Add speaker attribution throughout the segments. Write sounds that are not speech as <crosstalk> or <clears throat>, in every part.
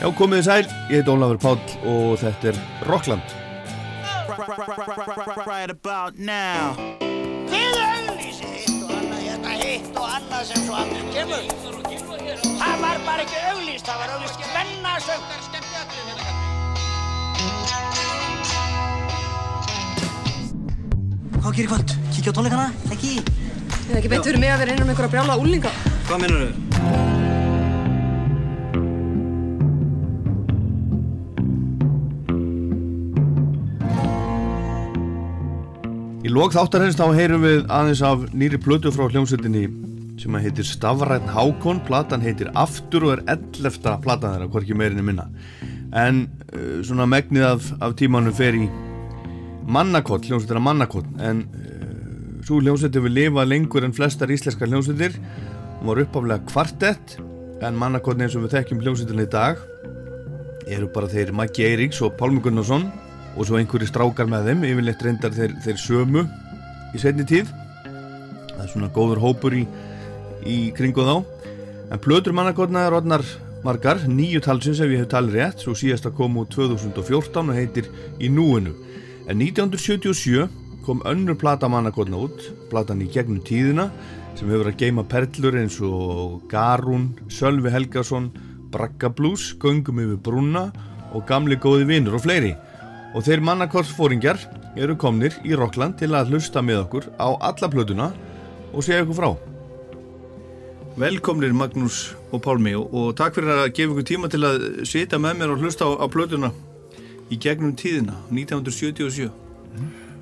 Speaker 1: Já, komið þið sæl, ég heit Ólafur Páll og þetta er Rockland
Speaker 2: Right about now
Speaker 3: Þið auðlýsið hitt og annað hérna, hitt og annað sem svo aftur kemur. Það var bara ekki auðlýst, það var auðlýst kvennasögnar skemmtiatrið hérna kallar.
Speaker 4: Hvað gerir kvöld? Kíkja á tónleikana? Ekki?
Speaker 5: Það er ekki beint fyrir mig að vera innan um einhverja brjála úlinga.
Speaker 4: Hvað mennur þau?
Speaker 1: Í lok þáttarins þá heyrum við aðeins af nýri plötu frá hljómsveitinni sem að heitir Stafræn Hákon, platan heitir Aftur og er 11. platan þeirra, hvorki meirinni minna. En uh, svona megnið af, af tímanum fer í mannakott, hljómsveitina mannakott, en uh, svo hljómsveitin við lifa lengur en flestar íslenskar hljómsveitir, hún var uppaflega kvartett, en mannakottin eins og við þekkjum hljómsveitina í dag eru bara þeir Maggi Eiríks og Pálmi Gunnarsson og svo einhverju strákar með þeim yfirleitt reyndar þeir, þeir sömu í setni tíð það er svona góður hópur í, í kringu þá en plötur mannakotna er orðnar margar nýju talsins ef ég hef talið rétt svo síðast að kom úr 2014 og heitir Í núinu en 1977 kom önnur plata mannakotna út platan í gegnum tíðina sem hefur að geima perlur eins og Garún, Sölvi Helgason Bragga Blues, Göngum yfir Brúna og Gamli góði vinur og fleiri og þeir mannakorsfóringjar eru komnir í Rockland til að hlusta með okkur á alla plötuna og segja okkur frá Velkomnir Magnús og Pálmi og, og takk fyrir að gefa ykkur tíma til að sitja með mér og hlusta á, á plötuna í gegnum tíðina 1977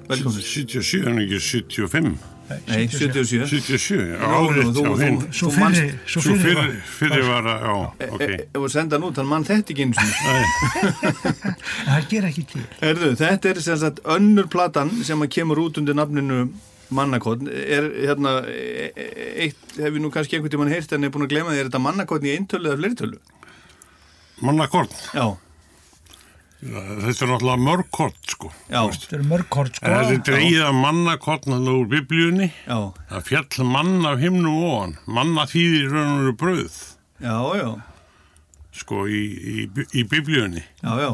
Speaker 1: Velkomnir
Speaker 6: 77 en ekki 75
Speaker 1: Nei, 77
Speaker 6: 77, já,
Speaker 1: Rónu,
Speaker 6: árið
Speaker 1: þú,
Speaker 6: hjá
Speaker 1: þú,
Speaker 6: hinn
Speaker 1: þú manst
Speaker 7: svo
Speaker 6: Svo
Speaker 7: fyrir
Speaker 6: fyrir, fyrir var að, já, ok
Speaker 1: e- ef við senda hann út, hann mann þetta ekki eins og
Speaker 7: En það ger ekki til.
Speaker 1: Herðu, þetta er sem sagt önnur platan sem að kemur út undir nafninu Mannakotn, er hérna e- e- eitt, hef ég nú kannski einhvern tímann heyrt en er búin að glema því, er þetta mannakotn í eintölu eða fleirtölu?
Speaker 6: Mannakorn,
Speaker 1: Já,
Speaker 6: þetta er náttúrulega mörgkorn, sko
Speaker 1: já,
Speaker 7: Þetta eru mörg hort sko.
Speaker 6: En Þetta er dreigið af mannakorn hann úr biblíunni
Speaker 1: já,
Speaker 6: Það fjall mann af himnum ofan Manna þýðir raunur bröð,
Speaker 1: já, já,
Speaker 6: sko, í, í, í biblíunni
Speaker 1: já, já,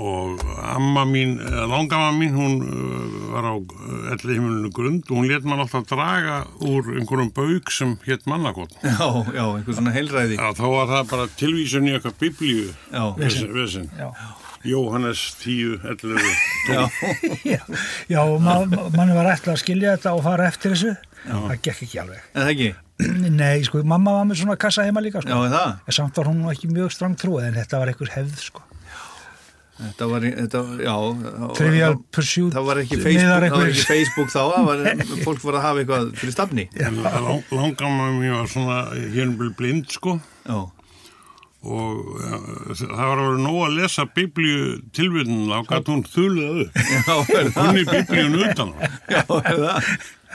Speaker 6: og amma mín, eða langamma mín hún uh, var á elli himmelinu grund og hún let mann alltaf draga úr einhverjum bauk sem hétt mannakotn
Speaker 1: já, já, einhver svona heilræði,
Speaker 6: Já, þá var það bara tilvísun í eitthvað biblíu
Speaker 1: já,
Speaker 6: vesen, vesen.
Speaker 7: Já,
Speaker 6: Jóhannes 10, 11
Speaker 1: já,
Speaker 7: já, já og ma- ma- manni var ætlað að skilja þetta og fara eftir þessu. Það gekk ekki alveg. <clears throat>
Speaker 1: en það ekki,
Speaker 7: Nei, sko, mamma var með svona kassa heima líka,
Speaker 1: já,
Speaker 7: sko.
Speaker 1: er það,
Speaker 7: En samt var hún nú ekki mjög strang trúið, en þetta var einhver hefð, sko.
Speaker 1: þetta var, í- þetta, já, það-
Speaker 7: Trivial Pursuit.
Speaker 1: það var ekki Facebook, það
Speaker 7: miðar
Speaker 1: var
Speaker 7: einhver-
Speaker 1: ekki Facebook þá, það var, fólk var að hafa eitthvað fyrir stafni,
Speaker 6: lang, Langamma mín var svona hérnbel blind sko
Speaker 1: já,
Speaker 6: og ja, það var að vera nóg að lesa biblíu tilvíðunum þá gæti hún þulðið upp
Speaker 1: já, er það,
Speaker 6: hún í biblíun utan á.
Speaker 1: já, er það,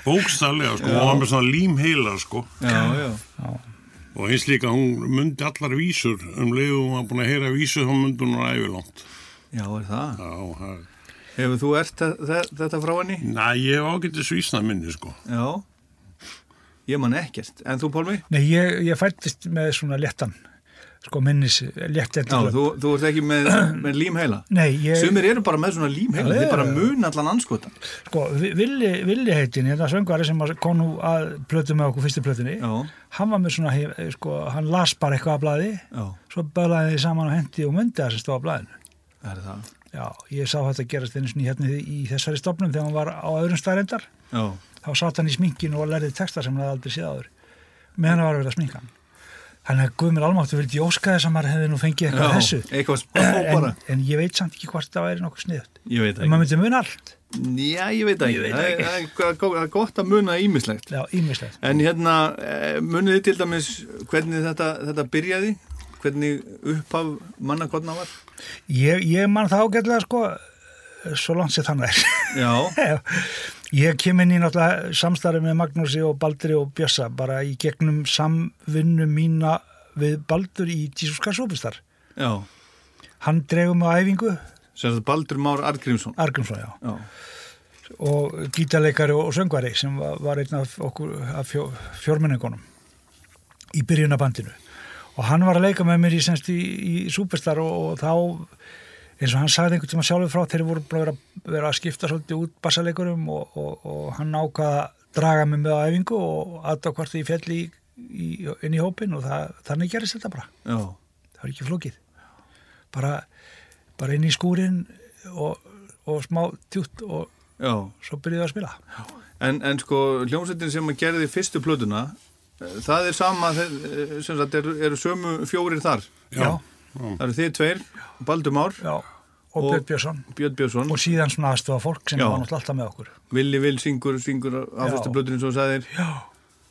Speaker 6: bókstallega sko, hún var með svona límheila sko
Speaker 1: já, já,
Speaker 6: Og eins líka, hún myndi allar vísur um leiðum að búin að heyra vísu þá myndi hún að æfi langt.
Speaker 1: já, er það,
Speaker 6: Já, það...
Speaker 1: hefur þú ert þe- þe- þetta frá henni?
Speaker 6: Næ, ég hef ágætið svísna minni, sko.
Speaker 1: Já, ég man ekkert. En þú, Pálmi?
Speaker 7: Nei, ég, ég fættist með svona léttan, sko, minnis, létt
Speaker 1: Já,
Speaker 7: eftir.
Speaker 1: þú, þú ert ekki með, með límheila.
Speaker 7: Nei, ég...
Speaker 1: Sumir eru bara með svona límheila,
Speaker 7: Já,
Speaker 1: þeir
Speaker 7: já,
Speaker 1: bara
Speaker 7: já.
Speaker 1: mun allan anskotan.
Speaker 7: Sko, Vi- Villi, Villi heitin, hérna söngvari sem að- kom nú að plötu með okkur fyrstu plötunni,
Speaker 1: Já.
Speaker 7: hann var með svona, hef- sko, hann las bara eitthvað af blaði,
Speaker 1: Já,
Speaker 7: svo bölaði því saman og hendi og myndi það sem stóð á blaðinu.
Speaker 1: er það.
Speaker 7: Já, ég sá þetta gerast einu sinni hérna í í þessari stofnum þegar hann var á öðrum staðreindar,
Speaker 1: Já,
Speaker 7: þá satt hann í sminkinu og lærði texta sem hann hafði aldrei séð áður, meðan hann var að vera að sminka hann. Þannig að Guðmur Almáttu vildi ég óska þess að maður hefði nú fengið eitthvað af þessu.
Speaker 1: eitthvað spá
Speaker 7: En,
Speaker 1: bara.
Speaker 7: en ég veit samt ekki hvort það væri nokkuð sniðut.
Speaker 1: Ég veit
Speaker 7: En
Speaker 1: ekki.
Speaker 7: maður myndi mun allt.
Speaker 1: Já, ég veit ekki.
Speaker 7: Ég veit
Speaker 1: Það er-
Speaker 7: ekki.
Speaker 1: það er go- go- það er gott að muna ímislegt.
Speaker 7: Já, ímislegt.
Speaker 1: En hérna, eh, munið þið til dæmis hvernig þetta, þetta byrjaði? Hvernig upphaf mannakotna var?
Speaker 7: Ég, ég man það ágætlega sko svo langt sér þannig er
Speaker 1: Já,
Speaker 7: ég kem inn í náttúrulega samstarfi með Magnúsi og Baldri og Bjössa bara í gegnum samvinnu mína við Baldur í Jísuska Súpistar
Speaker 1: já.
Speaker 7: hann dregur mig á æfingu
Speaker 1: Sér þetta Baldur Már Argrímsson.
Speaker 7: Argrímsson já
Speaker 1: Já,
Speaker 7: og gítarleikari og söngvari sem var, var einn af okkur af fjó, fjórmenningunum í byrjunabandinu og hann var að leika með mér í, semst, í, í Superstar og, og þá eins og hann sagði einhvern tíma sjálfur frá þeir voru búin að vera, vera að skipta svolítið út bassaleikurum og, og, og hann ákvaða að draga mig með á æfingu og aðdá hvort því fjall í, í, inn í hópin og það, þannig gerist þetta bara
Speaker 1: já,
Speaker 7: það var ekki flókið bara, bara inn í skúrin og, og smá tjútt og
Speaker 1: já.
Speaker 7: svo byrjuðu að spila
Speaker 1: En, en sko, hljómsveitin sem að gerði fyrstu plötuna, eh, það er sama, þeir, eh, sem sagt, eru, eru sömu fjórir þar.
Speaker 7: Já.
Speaker 1: Það eru þið tveir, Baldur Már,
Speaker 7: Já, og
Speaker 1: Og-
Speaker 7: Björn Björnsson
Speaker 1: Björn Björnsson,
Speaker 7: og síðan svona aðstofa fólk sem
Speaker 1: Já.
Speaker 7: var náttúrulega alltaf með okkur
Speaker 1: Villi Vill syngur, syngur á
Speaker 7: Já.
Speaker 1: fyrstu plötunum svo sagðir.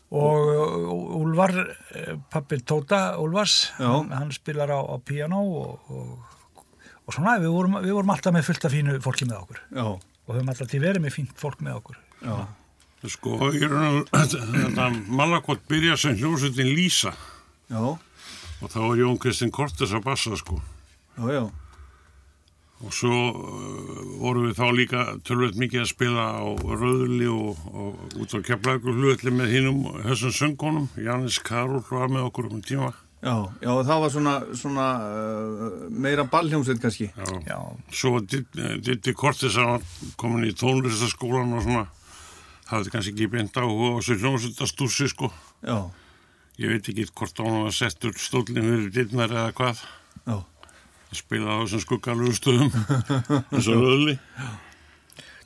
Speaker 7: og uh, Úlfar eh, pappi Tóta Úlfars
Speaker 1: Já.
Speaker 7: hann, hann spilar á, á piano og, og, og svona við vorum, við vorum alltaf með fullt af fínu fólki með okkur
Speaker 1: Já,
Speaker 7: og höfum alltaf til verið með fínt fólk með okkur
Speaker 1: já,
Speaker 6: Sko, ég er <clears throat> þetta Malakot byrja sem hljómsveitin Lísa
Speaker 1: já,
Speaker 6: og þá er Jón Kristinn Kortes að bassa sko.
Speaker 1: já, já,
Speaker 6: Og svo uh, vorum við þá líka tölvöld mikið að spila á Röðli og, og út á Keflækur hlutli með hinnum þessum söngunum. Jannis Karol var með okkur um tíma.
Speaker 1: já, já, það var svona, svona uh, meira ballhljómsveit kannski.
Speaker 7: já,
Speaker 6: Svo var Didd- eh, Diddi Kortis hann var komin í tónlistaskólan og svona hafði kannski ekki beint áhuga á þessu hljómsveitastússi sko.
Speaker 1: Já,
Speaker 6: Ég veit ekki hvort hann var settur stólinn fyrir dittnar eða hvað.
Speaker 1: já,
Speaker 6: að spila á þessum skuggalögu stöðum <laughs> eins og löðli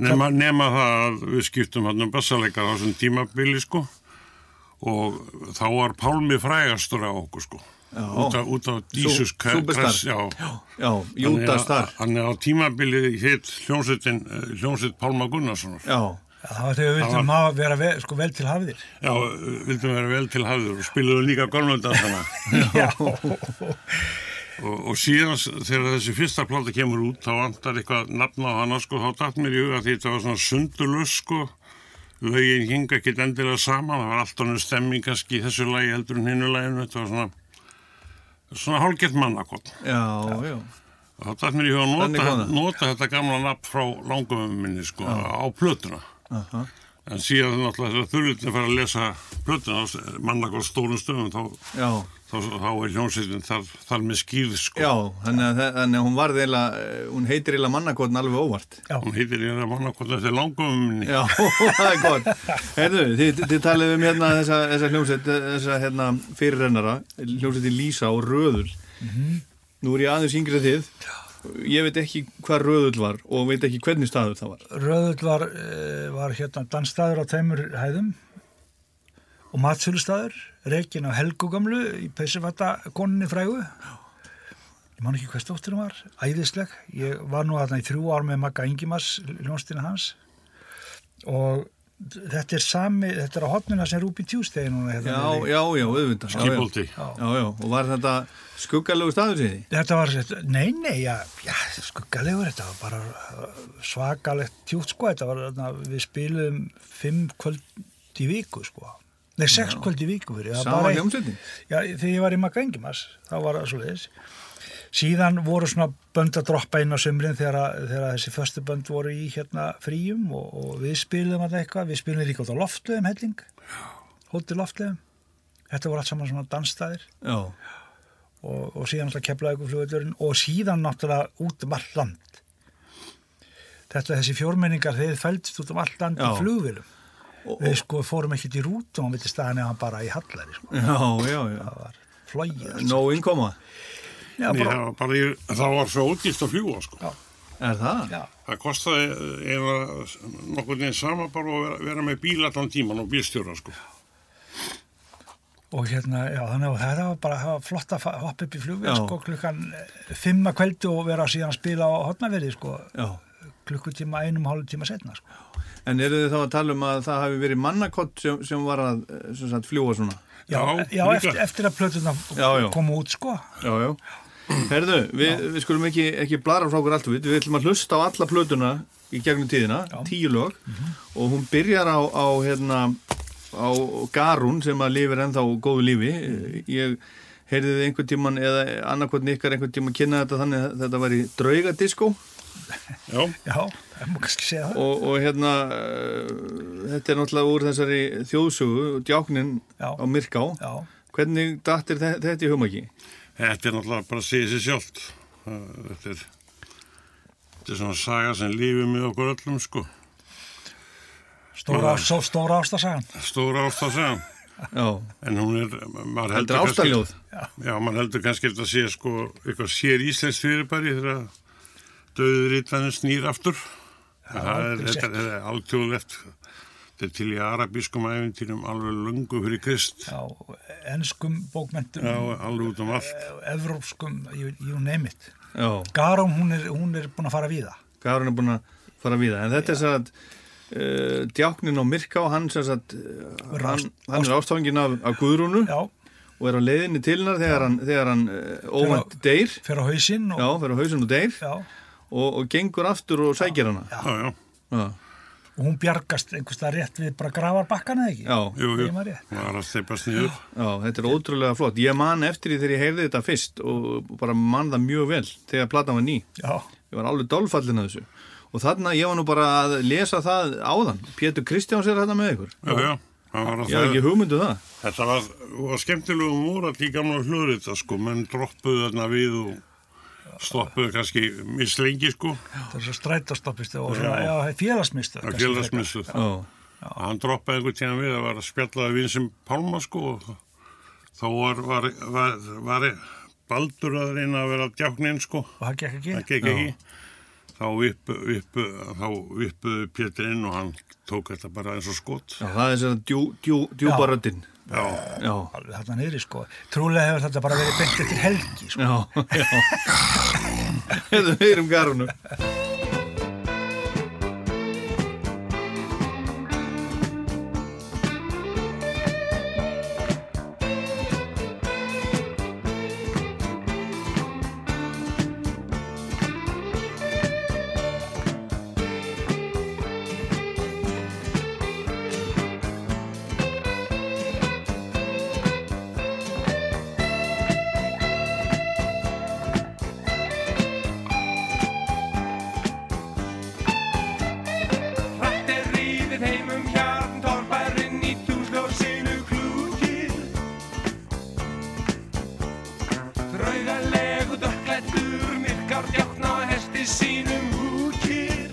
Speaker 6: nema, nema það að við skiptum hann um bassaleikar á þessum tímabili sko og þá var Pálmi frægastur á okkur sko
Speaker 1: Já.
Speaker 6: út af, út af Jesus Kr-
Speaker 1: Superstar.
Speaker 6: Christ, já.
Speaker 1: já,
Speaker 6: Þannig að-
Speaker 1: Júdas þar.
Speaker 6: Þannig að á tímabili hitt hljómsveitin eh, hljómsveit Pálma Gunnarssonar
Speaker 1: Já,
Speaker 7: það var þegar við
Speaker 6: Það
Speaker 7: vildum að vera ve sko, vel til hafiðir
Speaker 6: Já, eh, vildum vera vel til hafður og spilaðu líka gönnundansana
Speaker 1: <laughs>
Speaker 7: <laughs> já,
Speaker 6: og, og síðan s- þegar þessi fyrsta plata kemur út þá vantar eitthvað nafn á hana sko, þá datt mér í huga því þetta var svona sundulös sko, lögin hinga ekki endilega saman, það var allt ánum stemming kannski í þessu lagi heldur en hinnu laginu þetta var svona svona hálgett mannakot
Speaker 1: já, já,
Speaker 6: og þá datt mér í huga að
Speaker 1: Þannig kom
Speaker 6: nota,
Speaker 1: það.
Speaker 6: nota þetta gamla nafn frá langumum minni sko, á plötuna
Speaker 1: aha,
Speaker 6: en síðan náttúrulega þegar þurrlutin fara að lesa plötuna á mannakot stórum stöðum þá,
Speaker 1: já.
Speaker 6: þá, þá er hljómsveitin þar, þar með skýð sko.
Speaker 1: Já, þannig að, þe- þannig að hún varð eila, hún heitir eila mannakotn alveg óvart.
Speaker 6: Hún heitir ég að manna hvort þetta er langumumni.
Speaker 1: Já, <laughs> það er gott. Herðu, þið, þið talið um hérna þessa, þessa hljómsveit, þessa hérna fyrirrennara, hljómsveitin Lísa og Röðul. Nú er ég aðeins yngrið þið. Ég veit ekki hvað Röðul var og veit ekki hvernig staður það var.
Speaker 7: Röðull var, eh, var hérna dansstaður á tveimur hæðum og matsölustaður, reikin á Helgu gamlu í Pessifata koninni frægu. Ég man ekki hvað stóttirinn var, æðisleg. Ég var nú þarna í þrjú ár með Magga Ingimas, ljónstina hans og þetta er sami, þetta er á hotnuna sem Rúbi Tuesday núna. Hérna,
Speaker 1: Já,
Speaker 7: niðri.
Speaker 1: já, já, auðvitað. Já, já.
Speaker 6: Skipolti.
Speaker 1: Já, já, og var þetta skuggalegu staður síði?
Speaker 7: Þetta var, þetta- nei, nei, já, já skuggalegur, þetta var bara uh, svakalegt tjútt, sko, þetta var, þarna, við spiluðum fimm kvöld í viku, sko, nei, sex kvöld í viku fyrir, það var
Speaker 1: Sama
Speaker 7: bara eitt-
Speaker 1: hljómsveitin?
Speaker 7: Já, þegar ég var í Magga Engimas, þá var það svo leiðis. Síðan voru svona bönd að droppa inn á sömrin þegar, að- þegar að þessi föstu bönd voru í hérna fríum og, og við spilum alltaf eitthvað, við spilum líka út á loftlegum, helling, hótti loftlegum, þetta voru allt saman svona dansstæðir
Speaker 1: Já,
Speaker 7: og, og síðan náttúrulega keflaði ykkur flugvöldurinn og síðan náttúrulega út um allt land þetta þessi fjórmenningar þeir fældist út um allt land í
Speaker 1: Já.
Speaker 7: flugvélum við sko fórum ekkert í rútu og hann vildi staðan eða hann bara í hallari sko.
Speaker 1: já, já, já.
Speaker 7: það var flogið allt.
Speaker 1: Nó innkoma,
Speaker 7: já,
Speaker 6: Nei,
Speaker 7: bara,
Speaker 6: það var bara, ég, það var svo ódýrt að fljúa, sko.
Speaker 1: er það?
Speaker 7: já,
Speaker 6: Það kostaði eh, eiginlega nokkur neins sama bara að vera, vera með bíl allan tíman og bílstjóra, sko.
Speaker 7: og hérna já, þannig að það var bara það var flott að fa- hoppa upp í flugvél
Speaker 1: Já.
Speaker 7: sko, klukkan eh, fimm að kveldu og vera síðan að spila á hotnaverði sko,
Speaker 1: Já.
Speaker 7: klukkutíma einum hálfum tíma setna sko.
Speaker 1: En eru þið þá að tala um að það hafi verið mannakott sem, sem var að eh, sem sagt, fljúa svona?
Speaker 7: já,
Speaker 6: Já,
Speaker 7: já
Speaker 6: líka.
Speaker 7: eftir, eftir að plötuna
Speaker 1: Já, já.
Speaker 7: komu út sko
Speaker 1: Já, já. Herðu, við, við skulum ekki, ekki blara frá okkur allt við, við ætlum að hlusta á alla plötuna í gegnum tíðina, tíu lög,
Speaker 7: Mhm.
Speaker 1: og hún byrjar á, á, hérna, á Garún sem að lifir ennþá góðu lífi.
Speaker 7: Mhm.
Speaker 1: Ég heyrði þið einhvern tíman, eða annarkotn ykkar einhvern tíman kynna þetta þannig að þetta var í draugadiskó
Speaker 6: Já,
Speaker 7: já, það má kannski segja það
Speaker 1: og, og hérna, eh, þetta er náttúrulega úr þessari þjóðsögu, djáknin
Speaker 7: Já.
Speaker 1: á Myrká.
Speaker 7: Já,
Speaker 1: Hvernig dattir þe- þetta í hugmæki?
Speaker 7: <laughs>
Speaker 6: Þetta er náttúrulega bara að segja sér sjálft. Það- Þetta er, þetta er svona saga sem lífið með okkur öllum, sko.
Speaker 7: Stóra, svo stóra ástasagan.
Speaker 6: Stóra ástasagan.
Speaker 1: Já,
Speaker 6: En hún er, maður
Speaker 1: heldur
Speaker 6: heldur
Speaker 1: ástaljóð.
Speaker 6: Já, maður heldur kannski að þetta sé sko eitthvað sér íslensk fyrirbæri þegar döður ítvæðin snýr aftur. Já, það er,
Speaker 7: alveg
Speaker 6: þetta,
Speaker 7: sett.
Speaker 6: þetta er alþjóðlegt. Þetta er til í arabískum æfintýrum alveg lungu fyrir krist.
Speaker 7: Já, ennskum bókmentum,
Speaker 6: Já, alveg út um allt.
Speaker 7: evrópskum, you, you name it.
Speaker 1: Já,
Speaker 7: Garón, hún er, hún er búin að fara víða.
Speaker 1: Garun er búin að fara við það. En þetta er sér að uh, djáknin á Myrká, hann sér að
Speaker 7: Verður
Speaker 1: hann,
Speaker 7: ást-
Speaker 1: hann er ástofangin af, af Guðrúnu
Speaker 7: Já,
Speaker 1: og er á leiðinni til hennar þegar hann, þegar hann uh, óvænt deyr.
Speaker 7: fer á hausinn og
Speaker 1: Já, fyrir á hausinn og deyr
Speaker 7: já,
Speaker 1: og, og gengur aftur og sækir hana.
Speaker 6: Já, já,
Speaker 1: Já,
Speaker 7: og hún bjargast einhvers það rétt við bara grafar bakkan eða ekki?
Speaker 1: já,
Speaker 6: jú, jú.
Speaker 7: Ég maður rétt.
Speaker 6: Maður er að steipa snýður.
Speaker 1: já, þetta er ótrúlega flott. Ég man eftir því þegar ég heyrði þetta fyrst og bara man það mjög vel þegar platan var ný.
Speaker 7: Já,
Speaker 1: Ég var alveg dálfallin að þessu. Og þarna, ég var nú bara að lesa það áðan. Pétur Kristjáns er þetta með ykkur.
Speaker 6: Já, já. Það var
Speaker 1: Ég
Speaker 6: að
Speaker 1: hafði
Speaker 6: það,
Speaker 1: ekki hugmyndu það.
Speaker 6: þetta var, var skemmtilegu múrat í gamla hlurita sko, menn droppuðu þarna við og stoppuðu kannski mislengi sko,
Speaker 7: það er svo strætóstoppistu og svona,
Speaker 6: Já.
Speaker 7: já, já félagsmistu.
Speaker 6: að félagsmissu.
Speaker 1: Já,
Speaker 6: Og hann droppaði einhvern tíðan við að var að spjallaði við sem Pálma sko og þá var, var, var, var baldur að reyna að vera að djáknin sko,
Speaker 7: Og það gekk
Speaker 6: það
Speaker 7: ekki.
Speaker 6: gekk ekki. Þá upp, upp, þá uppuðu Pétur inn og hann tók þetta bara eins og skot.
Speaker 1: já það er þess að djú, djú, djúpa röddinn.
Speaker 6: Já,
Speaker 1: Já,
Speaker 7: Alveg þarna niðri sko. Trúlega hefur þetta bara verið beint eftir helgi sko.
Speaker 1: já, já. Þetta er meir um garunu.
Speaker 8: Hratt er rífið heim um hjarn, torfarinn í túsn og sinu klúkir. Draugalegu dökklættur, myrkar djákn á hesti sínum húkir.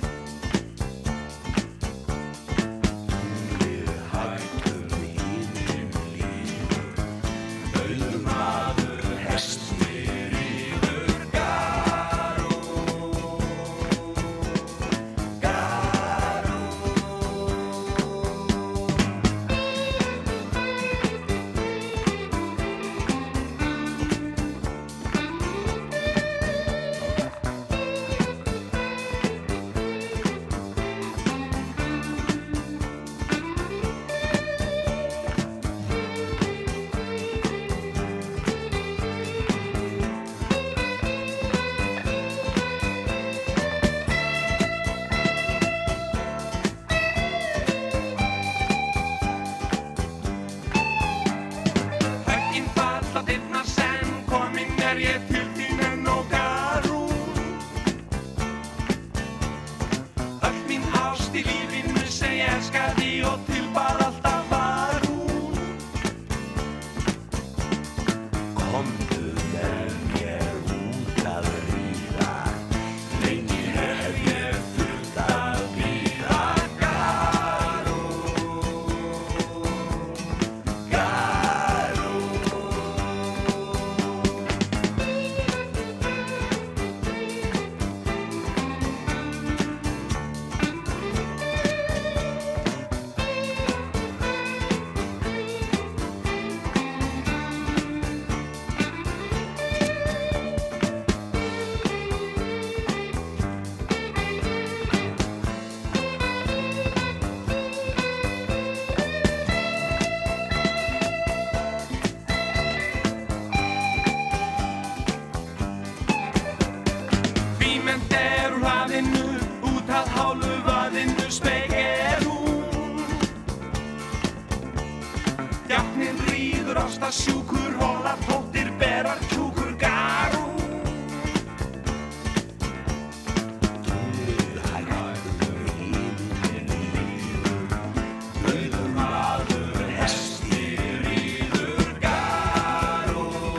Speaker 8: Högginn falla dyrnar senn, kominn er ég til þín enn og garún. Öll mín ást í lífinu sem ég elskaði og til bara alltaf var hún. Fímend er úr hafinu, út að hálu vaðinu speik er hún. Jafnin rýður ásta sjúkur, hóla tóttir berar kjúkur garún. Dúlið hættur í lífið, auður maður hesti rýður garún.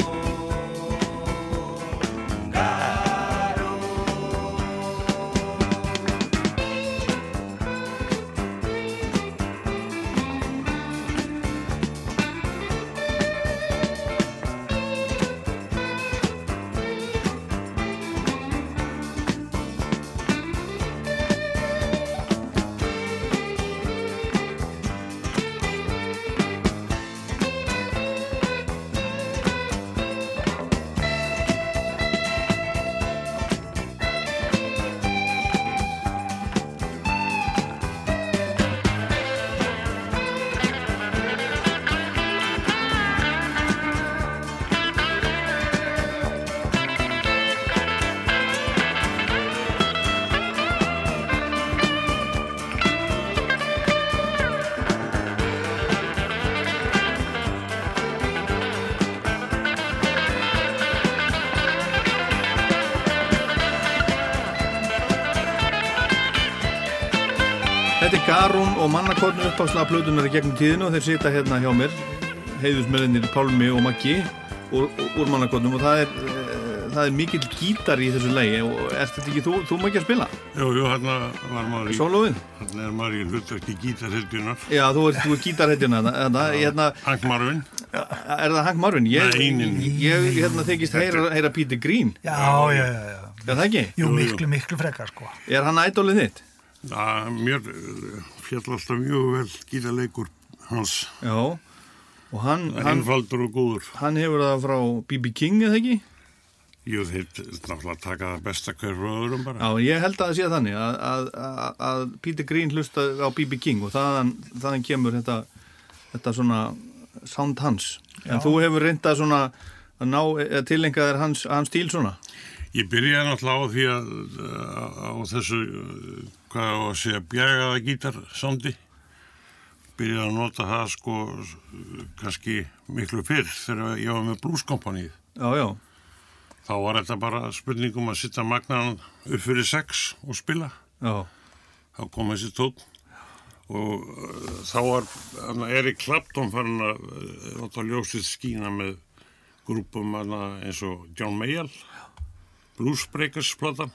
Speaker 1: og mannakorn uppáðslega plötunar í gegnum tíðinu og þeir sita hérna hjá mér heiðusmöðinir Pálmi og Maggi úr, úr mannakornum og það er, eh, það er mikill gítar í þessu lægi og er þetta ekki þú, þú Maggi að spila?
Speaker 6: Jú, jú, hérna var maður í,
Speaker 1: Sólóið?
Speaker 6: hérna er maður í hlutverki gítarhildjunar.
Speaker 1: Já, þú ert, þú ert gítarhetjuna þarna- þarna, hérna,
Speaker 6: Hangmarfin,
Speaker 1: er það Hank Marvin? Ég,
Speaker 6: Nei, nei, nei.
Speaker 1: ég hérna þykist heyra, heyra Peter Green,
Speaker 7: Já, já, já, já.
Speaker 1: er það ekki?
Speaker 7: Jú, miklu, miklu frekar, sko.
Speaker 1: Er hann ædólið þitt?
Speaker 6: það mér eh, féll alltaf mjög vel gítarleikur hans,
Speaker 1: Já, og hann, hann,
Speaker 6: einfaldur og góður.
Speaker 1: hann hefur það frá B.B. King, eða ekki?
Speaker 6: Jú, þeir náttúrulega taka það besta hver frá öðrum bara.
Speaker 1: Já, ég held að það sé þannig að, að, að, að Peter Green hlusta á B.B. King og þaðan, þaðan kemur þetta, þetta svona sound hans. En þú hefur reynda svona að ná að tilengja þér hans, hans stíl svona.
Speaker 6: Ég byrjaði náttúrulega á því að eh, á þessu, eh, hvað á að segja, bjagaða gítarsandi. Byrjaði að nota það sko eh, kannski miklu fyrr þegar ég var með blúskompanið.
Speaker 1: Já, já,
Speaker 6: Þá var þetta bara spurningum að sitta magnan upp fyrir sex og spila.
Speaker 1: já,
Speaker 6: Þá kom þessi tótt og uh, þá var hana, Erik Clapton farin að eh, láta ljósið skína með grúpum hana, eins og John Mayall, Blues Breakers platan.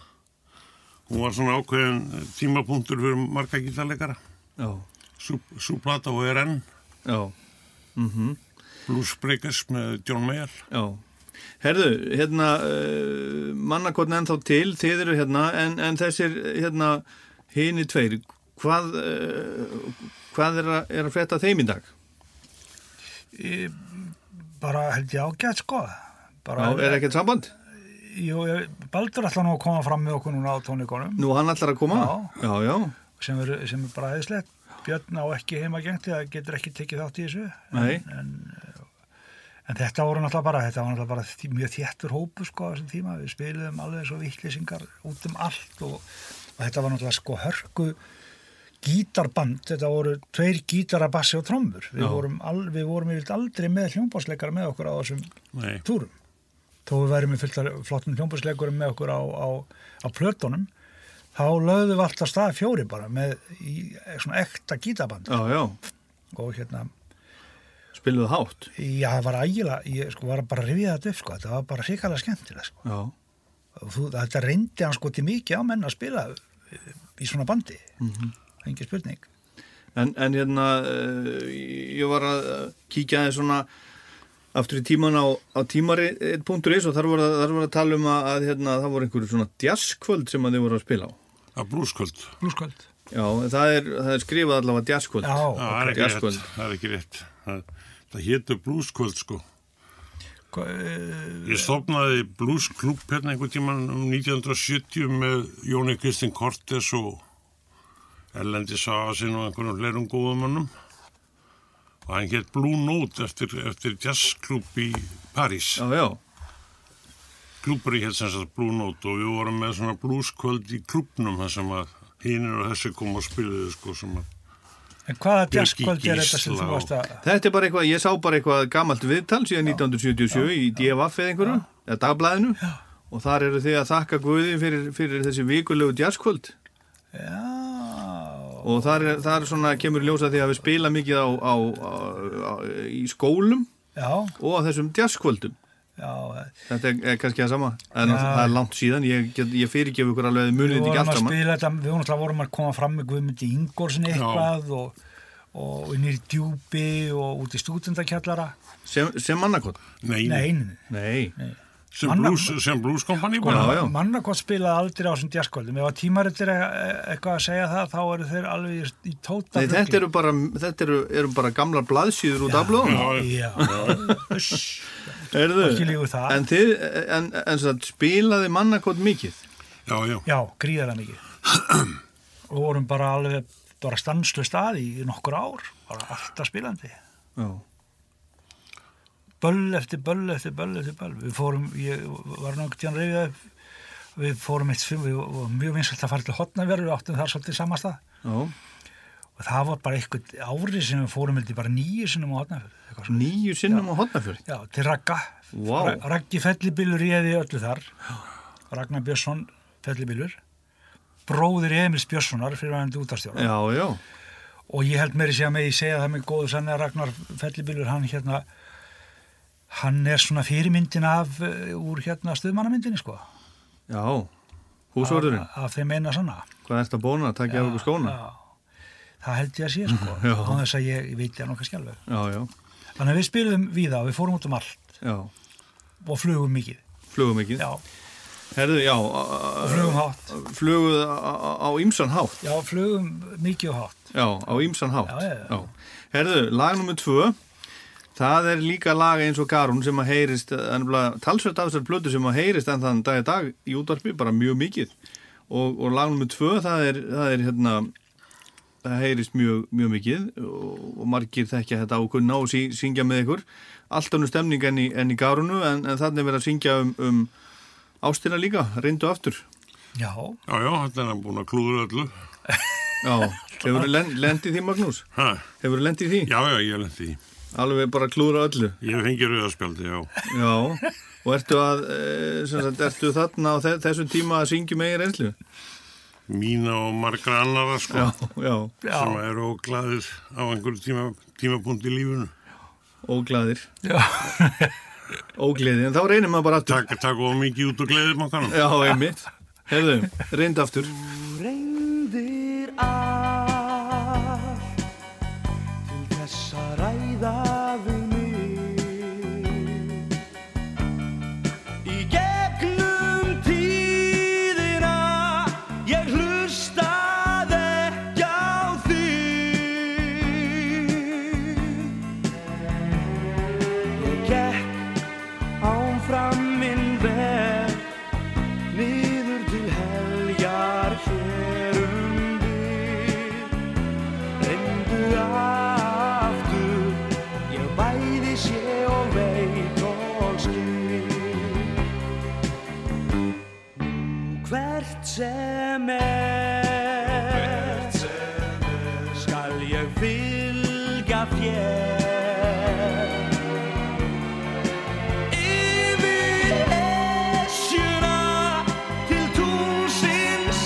Speaker 6: Hún var svona ákveðin eh, tímapunktur fyrir marga gítarleikara.
Speaker 1: já,
Speaker 6: Sú, sú plata og er enn
Speaker 1: já,
Speaker 6: Blues Breakers með John Mayall.
Speaker 1: já. Herðu, hérna, uh, mannakotn ennþá til, þið eru hérna, en, en þessir, hérna, hini tveir, hvað, uh, hvað er að, er að frétta þeim í dag?
Speaker 7: Ég, bara held ég ágætt, sko.
Speaker 1: Já,
Speaker 7: Bara,
Speaker 1: er ekkert samband?
Speaker 7: Jú, ég- Baldur ætla nú að koma fram með okkur núna á tónleikonum
Speaker 1: Nú, hann ætlar að koma? Já, já,
Speaker 7: sem er, sem er bara aðeinslegt. Björn á ekki heimagengt eða getur ekki tekið þátt í þessu.
Speaker 1: nei.
Speaker 7: En þetta voru náttúrulega bara, þetta var náttúrulega bara þý- mjög þéttur hópu sko á þessum tíma, við spiliðum alveg svo vittlýsingar út um allt og, og þetta var náttúrulega sko hörku gítarband, þetta voru tveir gítara, bassi og trommur. Við vorum, al, við vorum yfirleitt aldrei með hljómbásleikara með okkur á þessum
Speaker 6: Nei,
Speaker 7: túrum. Þó við værum með fullt af flottum hljómbásleikurum með okkur á, á, á plötunum, þá lögðum við alltaf stað fjóri bara með í, svona ekta gítarband
Speaker 1: Já, já,
Speaker 7: og hérna
Speaker 1: spiluðu hátt.
Speaker 7: Já, það var ægilega, ég sko var bara að rifja þetta upp sko, þetta var bara hrikalega skemmtilega sko.
Speaker 1: Já,
Speaker 7: Og Þú, þetta reyndi hann sko til mikið á menn að spila eh, í svona bandi, engi spurning.
Speaker 1: en, en hérna, uh, ég var að eh, kíkja aðeins svona aftur í tíman á, á tímari.is og þar voru, þar voru að tala um að, að hérna, það voru einhverju svona jazzkvöld sem að þið voru að spila á.
Speaker 6: það er blúskvöld.
Speaker 7: Blúskvöld.
Speaker 1: Já, það er, það er skrifað allavega jazzkvöld.
Speaker 7: Já,
Speaker 6: Það er ekki
Speaker 1: jazzkvöld.
Speaker 6: rétt, það er ekki rétt. Það, það hétu blúskvöld sko.
Speaker 7: hva- eh,
Speaker 6: Ég stopnaði bluesklúb hérna einhvern tíman um 1970 með Jóni Kristinn Kortes og Erlendi Sagasinn og einhvernum fleirum góðum mannum og hann hétt Blue Note eftir, eftir jazzklúb í París.
Speaker 1: Já, já,
Speaker 6: Klúbur hétt sem sagt Blue Note og við vorum með svona blueskvöld í klúbnum þar sem að hinnir og þessi kom og spiluðu sko sem að
Speaker 7: en hvaða
Speaker 6: Björk í
Speaker 7: djarkvöld er þetta sem
Speaker 6: Gísla
Speaker 7: þú
Speaker 6: og-
Speaker 7: varst að...
Speaker 1: þetta er bara eitthvað, ég sá bara eitthvað gamalt viðtal síðan 1977 í DFF eða einhverju, eða dagblæðinu. Já. Og þar eru þið að þakka Guði fyrir, fyrir þessi vikulegu jazzkvöld.
Speaker 7: Já,
Speaker 1: og þar, er, þar svona kemur ljósa því að við spila mikið á, á, á, á, í skólum
Speaker 7: já,
Speaker 1: og á þessum jazzkvöldum
Speaker 7: já.
Speaker 1: þetta er, er kannski það sama það er, náttúrulega- það er langt síðan, ég, get- ég fyrirgef ykkur alveg að munið
Speaker 7: Við
Speaker 1: þetta ekki
Speaker 7: vorum
Speaker 1: allt
Speaker 7: að
Speaker 1: saman
Speaker 7: spila þetta, við vorum alltaf vorum að koma fram með Guðmundi Ingolsin eitthvað og, og innir í djúpi og út í stúdendakjallara.
Speaker 1: sem, sem mannakot
Speaker 6: Nei,
Speaker 7: Nei, einu.
Speaker 1: nei,
Speaker 6: sem,
Speaker 7: annar-
Speaker 6: blues, sem blueskompani
Speaker 1: Já,
Speaker 6: bara.
Speaker 1: já.
Speaker 7: Mannakott spilaði aldrei á þessum djaskvöldum ef að tímaritir eitthvað að segja það þá eru þeir alveg í- í tóta
Speaker 1: nei þetta eru bara, þetta eru, eru bara gamlar blaðsýður út af blóðum
Speaker 6: Já,
Speaker 7: Já, ekki lífu það.
Speaker 1: en þið en, en, en, spilaði mannakot mikið
Speaker 6: já, já.
Speaker 7: já gríðan ekki og vorum bara alveg bara stanslu staði í nokkur ár bara alltaf spilandi
Speaker 1: já,
Speaker 7: böll eftir böll eftir böll eftir böll við fórum, ég var náttúrulega tíðan reyfið upp við fórum eitt svim við vorum mjög vinsalt að fara til hotnaverður við áttum þar svolítið samasta
Speaker 1: já.
Speaker 7: og það var bara eitthvað árið sem við fórum held ég, bara nýju sinnum á hotnaverður
Speaker 1: nýju sinnum á hotnafjörð
Speaker 7: Já, til Ragga.
Speaker 1: Vá.
Speaker 7: Ra- Raggi fellibillur réði öllu þar. Ragnar Björnsson fellibillur. Bróðir Emils Björnssonar fyrir aðeins útastjóra.
Speaker 1: já, já,
Speaker 7: og ég held meiri sé að megi segja það með góðu sann að Ragnar Fellibylur hann hérna hann er svona fyrirmyndin af eh, úr hérna stuðmannamyndinni sko
Speaker 1: Já, húsvörðurinn,
Speaker 7: af, af þeim eina sanna
Speaker 1: hvað er þetta bóna að takja af okkur skóna?
Speaker 7: Já. það held ég að <laughs> sé sko
Speaker 1: Já.
Speaker 7: á þess að ég, ég veit það nokkað skjálfur
Speaker 1: Já, já,
Speaker 7: þannig að við spilum við og við fórum út um allt
Speaker 1: já,
Speaker 7: og flugum mikið
Speaker 1: flugum ekki.
Speaker 7: já,
Speaker 1: Herðu, já, a-
Speaker 7: og flugum hátt
Speaker 1: a- fluguð á- á á ýmsan hátt.
Speaker 7: já, flugum mikið og hátt
Speaker 1: Já, á ýmsan hátt.
Speaker 7: Já, já, já.
Speaker 1: Herðu, lag nummer tvö, það er líka lag eins og Garún sem að heyrist, ennfla, talsvert af þessar blötu sem að heyrist enn þann dag í dag í útvarpi, bara mjög mikið. Og, og lag nummer tvö, það er, það er hérna, það heyrist mjög, mjög mikið og, og margir þekkja þetta á kunna og sí, syngja með ykkur. Allt önnur stemning enn í, enn í Garúnu, en, en þannig verið að syngja um, um ástina líka, reyndu aftur.
Speaker 7: já,
Speaker 6: Já, já, þetta er hann búin að klúður öllu.
Speaker 7: <laughs>
Speaker 1: Já, hefur lendið því Magnús?
Speaker 6: Ha,
Speaker 1: Hefur lendið því?
Speaker 6: já, já, ég lendi í.
Speaker 1: Alveg bara klúra öllu.
Speaker 6: Ég fengi rauðarspjaldi, já.
Speaker 1: Já, og ertu að eh, sem sagt, ertu þarna á þe- þessum tíma að syngjum eigin reynslu?
Speaker 6: Mína og margra annara, sko,
Speaker 1: já,
Speaker 6: sem
Speaker 7: já,
Speaker 6: eru óglæðir á einhverju tíma, tímapunkt í lífunu.
Speaker 1: óglæðir
Speaker 7: já.
Speaker 1: ógleði, en þá reynir maður bara aftur
Speaker 6: Takk, takk og mikið út og gleðið makkanum.
Speaker 1: Já, einmitt, heyrðu, reynd aftur
Speaker 2: reyndir allt til þess að ræða við mig í gegnum tíðina ég hlustað ekki á þig ég gekk án fram minn veg Niður til heljar hér um við Reyndu aftur Ég bæði sé og veit og skil Hvert sem er Skal ég vilja þér Yfir Esjuna til túnsins,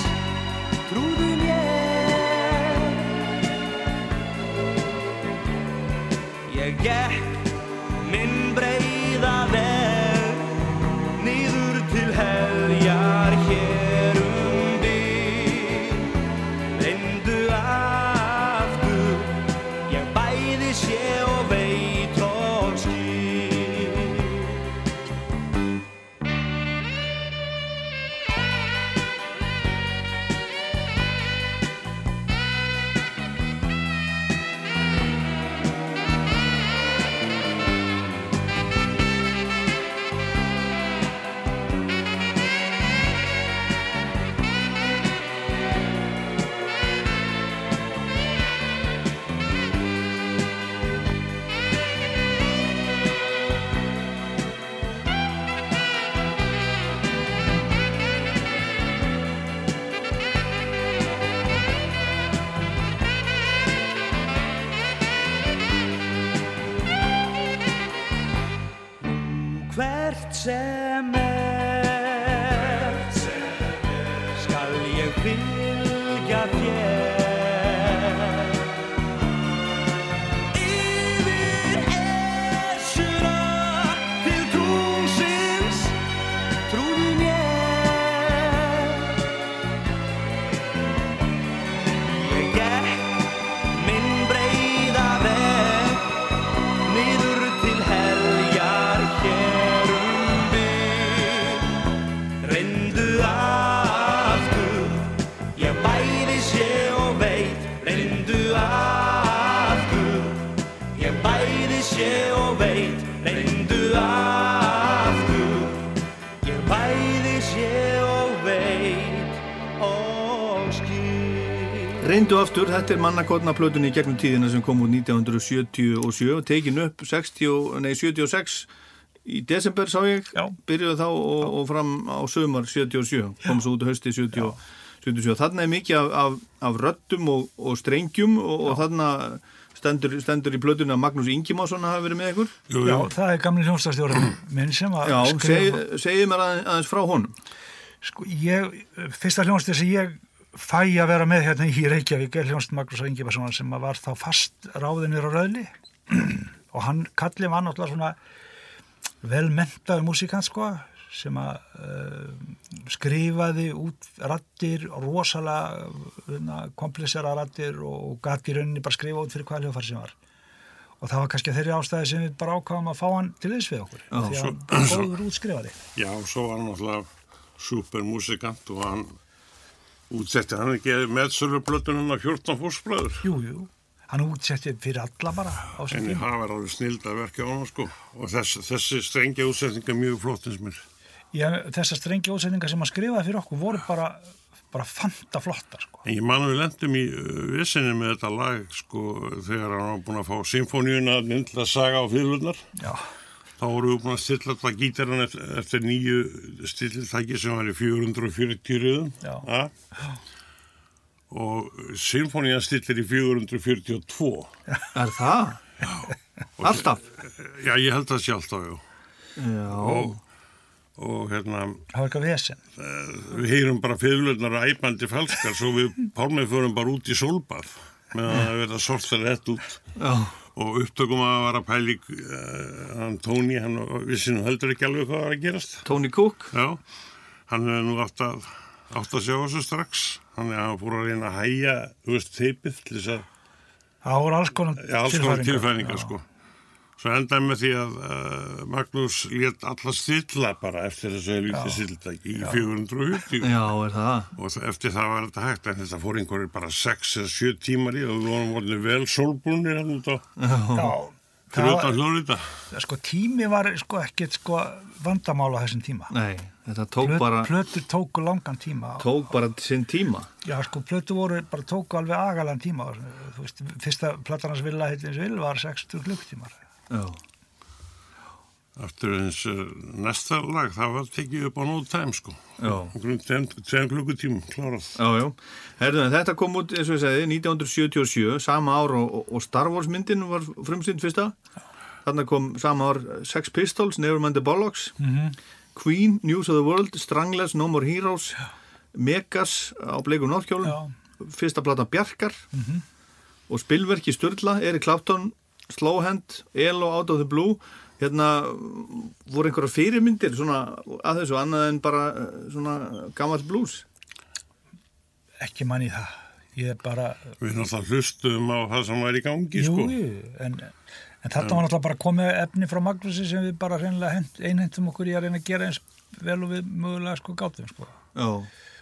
Speaker 2: trúðu mér. Ég gekk minn breiða veg, niður til heljar hér um dyr. Reyndu aftur, ég bæði sé og veit og skil. hvert sem er skal ég fylgja þér yfir Esjuna til tunglsins trúðu mér ég gekk minn breiða veg niður til heljar hér um bygg reyndu aftur ég bæði sé og veit reyndu aftur ég bæði sé og veit reyndu aftur ég bæði sé og veit og skil
Speaker 1: Reyndu aftur, þetta er mannakotna plötunni í gegnum tíðina sem kom úr 1977 tekin upp 60, nei, 76 í desember sá ég
Speaker 7: Já.
Speaker 1: byrjuðu þá og, og fram á sömar 77, kom svo út hösti 70, 77, þarna er mikið af, af, af röddum og, og strengjum og, og þarna stendur, stendur í plötunni að Magnús Ingemásson hafi verið með ykkur
Speaker 6: Jú,
Speaker 7: já,
Speaker 6: jú,
Speaker 7: það er gamli hljómsdagstjóri minn sem að
Speaker 1: Já,
Speaker 7: skrifa-
Speaker 1: seg, segið mér aðeins, aðeins frá honum
Speaker 7: Sko, ég, fyrsta hljómsveit sem ég fæ að vera með hérna í Reykjavík er hljónst Magnús Engibarssonar sem að var þá fast ráðinir á röðli <clears throat> og hann kallið var náttúrulega svona velmentaður músikant sko sem að uh, skrifaði út rattir rosalega hérna, komplisera rattir og, og gati rauninni bara skrifa út fyrir hvað hljófar sem var og það var kannski þeirri ástæði sem við bara ákvaðum að fá hann til þess við okkur Já, því að
Speaker 6: svo-
Speaker 7: hann var góður útskrifaði
Speaker 6: Já, svo var hann alltaf supermusikant og hann útsetti hann ekki meðsölublötunum að 14 fórsbröður.
Speaker 7: Jú, jú, hann útsetti fyrir alla bara á sem
Speaker 6: En
Speaker 7: tíma
Speaker 6: það var alveg snilda verkja á hann sko og þess, þessi strengja útsetning er mjög flott eins og mér.
Speaker 7: Já, þessar strengi útsendingar sem hann skrifaði fyrir okkur voru bara, bara fanta flottar sko.
Speaker 6: En ég man að við lendum í vissinni með þetta lag sko þegar hann var búin að fá symfóníuna að myndla saga á fyrirlunar.
Speaker 7: Já,
Speaker 6: Þá vorum við búin að stilla alltaf gítaran eftir, eftir nýju stillitæki sem var í 440 röðum.
Speaker 7: Já.
Speaker 6: Ja? Og symfónían stillir í 442.
Speaker 1: Er það? Alltaf?
Speaker 6: Já, ég held það sé alltaf, já.
Speaker 1: Já.
Speaker 6: Og, og hérna, eh,
Speaker 7: það var eitthvað vesen.
Speaker 6: við heyrum bara fyrirlunar æpandi falskar svo við pálmið förum bara út í sólbað meðan það er verið að sorta rétt út
Speaker 1: Já.
Speaker 6: og upptökum að vara pæling uh, hann Tóni, hann vissi nú heldur ekki alveg hvað var að gerast
Speaker 1: Tony Cook?
Speaker 6: já, hann hefði nú átt að átt að sjá þessu strax hann er að fór að reyna að hæja þú veist, teipið til þess að
Speaker 7: Það voru alls konar
Speaker 6: Já, alls konar tilfæringar
Speaker 7: Já.
Speaker 6: sko. Svo endaði með því að uh, Magnús létt alla stilla bara eftir þessu helvítið sildagi í 440
Speaker 1: Já, er það?
Speaker 6: og það- eftir það var þetta hægt en þetta fór einhverjir bara 6 eða 7 tímar í og við vorum volið vel sólbrúnir hann út á
Speaker 7: Já, það
Speaker 6: þrjóta
Speaker 7: var,
Speaker 6: hljóðrita
Speaker 7: sko, tími var sko, ekkit sko, vandamála þessum tíma.
Speaker 1: Nei, þetta tók
Speaker 7: Plöt,
Speaker 1: bara,
Speaker 7: Plötu tóku langan tíma.
Speaker 1: tók bara sinn tíma.
Speaker 7: Já, sko, plötu voru bara tóku alveg agalan tíma. Þú veist, fyrsta platanars villa hittins vil var 60 klukktímar.
Speaker 1: Já.
Speaker 6: Aftur eins uh, næsta lag það var tekið upp á no time sko
Speaker 1: Já.
Speaker 6: Okkur um 10 klukkutímum klárað
Speaker 1: Já, já. Herðu, en þetta kom út, eins og ég segi, 1977, sama ár og, og- og Star Wars myndin var frumsýnd fyrsta. Þarna kom sama ár eh, Sex Pistols, Nevermind the Bollocks, Queen, News of the World, Stranglers, No More Heroes, Megas á bleikum
Speaker 7: Já.
Speaker 1: norðkjólum, fyrsta platan Bjarkar og spilverki Sturla, Eric Clapton, Slowhand, Elo Out of the Blue. Hérna mm, voru einhverja fyrirmyndir svona að þessu annað en bara eh, svona gammal blues.
Speaker 7: Ekki manni það. Ég er bara,
Speaker 6: Við náttúrulega hlustuðum á það sem var í gangi
Speaker 7: jú,
Speaker 6: sko
Speaker 7: jú, en, en þetta var náttúrulega bara komið efni frá Magnúsi sem við bara reynilega einhentum okkur í að reyna að gera eins vel og við mögulega sko gátum, sko.
Speaker 1: Já.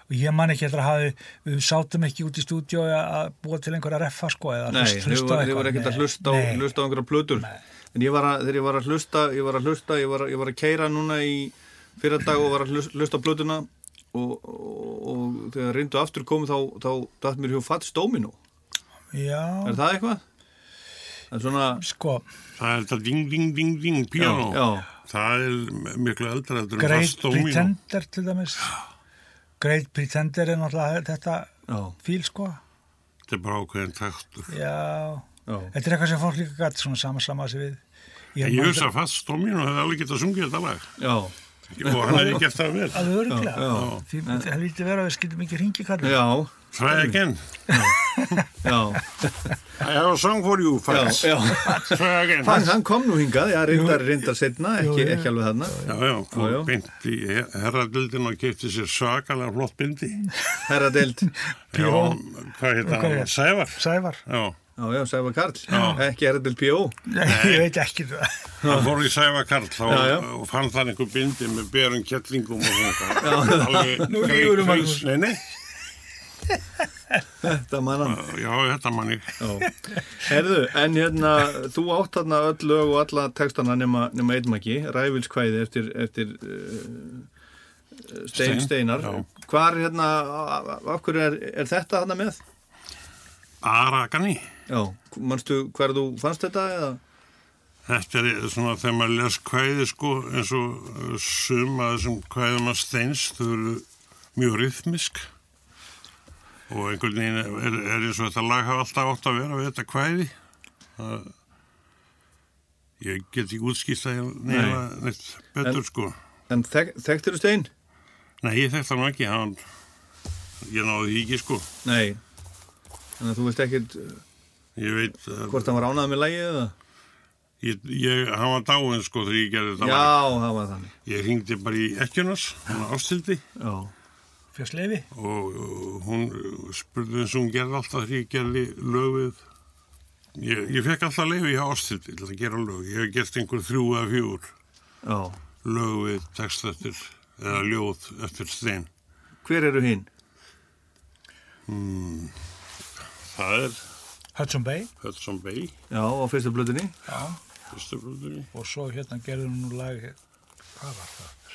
Speaker 7: og ég man ekki eftir að hafi við sátum ekki út í stúdíu að búa til einhverja reffa sko eða
Speaker 1: Nei, þið
Speaker 7: hlust- á
Speaker 1: voru, þið voru ekkert að
Speaker 7: Nei,
Speaker 1: hlusta á,
Speaker 7: nei.
Speaker 1: hlusta á einhverja plötur En ég var að, þegar ég var að hlusta, ég var að hlusta, ég var að, ég var að keira núna í fyrra dag og var að hlusta, hlusta á plötuna og, og, og þegar reyndu aftur komu þá, þá dætt mér hjá Fats Domino
Speaker 7: Já,
Speaker 1: Er það eitthvað? Það er svona,
Speaker 7: sko,
Speaker 6: Það er þetta ding ding ding ding piano
Speaker 1: já,
Speaker 6: Það er miklu eldra heldur en
Speaker 7: Great
Speaker 6: fast Domino.
Speaker 7: Pretender til dæmis Great Pretender er náttúrulega þetta
Speaker 1: já,
Speaker 7: fíl sko
Speaker 6: Þetta er bara ákveðin taktur
Speaker 7: Já,
Speaker 1: já
Speaker 7: þetta er eitthvað sem fólk líka gætt svona sama sama sig við
Speaker 6: Ég
Speaker 7: man
Speaker 6: veist að fast Domino hefði alveg getað sungið þetta lag
Speaker 1: Já,
Speaker 6: og hann hefði gert það vel
Speaker 7: Alveg örglega,
Speaker 1: Já,
Speaker 7: því það vildi vera að við skildum ekki hringi kallið
Speaker 1: já,
Speaker 6: Try again
Speaker 1: já,
Speaker 6: I have a song for you,
Speaker 1: já,
Speaker 6: Fats
Speaker 1: já.
Speaker 6: Try again
Speaker 1: Hann, hann kom nú hingað, já, reyndar, reyndar setna, ekki, ekki alveg þarna
Speaker 6: Já, já, fór
Speaker 1: já.
Speaker 6: beint í herradildin og kefti sér svakalega flott bindi
Speaker 1: Herra
Speaker 7: <laughs>
Speaker 1: deild,
Speaker 6: Já, hvað heit
Speaker 7: Hvað
Speaker 6: það?
Speaker 7: er?
Speaker 6: Sævar
Speaker 7: Sævar,
Speaker 6: Já,
Speaker 1: já, já, Sæfa Karl, ekki herra deild P.O.
Speaker 7: <laughs> ég veit ekki það
Speaker 6: hann fór í Sævar Karl þá,
Speaker 1: Já, já.
Speaker 6: og fann það einhver bindi með berum kettlingum og svona Alveg-
Speaker 7: Nú lýgur
Speaker 1: um
Speaker 7: þú,
Speaker 6: Kreis-
Speaker 7: Magnús.
Speaker 6: Nei, nei,
Speaker 1: Þetta mann hann
Speaker 6: já, þetta manni
Speaker 1: Já. Herðu, en hérna, þú átt þarna öll lög og alla textana nema, nema einmaki, ræfilskvæði eftir, eftir uh, stein,
Speaker 6: Stein,
Speaker 1: steinar.
Speaker 6: já.
Speaker 1: Hvar hérna, a- a- af hverju er, er þetta þarna með?
Speaker 6: Aragani
Speaker 1: Já, manstu hver þú fannst þetta eða?
Speaker 6: Þetta er svona þegar maður les kvæði sko eins og uh, sum að þessum kvæðum að steins þau eru mjög rýthmisk og einhvern veginn er, er, er eins og þetta lag hafa alltaf átt að vera við þetta kvæði það ég get ekki útskýrt það neina neitt betur sko
Speaker 1: En þek, þekktir þú stein?
Speaker 6: Nei, ég þekkt hann nú ekki hann ég náði því ekki sko.
Speaker 1: Nei. Þannig að þú veist ekkert uh,
Speaker 6: Ég veit, uh,
Speaker 1: hvort hann var ánað með lægið eða?
Speaker 6: ég, ég, hann var dáinn sko þegar ég gerði þetta. lag.
Speaker 1: Já, það var þannig.
Speaker 6: Ég hringdi bara í ekkjunars, hún ástildi
Speaker 1: Já.
Speaker 7: Fjörs lefi?
Speaker 6: og uh, hún uh, spurði eins og hún gerði alltaf þegar ég gerði lögvið. Ég, ég fekk alltaf leiði hjá ástildi til að gera lög. Ég hef gert einhver þrjú eða fjúr
Speaker 1: Já.
Speaker 6: lögvið text eftir, eða ljóð eftir stein.
Speaker 1: Hver eru hinn?
Speaker 6: Það er
Speaker 7: Hudson Bay
Speaker 6: Hudson Bay,
Speaker 1: Já, á fyrstu blöðinni.
Speaker 6: fyrstu blöðunni.
Speaker 7: og svo hérna gerði hún nú lag hvað var það? aftur?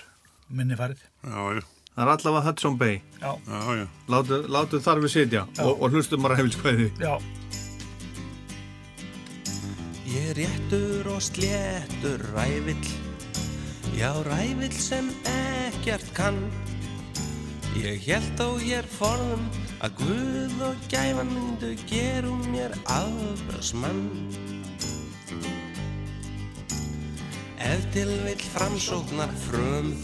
Speaker 7: Minni farið
Speaker 6: Já, já,
Speaker 1: Það er allavega Hudson Bay.
Speaker 7: Já,
Speaker 6: já, já.
Speaker 1: Látu, látu þar við sitja og, og hlustum bara hefilskvæði.
Speaker 7: já,
Speaker 8: Ég er réttur og sléttur rævill Já, rævill sem ekkert kann Ég held á hér forðum að Guð og gæfan myndu gerum mér afbröðsmann Ef til vill framsóknar frum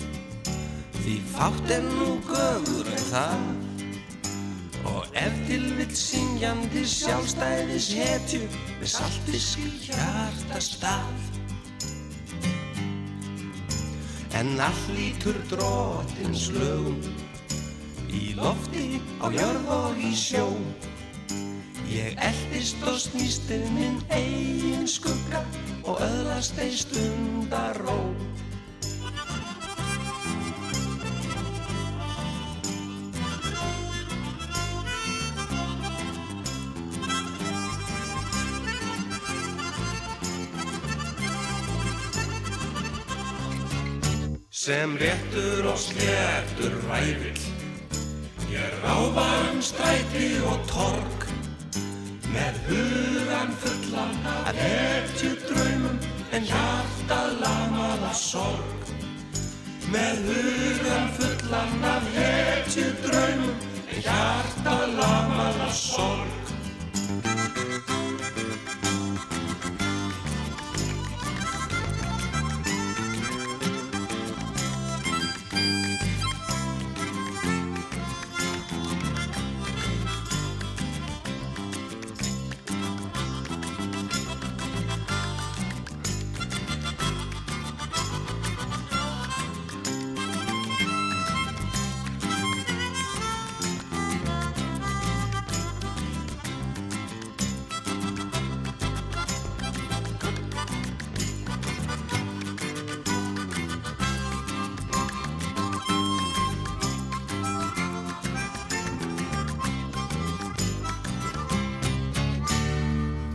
Speaker 8: Því fátt er nú göfur en það Og ef til vill syngjandi sjálfstæðis hetju með saltisku hjarta stað. En all lítur drottins lögum í lofti, á jörð og í sjó. Ég eldist og snýstir minn eigin skugga og öðlast ein stundar ró. sem réttur og sléttur rævill. Ég ráfa um stræti og torg með hugan fullan að hetju draumum en hjartað lamað af sorg. Með hugan fullan að hetju draumum en hjartað lamað af sorg.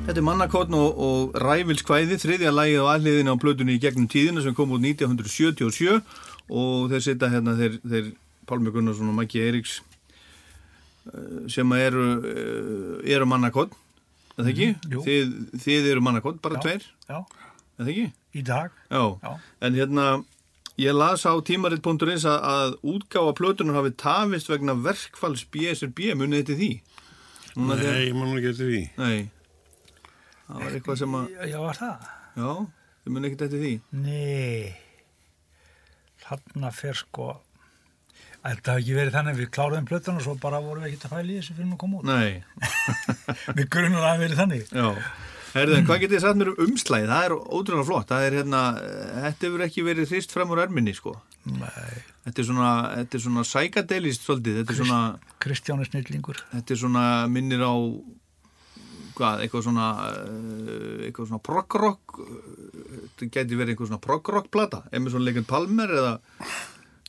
Speaker 1: Þetta er mannakotn og, og ræfilskvæði, þriðja lagið á alliðinu á blöðunni í gegnum tíðina sem kom út 1977 og þeir sita hérna þeir, þeir Pálmi Gunnarsson og Maggi Eiríks eh, sem að eru, eh, eru mannakotn, er það ekki?
Speaker 7: Mhm, jú.
Speaker 1: þið, þið eru mannakotn, bara
Speaker 7: Já.
Speaker 1: tveir,
Speaker 7: já,
Speaker 1: er það ekki?
Speaker 7: í dag
Speaker 1: Já.
Speaker 7: Já.
Speaker 1: en hérna ég las á tímarit.is að, að útgáfa plötunar hafi tafist vegna verkfalls BSRB, munið þetta því? Núna þegar-
Speaker 6: Nei, ég man ekki eftir því.
Speaker 1: Nei, það var eitthvað sem að...
Speaker 7: Já, já var það?
Speaker 1: Já, þið munið ekkert eftir því.
Speaker 7: Nei þarna fer sko að þetta hafi ekki verið þannig að við kláruðum plötun og svo bara vorum við ekkert að fæla í þessu fyrir hún kom út
Speaker 1: Nei,
Speaker 7: Við grunar að það hafi verið þannig
Speaker 1: já. Herðu, en hvað getið þið sagt mér um umslæðið? Það er ótrúlega flott. Það er hérna, eh, þetta hefur ekki verið hrist fram úr erminni, sko.
Speaker 7: Nei,
Speaker 1: Þetta er svona, þetta er svona sækadelist svolítið. Þetta er svona,
Speaker 7: Kristján er snillingur
Speaker 1: þetta er svona minnir á, hvað, eitthvað svona, eh, eitthvað svona prog-rock, eh, þetta geti verið eitthvað svona prog-rock plata. Emerson Leikand Palmer eða,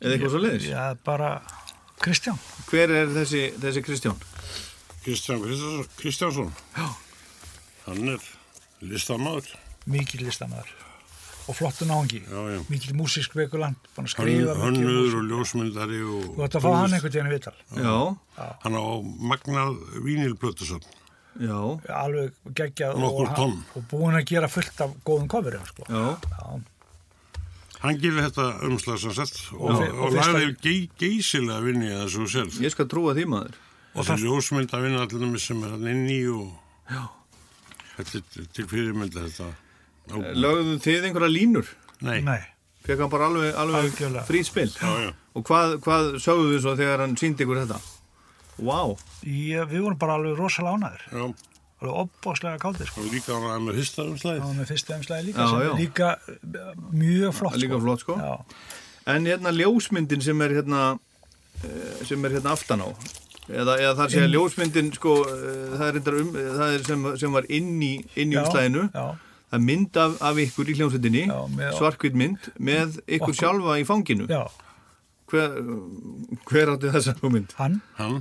Speaker 1: eða eitthvað svo leiðis.
Speaker 7: Já, bara Kristján
Speaker 1: Hver er þessi, þessi Kristján?
Speaker 6: Kristján Kristjánsson, Kristjánsson. Já. hann er listamæður.
Speaker 7: mikil listamæður og flottu náðingi
Speaker 6: Já, já.
Speaker 7: mikil músisk vekuland búin að
Speaker 6: Hann,
Speaker 7: skrifa mikið
Speaker 6: hönnur
Speaker 7: músík.
Speaker 6: og ljósmyndari og...
Speaker 7: þú ætti að fá hann einhvern tíðan í vital
Speaker 1: Já,
Speaker 6: Hann á magnað vínilblötusafn.
Speaker 1: já,
Speaker 7: alveg geggjað
Speaker 6: Nokkur
Speaker 7: og, hann,
Speaker 6: tonn.
Speaker 7: og búin að gera fullt af góðum coverum sko.
Speaker 1: já,
Speaker 6: Hann gerir þetta umslagsansett og,
Speaker 7: Og-
Speaker 6: og,
Speaker 7: og
Speaker 6: og
Speaker 7: fyrsta-
Speaker 6: lagði gei, geysilega vinni að þessu sjálf.
Speaker 1: ég skal trúa því maður.
Speaker 6: Og þessi ljósmynd að vinna allir með sem er hann inn í og... Já. Þetta er til- til fyrirmynda þetta. Ó,
Speaker 1: Lögðuð þið einhverja línur?
Speaker 6: Nei.
Speaker 7: nei,
Speaker 1: Fekk hann bara alveg, alveg
Speaker 7: Algjörlega.
Speaker 1: frýt spil
Speaker 6: Já, já.
Speaker 1: Og hvað, hvað sögðu þið svo þegar hann síndi ykkur þetta? Vá,
Speaker 7: Ég, við vorum bara alveg rosalega ánæður
Speaker 6: Já,
Speaker 7: alveg opbóðslega káldir sko.
Speaker 6: og líka var hann með fyrsta
Speaker 7: það
Speaker 6: umslæðið.
Speaker 7: var með fyrsta umslæði líka
Speaker 1: Já,
Speaker 7: sem
Speaker 1: já.
Speaker 7: er líka eh, mjög flott
Speaker 1: líka flott, sko.
Speaker 7: Já.
Speaker 1: en hérna ljósmyndin sem er hérna eh, sem er hérna aftan á eða, eða þar sé að ljósmyndin sko, eh, það er, reyndar um, eh, það er sem, sem var inn í, inn í
Speaker 7: Já,
Speaker 1: umslæðinu
Speaker 7: já.
Speaker 1: það er mynd af, af ykkur í hljómsveitinni
Speaker 7: Já, með-
Speaker 1: svarkvít mynd með ykkur
Speaker 7: Okkur.
Speaker 1: sjálfa í fanginu
Speaker 7: já,
Speaker 1: hver, hver átti þessa hugmynd?
Speaker 7: hann,
Speaker 6: Hann,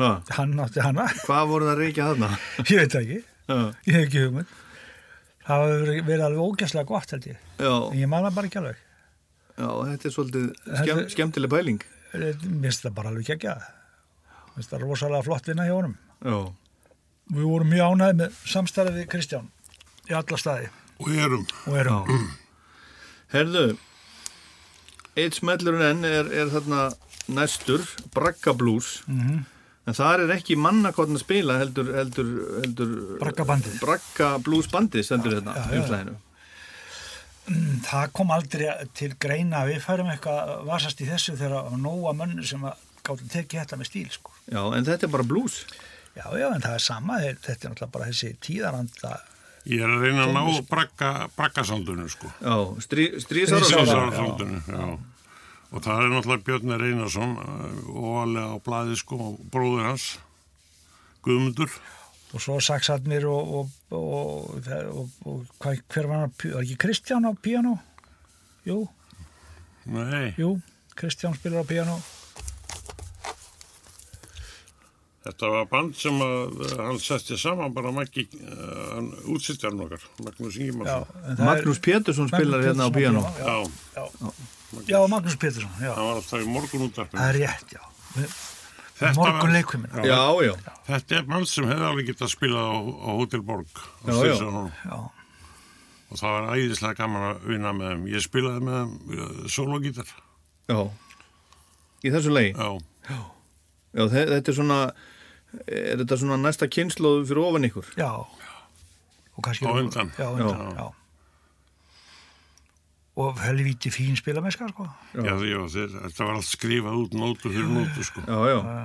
Speaker 1: Ha,
Speaker 7: hann átti hana <laughs>
Speaker 1: hvað voru það að reykja þarna?
Speaker 7: ég veit það ekki,
Speaker 1: Ha,
Speaker 7: ég hef ekki hugmynd það hefur verið- verið alveg ógæslega gott held ég,
Speaker 1: já,
Speaker 7: en ég man það bara ekki alveg
Speaker 1: já, þetta er svolítið skemm,
Speaker 7: Þetta-
Speaker 1: skemmtileg pæling
Speaker 7: Eh, mér finnst það bara alveg gekkja mér finnst það rosalega flott vinna hjá honum
Speaker 1: já,
Speaker 7: við vorum mjög ánæði með samstæði við Kristján í alla staði
Speaker 6: og erum.
Speaker 7: og erum
Speaker 1: herðu eitt smellurinn enn er, er þarna næstur, Bragga Blues en þar er ekki mannakorn að spila heldur, heldur, heldur
Speaker 7: braggabandið
Speaker 1: Bragga Blues bandið stendur hérna um þetta
Speaker 7: já,
Speaker 1: já,
Speaker 7: já.
Speaker 1: umslæðinu
Speaker 7: það kom aldrei til greina að við færum eitthvað að vasast í þessu þegar það var nóga mönn sem að gáttu tekið þetta með stíl sko.
Speaker 1: já, en þetta er bara blues
Speaker 7: já, já, en það er sama, þeir- þetta er náttúrulega bara þessi tíðaranda
Speaker 6: Ég er að reyna að ná bragga, braggasandunum, sko.
Speaker 1: já, strí,
Speaker 7: Stríðsárar.
Speaker 1: stríðsára
Speaker 6: Sjónsarasandunum, já. Og það er náttúrulega Björn Reynarsson, óalega á blaði, sko, og bróður hans, Guðmundur.
Speaker 7: og svo saksatnir og, og, og, og, og hvað, hver var hann, á pí- var ekki Kristján á piano? Jú,
Speaker 6: Nei,
Speaker 7: jú, Kristján spilar á piano
Speaker 6: þetta var band sem að eh, hann setti saman bara Maggi, uh, hann útsýtti hann okkar, Magnús
Speaker 7: já,
Speaker 6: Ingemannsson.
Speaker 7: en það
Speaker 1: Magnús
Speaker 7: er-
Speaker 1: Pétursson spilar
Speaker 7: Magnús
Speaker 1: hérna á
Speaker 7: Pétursson
Speaker 1: piano
Speaker 7: á
Speaker 6: Já,
Speaker 7: Já, já, já, Magnús Pétursson, já,
Speaker 6: það var alltaf í morgunúttarpinu.
Speaker 7: það er rétt, já Við-
Speaker 6: Þetta
Speaker 7: morgun
Speaker 6: var-
Speaker 7: leikvimina
Speaker 6: Já.
Speaker 1: já, já,
Speaker 6: Þetta er mann sem hefði alveg getað spilað á, á Hotel Borg á
Speaker 1: Já, já.
Speaker 6: Stríðsárunum.
Speaker 7: Já.
Speaker 6: og það var æðislega gaman að vinna með þeim. Ég spilaði með þeim uh, sólogítar.
Speaker 1: já í þessu lagi
Speaker 6: Já,
Speaker 1: Já, þe- þetta er svona er þetta svona næsta kynnslóðu fyrir ofan ykkur
Speaker 7: Já. Og kannski...
Speaker 6: Á undan.
Speaker 7: Já, á undan, já. Og helvíti fín spilamesska, sko.
Speaker 6: já. já, já þeir, þetta var allt skrifað út nótu fyrir nótu sko.
Speaker 1: Já, já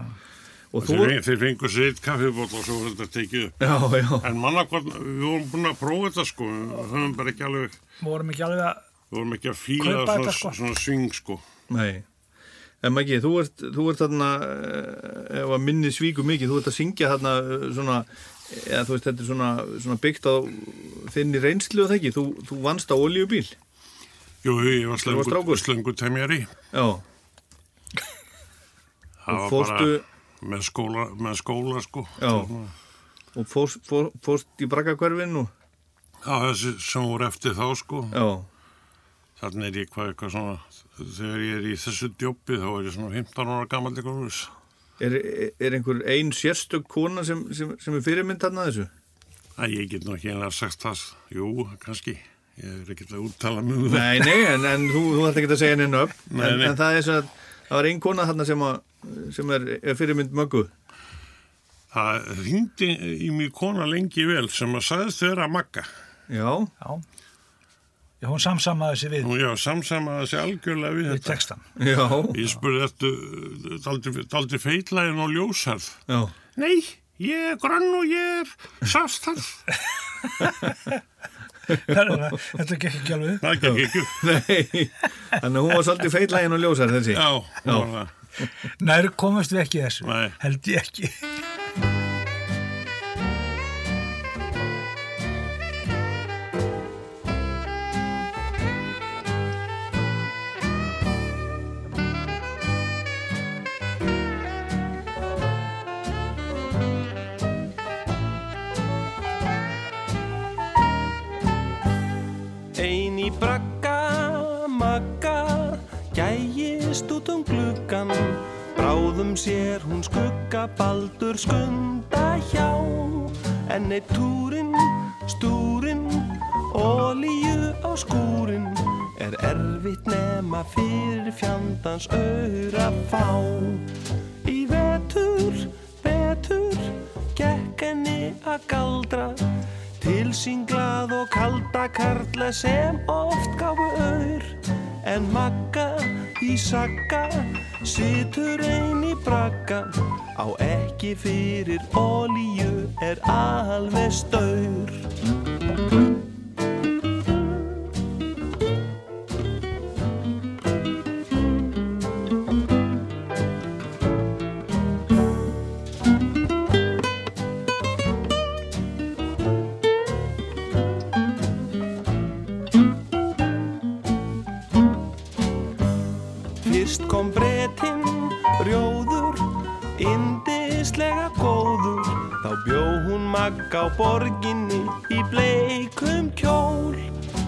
Speaker 1: Og þú
Speaker 6: Þeir, feng- þeir fengur sér eitt kaffiból og svo var þetta tekið upp.
Speaker 1: Já, já,
Speaker 6: En mannakorn, við vorum búin að prófa þetta sko, við höfum bara ekki alveg,
Speaker 7: Við vorum ekki alveg að...
Speaker 6: við vorum ekki að fíla
Speaker 7: Kaupa
Speaker 6: svona,
Speaker 7: þetta, sko.
Speaker 6: svona sving sko.
Speaker 1: nei En Maggi, þú ert, þú ert þarna eh, ef að minni svíku mikið, þú ert að syngja þarna eh, svona eða þú veist, þetta er svona, svona byggt á þinni reynslu og það ekki, þú, þú vannst á olíubíl
Speaker 6: Jú, ég var
Speaker 1: varst
Speaker 6: slöngu,
Speaker 1: strákur?
Speaker 6: slöngu temjari.
Speaker 1: Já,
Speaker 6: Það
Speaker 1: Og
Speaker 6: var
Speaker 1: fórstu-
Speaker 6: bara með skóla, með skóla sko.
Speaker 1: já og fórst, fór, fórst í braggakverfin og
Speaker 6: Já, þessi sem voru eftir þá sko.
Speaker 1: já,
Speaker 6: Þannig er ég hvað eitthvað svona, þegar ég er í þessu djópi þá er ég svona 15 ára gammal eitthvað úr þess.
Speaker 1: er, er- er einhver ein sérstök kona sem, sem, sem er fyrirmynd þarna þessu?
Speaker 6: Æ, ég get nú ekki einlega sagt það, jú, kannski, ég er ekkert að úttala mig um það.
Speaker 1: Nei, nei, en, en þú, þú ætti ekki að segja henni upp
Speaker 6: Nei,
Speaker 1: en,
Speaker 6: nei.
Speaker 1: en það er svo að það var ein kona þarna sem, að, sem er, er fyrirmynd möggu
Speaker 6: Það ringdi í mig kona lengi vel sem að sagðist vera að magga.
Speaker 1: Já,
Speaker 7: Já. Já, hún samsamaði sig við,
Speaker 6: Nú já, samsamaði sig algjörlega við
Speaker 7: við
Speaker 6: þetta.
Speaker 7: textan.
Speaker 1: já,
Speaker 6: Ég spurði eftir, daldi feitlæðin og ljósarð.
Speaker 1: já
Speaker 6: Nei, ég er grann og ég er sástarð.
Speaker 7: <laughs> þetta gekk ekki alveg.
Speaker 6: Það gekk ekki. upp.
Speaker 1: Nei, þannig að hún var svolítið feitlægin og ljósar þessi
Speaker 6: Já, það var það.
Speaker 7: Nær komast við ekki þessu.
Speaker 6: Nei.
Speaker 7: Held ég ekki.
Speaker 8: Ein í bragga, magga, gægist út um gluggan, bráðum sér hún skugga, baldur skunda hjá. En eitt túrin, stúrin, ólíu á skúrin, er erfitt nema fyrir fjandans aura fá. Í vetur, vetur, gekk henni að galdra, Til sín glað og kalda karla sem oft gáfu ör En magga í sakka Situr ein í brakka Á ekki fyrir olíu Er alveg staur Fyrst kom bretinn, rjóður, indislega góður Þá bjó hún magg á borginni í bleikum kjól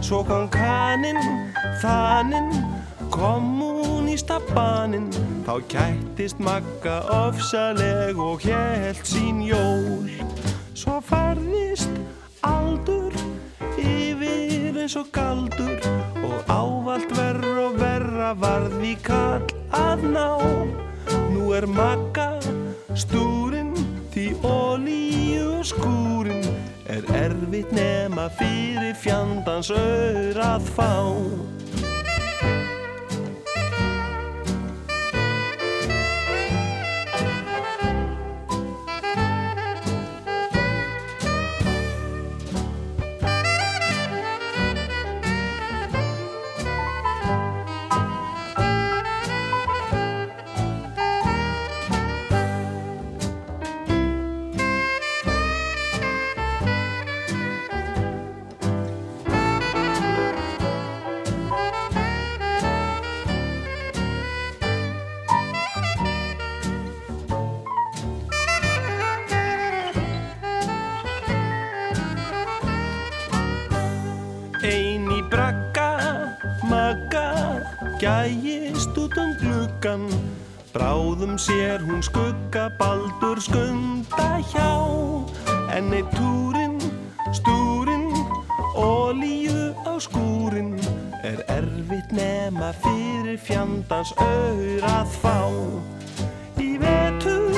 Speaker 8: Svo kom kaninn, þaninn, kommunista baninn Þá kættist magga ofsaleg og hélt sín jól Svo farðist aldur yfir eins og galdur og ávalt verra og verra varð í kall að ná nú er makka stúrin því olíu skúrin er erfitt nema fyrir fjandans aur að fá Ein í brakka, magga, gæjist út um gluggan Bráðum sér hún skugga, baldur skunda hjá En eitt túrin, stúrin, olíu á skúrin Er erfitt nema fyrir fjandans aur að fá Í vetur,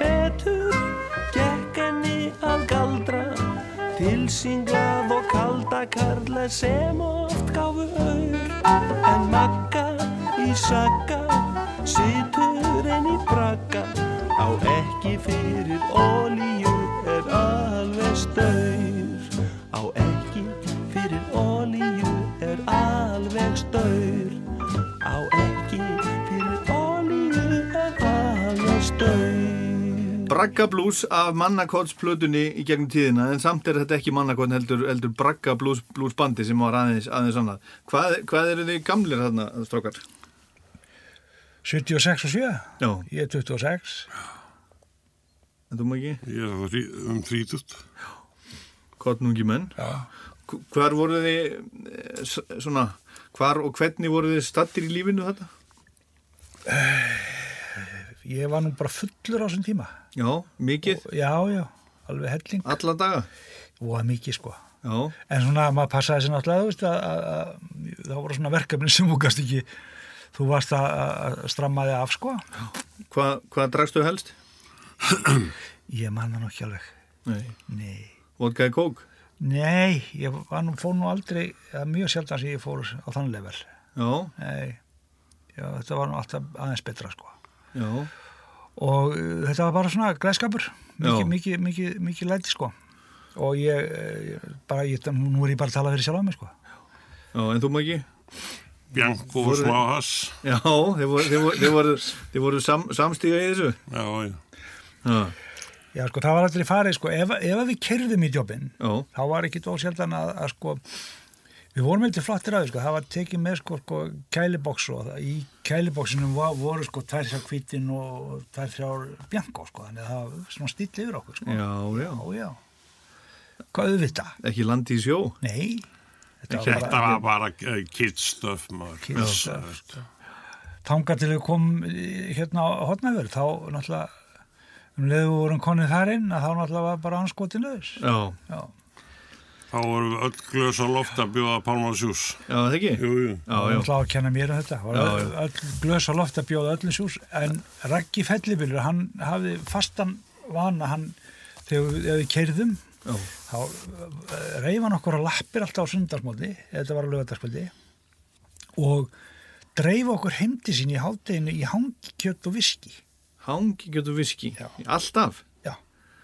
Speaker 8: vetur, gekk henni að galdra Tilsinglað og kalda karla sem oft gáfu aur En makka í sakka, situr en í brakka Á ekki fyrir olíu er alveg staur Á ekki fyrir olíu er alveg staur Á ekki fyrir olíu er alveg staur
Speaker 1: Bragga Blues af mannakotsplötunni í gegnum tíðina en samt er þetta ekki mannakotn heldur, heldur Bragga Blues, Blues bandi sem var aðeins, aðeins annað. Hvað, hvað eru þið gamlir þarna, strókar?
Speaker 7: 76 og 7,
Speaker 1: Já,
Speaker 7: ég er 26
Speaker 1: þetta má ekki,
Speaker 6: Ég er það um þrítut.
Speaker 1: kottnungi menn.
Speaker 7: Já.
Speaker 1: Hv- Hvar voru þið, eh, s- svona, hvar og hvernig voru þið stattir í lífinu þetta?
Speaker 7: Ég var nú bara fullur á þessum tíma
Speaker 1: Já, mikið,
Speaker 7: Já, já, alveg helling
Speaker 1: alla daga.
Speaker 7: og mikið sko
Speaker 1: Já,
Speaker 7: En svona maður passaði sér náttúrulega þú veist, að, að, að, þá voru svona verkefni sem þú gast ekki þú varst að, að stramma þig af sko
Speaker 1: Hva, hvað dragstu helst?
Speaker 7: Ég manna nú ekki alveg
Speaker 1: Nei.
Speaker 7: Nei,
Speaker 1: Vodka í kók?
Speaker 7: Nei ég var nú, fór nú aldrei það er mjög sjaldan sem ég fór á þann level
Speaker 1: Já,
Speaker 7: Nei, já, þetta var nú alltaf aðeins betra sko
Speaker 1: já.
Speaker 7: og uh, þetta var bara svona glæðskapur
Speaker 1: Já.
Speaker 7: mikið, mikið, mikið, mikið læti sko og ég, eh, bara, ég nú er ég bara að tala fyrir sjálf á mig sko
Speaker 1: Já, en þú má ekki?
Speaker 6: Bjanko og smáhass.
Speaker 1: Já, þeir voru, þeir voru, þeir voru, þeir voru sam, samstíga í þessu.
Speaker 6: Já, já.
Speaker 1: Já,
Speaker 7: já sko það var aldrei farið sko ef, ef að við kerðum í jobbin
Speaker 1: já,
Speaker 7: þá var ekki dól sjaldan að, að sko við vorum eitthvað flottir að því sko það var tekið með sko, sko kæliboks og það, í kæliboksinum var, voru sko tvær þrjá kvítin og tvær þrjár bjanko sko þannig að það var svona stíll yfir okkur sko
Speaker 1: já, já.
Speaker 7: já, já. hvað auðvitað?
Speaker 1: Ekki landi í sjó.
Speaker 7: Nei þetta
Speaker 6: Þetta var bara eh, kids stuff, maður.
Speaker 7: Kids stuff, þanga til við kom eh, hérna á hotnaverð þá náttúrulega um leiðu vorum konið þar inn að þá náttúrulega var bara anskotin laus
Speaker 1: Já,
Speaker 7: já,
Speaker 6: Þá vorum við öll glöðs á loft að bjóða pálmarsjús.
Speaker 1: já, það ekki?
Speaker 6: Jú, jú.
Speaker 1: Já,
Speaker 7: það var
Speaker 1: já,
Speaker 7: náttúrulega að kenna mér um þetta Það
Speaker 1: Já,
Speaker 7: var öll, öll glös á loft að bjóða öllum sjús en Raggi Fellibillur hann hafði fastan vana hann þegar við, þegar við keirðum
Speaker 1: já,
Speaker 7: þá eh, reyfa hann okkur á lappir alltaf á sundarsmóti þetta var að lögataskvöldi og dreifa okkur heimdi sín í hátteginu í hangkjött og viski.
Speaker 1: Hangi getur viski,
Speaker 7: Já.
Speaker 1: alltaf
Speaker 7: Já,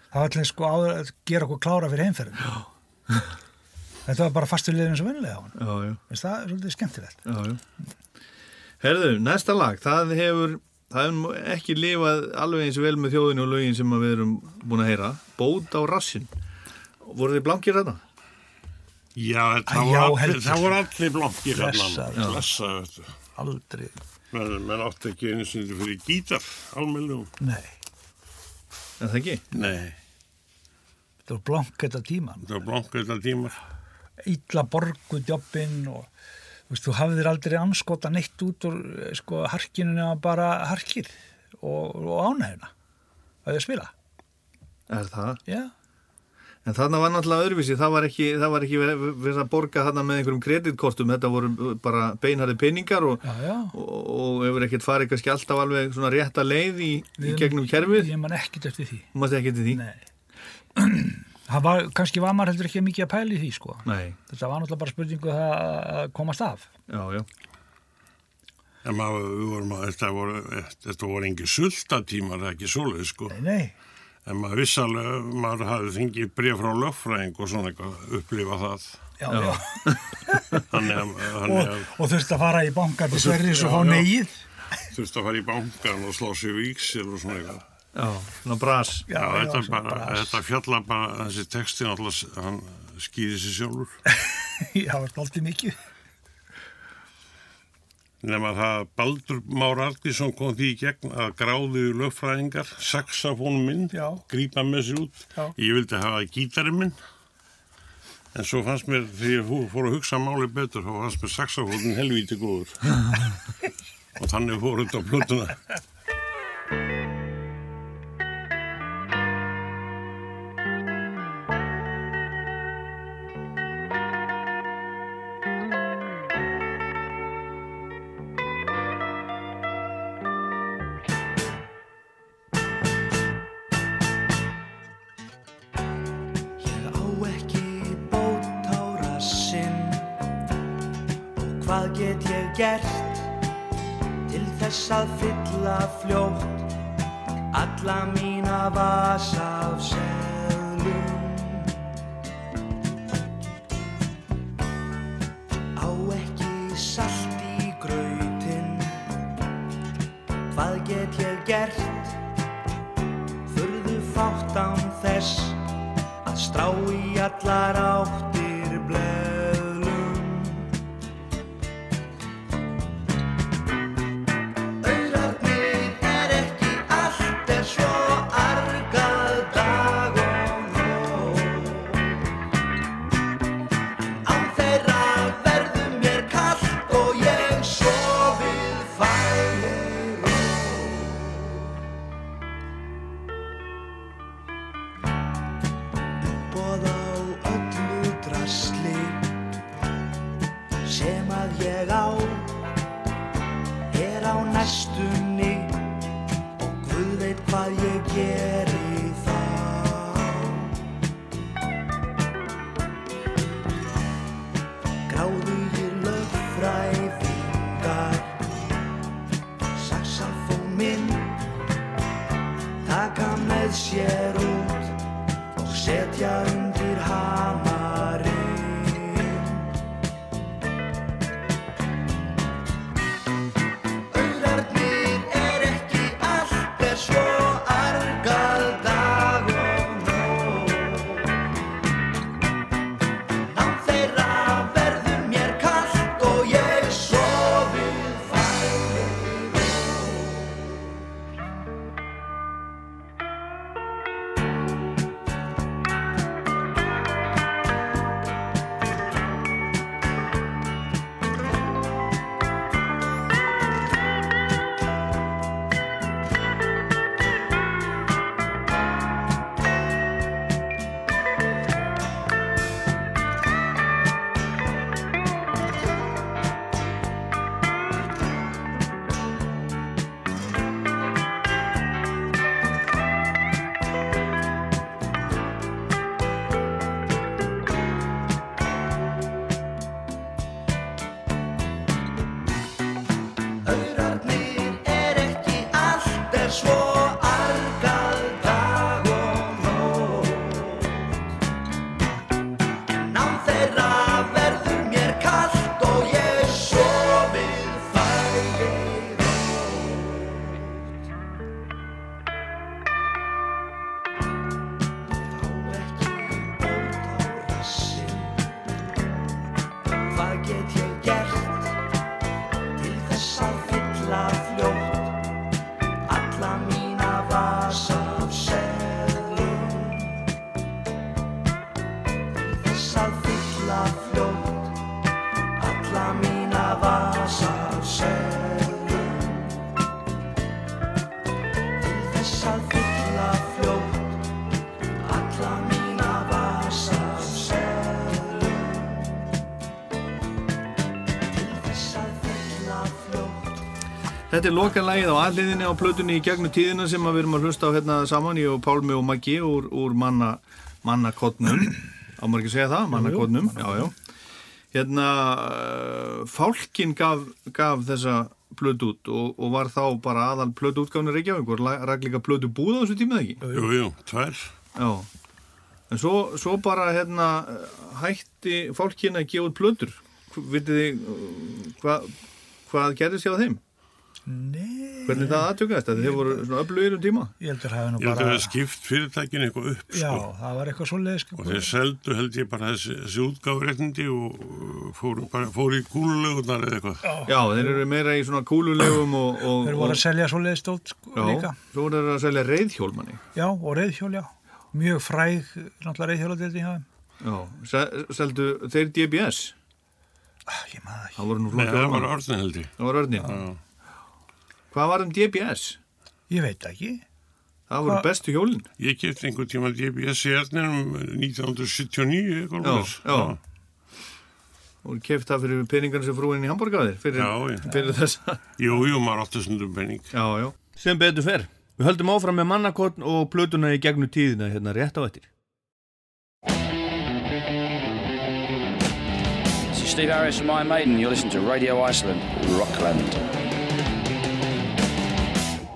Speaker 7: það var allir sko áður að gera okkur klára fyrir heimferðin. <laughs> Þetta var bara fastu liðin eins og vennilega á hann.
Speaker 1: já, já,
Speaker 7: Veist, það er svolítið skemmtilegt.
Speaker 1: já, já. Herðu, næsta lag það hefur, það hefur ekki lifað alveg eins vel með þjóðinu og lögin sem að við erum búin að heyra Bót á rassin voru þið blankir þarna?
Speaker 6: Já,
Speaker 7: Æ,
Speaker 6: það
Speaker 7: já,
Speaker 6: voru allir,
Speaker 7: heldur.
Speaker 6: það voru allir blokkir
Speaker 7: Blessaður.
Speaker 6: allan. Blessaður. þetta.
Speaker 7: Aldrei.
Speaker 6: Menn, menn átti ekki einu sinni fyrir gítar, almennum.
Speaker 7: Nei,
Speaker 1: Er það ekki?
Speaker 6: Nei,
Speaker 7: þetta var blank þetta tíman.
Speaker 6: það var blokk þetta tíma.
Speaker 7: Ítla borgu djobbin og þú veist, þú hafðir aldrei anskota neitt út úr eh, sko harkinu nema bara harkið og, og ánæðina. Það er að spila.
Speaker 1: Er það?
Speaker 7: Já.
Speaker 1: En þarna var náttúrulega öðruvísi, það var ekki, það var ekki verið verið að borga þarna með einhverjum kreditkortum, þetta voru bara beinharði peningar og,
Speaker 7: Já, já.
Speaker 1: og, og hefur ekkert farið kannski alltaf alveg svona rétta leið í, í gegnum kerfið,
Speaker 7: Ég man ekki eftir því.
Speaker 1: maður ekki til því.
Speaker 7: Nei. <clears throat> Það var, kannski var maður heldur ekki mikið að pæli því, sko.
Speaker 1: Nei,
Speaker 7: Þetta var náttúrulega bara spurningu um það að komast af.
Speaker 1: já, já,
Speaker 6: En maður, við vorum að, þetta voru, þetta voru engi sultatímar, það er ekki svoleið, sko.
Speaker 7: Nei, nei.
Speaker 6: En maður viss alveg, maður hafði fengið bréf frá lögfræðing og svona eitthvað, upplifa það.
Speaker 7: Já, já.
Speaker 6: Þannig að, þannig
Speaker 7: Og,
Speaker 6: að
Speaker 7: og þurfti að fara í bankan til Sverris
Speaker 6: Já,
Speaker 7: og fá
Speaker 6: já.
Speaker 7: negið.
Speaker 6: þurfti að fara í bankan og slá sig víksil og svona eitthvað.
Speaker 1: já, svona bras.
Speaker 6: Já, þetta,
Speaker 7: svona
Speaker 6: bara,
Speaker 7: bras.
Speaker 6: þetta fjalla bara, þessi texti náttúrulega, hann skýði sér sjálfur.
Speaker 7: <laughs> Já, það var alltaf mikið.
Speaker 6: Nefna það Baldur Már Aldísson kom því í gegn að gráðu lögfræðingar, saxafónu minn,
Speaker 7: Já.
Speaker 6: grípa með sér út.
Speaker 7: Já.
Speaker 6: Ég vildi hafa gítari minn, en svo fannst mér, þegar ég fó- fór að hugsa máli betur, þá fannst mér saxafónin helvíti
Speaker 7: <laughs>
Speaker 6: góður. Og þannig fór þetta á plötuna.
Speaker 8: Ég á ekki bót á rassinn Og hvað get ég gert Til þess að fylla fljótt Alla mína vasa af seglum Á ekki salt í grautin Hvað get ég gert Furðu fátt án þess að strá í allar áttir blöðlum Auðarnir er ekki allt er svo argað dag og nóg Án þeirra verður mér kallt og ég sofið færi uppboð á öllu drasli sem að ég á er á næstunni og Guð veit hvað ég geri þá gráðu ég lögfræfingar saxafóminn taka með sér út og setja undir hamarinn. Auðarnir er ekki allt er svo argað dag og nóg. Án þeirra verður mér kallt og ég sofið færi.
Speaker 2: Aurarnir er ekki allt er svo argað dag og nótt Nám þeirra verður mér kallt og ég sofið fægir Þá ekki bótt á rassin Hvað get ég gert? til þess að fylla fljótt alla mína vasa af seglum til þess að fylla fljótt alla mína vasa af seglum til þess að fylla fljótt alla mína vasa af seglum til þess að fylla fljótt
Speaker 1: Þetta er lokalægið á aðliðinni á plötunni í gegnum tíðina sem að við erum að hlusta á hérna saman ég og Pálmi og Maggi úr, úr manna, mannakotnum á maður ekki að segja það, mannakotnum já, já. hérna uh, Fálkin gaf, gaf þessa plötu út og, og var þá bara aðal plötu útgáfni Reykjavíkur rak líka plötu búð á þessu tíma eða ekki
Speaker 6: Jú, jú, tvær.
Speaker 1: já. en svo, svo bara hérna hætti Fálkin að gefa út plötur vitið þið uh, hvað hvað gerðist hjá þeim?
Speaker 7: Nei,
Speaker 1: Hvernig það aðtökast? Að Þið voru svona öflugir um tíma?
Speaker 7: ég heldur hafi nú
Speaker 6: Ég held að
Speaker 7: bara...
Speaker 6: það er skipt fyrirtækinu eitthvað upp,
Speaker 7: Já,
Speaker 6: sko.
Speaker 7: það var eitthvað svoleiðis. sko.
Speaker 6: Og þeir seldu held ég bara þessi, þessi útgáfréttindi og uh, fóru, bara, fóru í gúlulegunar eða eitthvað.
Speaker 1: Já, þeir eru meira í svona kúlulegum og... og
Speaker 7: Þeir voru að selja svoleiðis stótt sko,
Speaker 1: já,
Speaker 7: líka.
Speaker 1: Svo voru þeir að selja reyðhjólmanni.
Speaker 7: Já, og reyðhjól, já. Mjög fræg, náttúrulega reyðhjóladeildin hjá þeim.
Speaker 1: Já, se, seldu þeir DBS.
Speaker 7: Ah, Ég maður það ekki.
Speaker 1: Það voru nú
Speaker 6: Nei,
Speaker 1: flott
Speaker 6: það var
Speaker 1: hjólmanni.
Speaker 6: orðin held ég.
Speaker 1: Það voru örnir. Hvað var um DBS?
Speaker 7: Ég veit það ekki.
Speaker 1: Það voru
Speaker 7: Hva-
Speaker 1: bestu hjólinn.
Speaker 6: Ég kefti einhvern tíma DBS í erðninum 1979
Speaker 1: Já,
Speaker 6: eitthvað. svoleiðis.
Speaker 1: já. Og keft það fyrir peningarnir sem frúinn í Hamburgaðir. Fyrir,
Speaker 6: Já, já.
Speaker 1: fyrir þessa.
Speaker 6: Jú, jú, maður átti sundum penning.
Speaker 1: Já, já. Sem betur fer. Við höldum áfram með mannakotn og plötuna í gegnum tíðina hérna rétt á eftir.
Speaker 9: This is Steve Harris from Iron Maiden. You're listening to Radio Iceland, Rockland.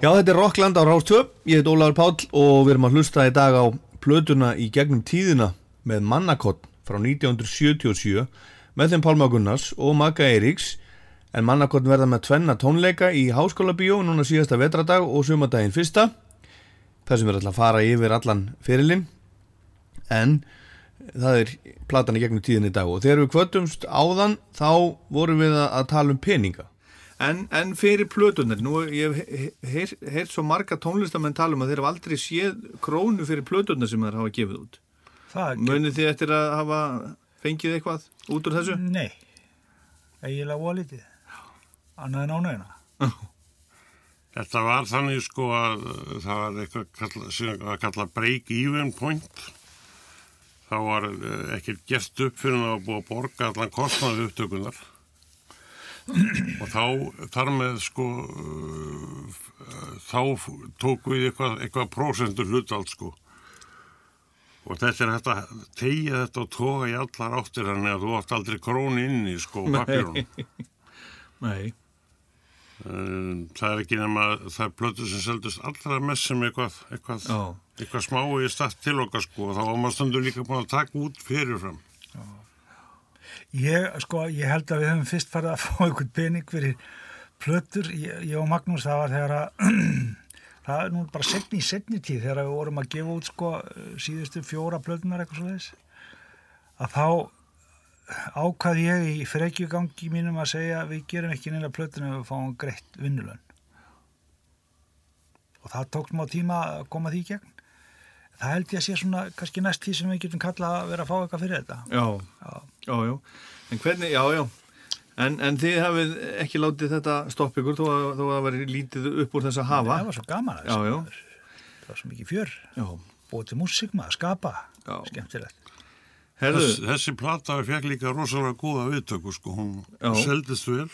Speaker 10: Já, þetta er Rockland á Rás 2, ég heit Ólaður Páll og við erum að hlusta í dag á plötuna í gegnum tíðina með Mannakott frá 1977 með þeim Pálma Gunnars og Magga Eiríks en Mannakott verða með tvenna tónleika í Háskóla Bíó núna síðasta vetradag og sömadaginn fyrsta þar sem við erum alltaf að fara yfir allan fyrirlin en það er platan í gegnum tíðina í dag og þegar við kvötumst áðan þá vorum við að að tala um peninga
Speaker 1: En, en fyrir plötunar, nú ég hef heyrt heyr svo marga tónlistamenn tala um að þeir hafa aldrei séð krónu fyrir plötunar sem þeir hafa gefið út.
Speaker 7: Það
Speaker 1: Munið þið eftir að hafa fengið eitthvað út úr þessu?
Speaker 7: Nei, eiginlega voða lítið. Annað en ánægina.
Speaker 6: Þetta var þannig sko að uh, það var eitthvað kalla, sem að kalla break-even point. Það var uh, ekkert gert upp fyrir að það var búið að borga allan kostnaði upptökunar. og þá, þar með sko, uh, þá f- tók við eitthvað, eitthvað prósendur hlutald sko. Og þetta er þetta, tegja þetta og toga í allar áttir hann að þú átt aldrei krón inn í sko papírunum.
Speaker 1: Nei.
Speaker 6: Um, það er ekki nema það er plötu sem seldust allra mest sem eitthvað, eitthvað,
Speaker 1: Já.
Speaker 6: eitthvað smá í stætt til okkar sko og þá var maður stundur líka búin að taka út fyrirfram
Speaker 7: Ég, sko, ég held að við höfum fyrst farið að <laughs> fá einhvern pening fyrir plötur, ég, ég og Magnús, það var þegar að <clears throat> það er nú bara setni í setni tíð þegar við vorum að gefa út sko síðustu fjóra plötunar eitthvað svo þess að þá ákvað ég í frekjugangi mínum að segja við gerum ekki neina plötunar við fáum greitt vinnulön og það tók nú á tíma að koma því í gegn það held ég að sé svona kannski næst því sem við getum kallað að vera að fá eitthvað fyrir þetta
Speaker 1: Já, já, já. En hvernig, já, já. En, en þið hafið ekki látið þetta stopp ykkur þó að, þó að það væri lítið upp úr þess að hafa.
Speaker 7: það var svo gaman að
Speaker 1: Já, já.
Speaker 7: það var svo mikið fjör
Speaker 1: Já.
Speaker 7: búið til músík maður, skapa
Speaker 1: Já.
Speaker 7: skemmtilegt
Speaker 1: Herðu,
Speaker 6: Þess, þessi plata fekk líka rosalega góða viðtöku sko, hún
Speaker 1: Já.
Speaker 6: seldist vel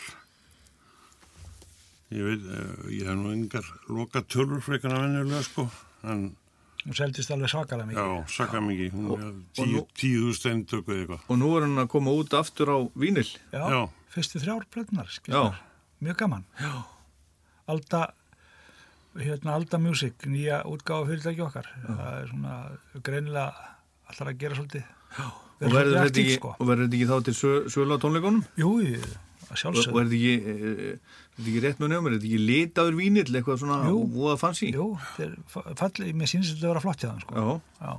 Speaker 6: ég veit eh, ég hef nú engar loka tölur frekar að venjulega sko en
Speaker 7: hún seldist alveg svakalega
Speaker 6: já,
Speaker 7: mikið
Speaker 6: saka mikið hún er
Speaker 1: nú-
Speaker 6: tíu, tíu steintöku eða eitthvað
Speaker 1: og nú er hann að koma út aftur á vínil.
Speaker 7: já.
Speaker 6: Já.
Speaker 7: fyrstu þrjár plötnar
Speaker 1: Já,
Speaker 7: mjög gaman Já. Alda hérna Alda Music, nýja útgáfa fyrirtæki okkar það er svona greinilega allar að gera svolítið
Speaker 1: Og verður þetta ekki,
Speaker 7: sko.
Speaker 1: og verður þetta ekki þá til söl, sölu á tónleikunum?
Speaker 7: Jú, að sjálfsögðu.
Speaker 1: Og verður þetta ekki, eh, eh, er þetta ekki rétt með nefnir, er þetta ekki litaður vínill, eitthvað svona
Speaker 7: Jú.
Speaker 1: voða fancy?
Speaker 7: Jú, þetta er fallið, mér sínst þetta að vera flott hjá það sko. Já.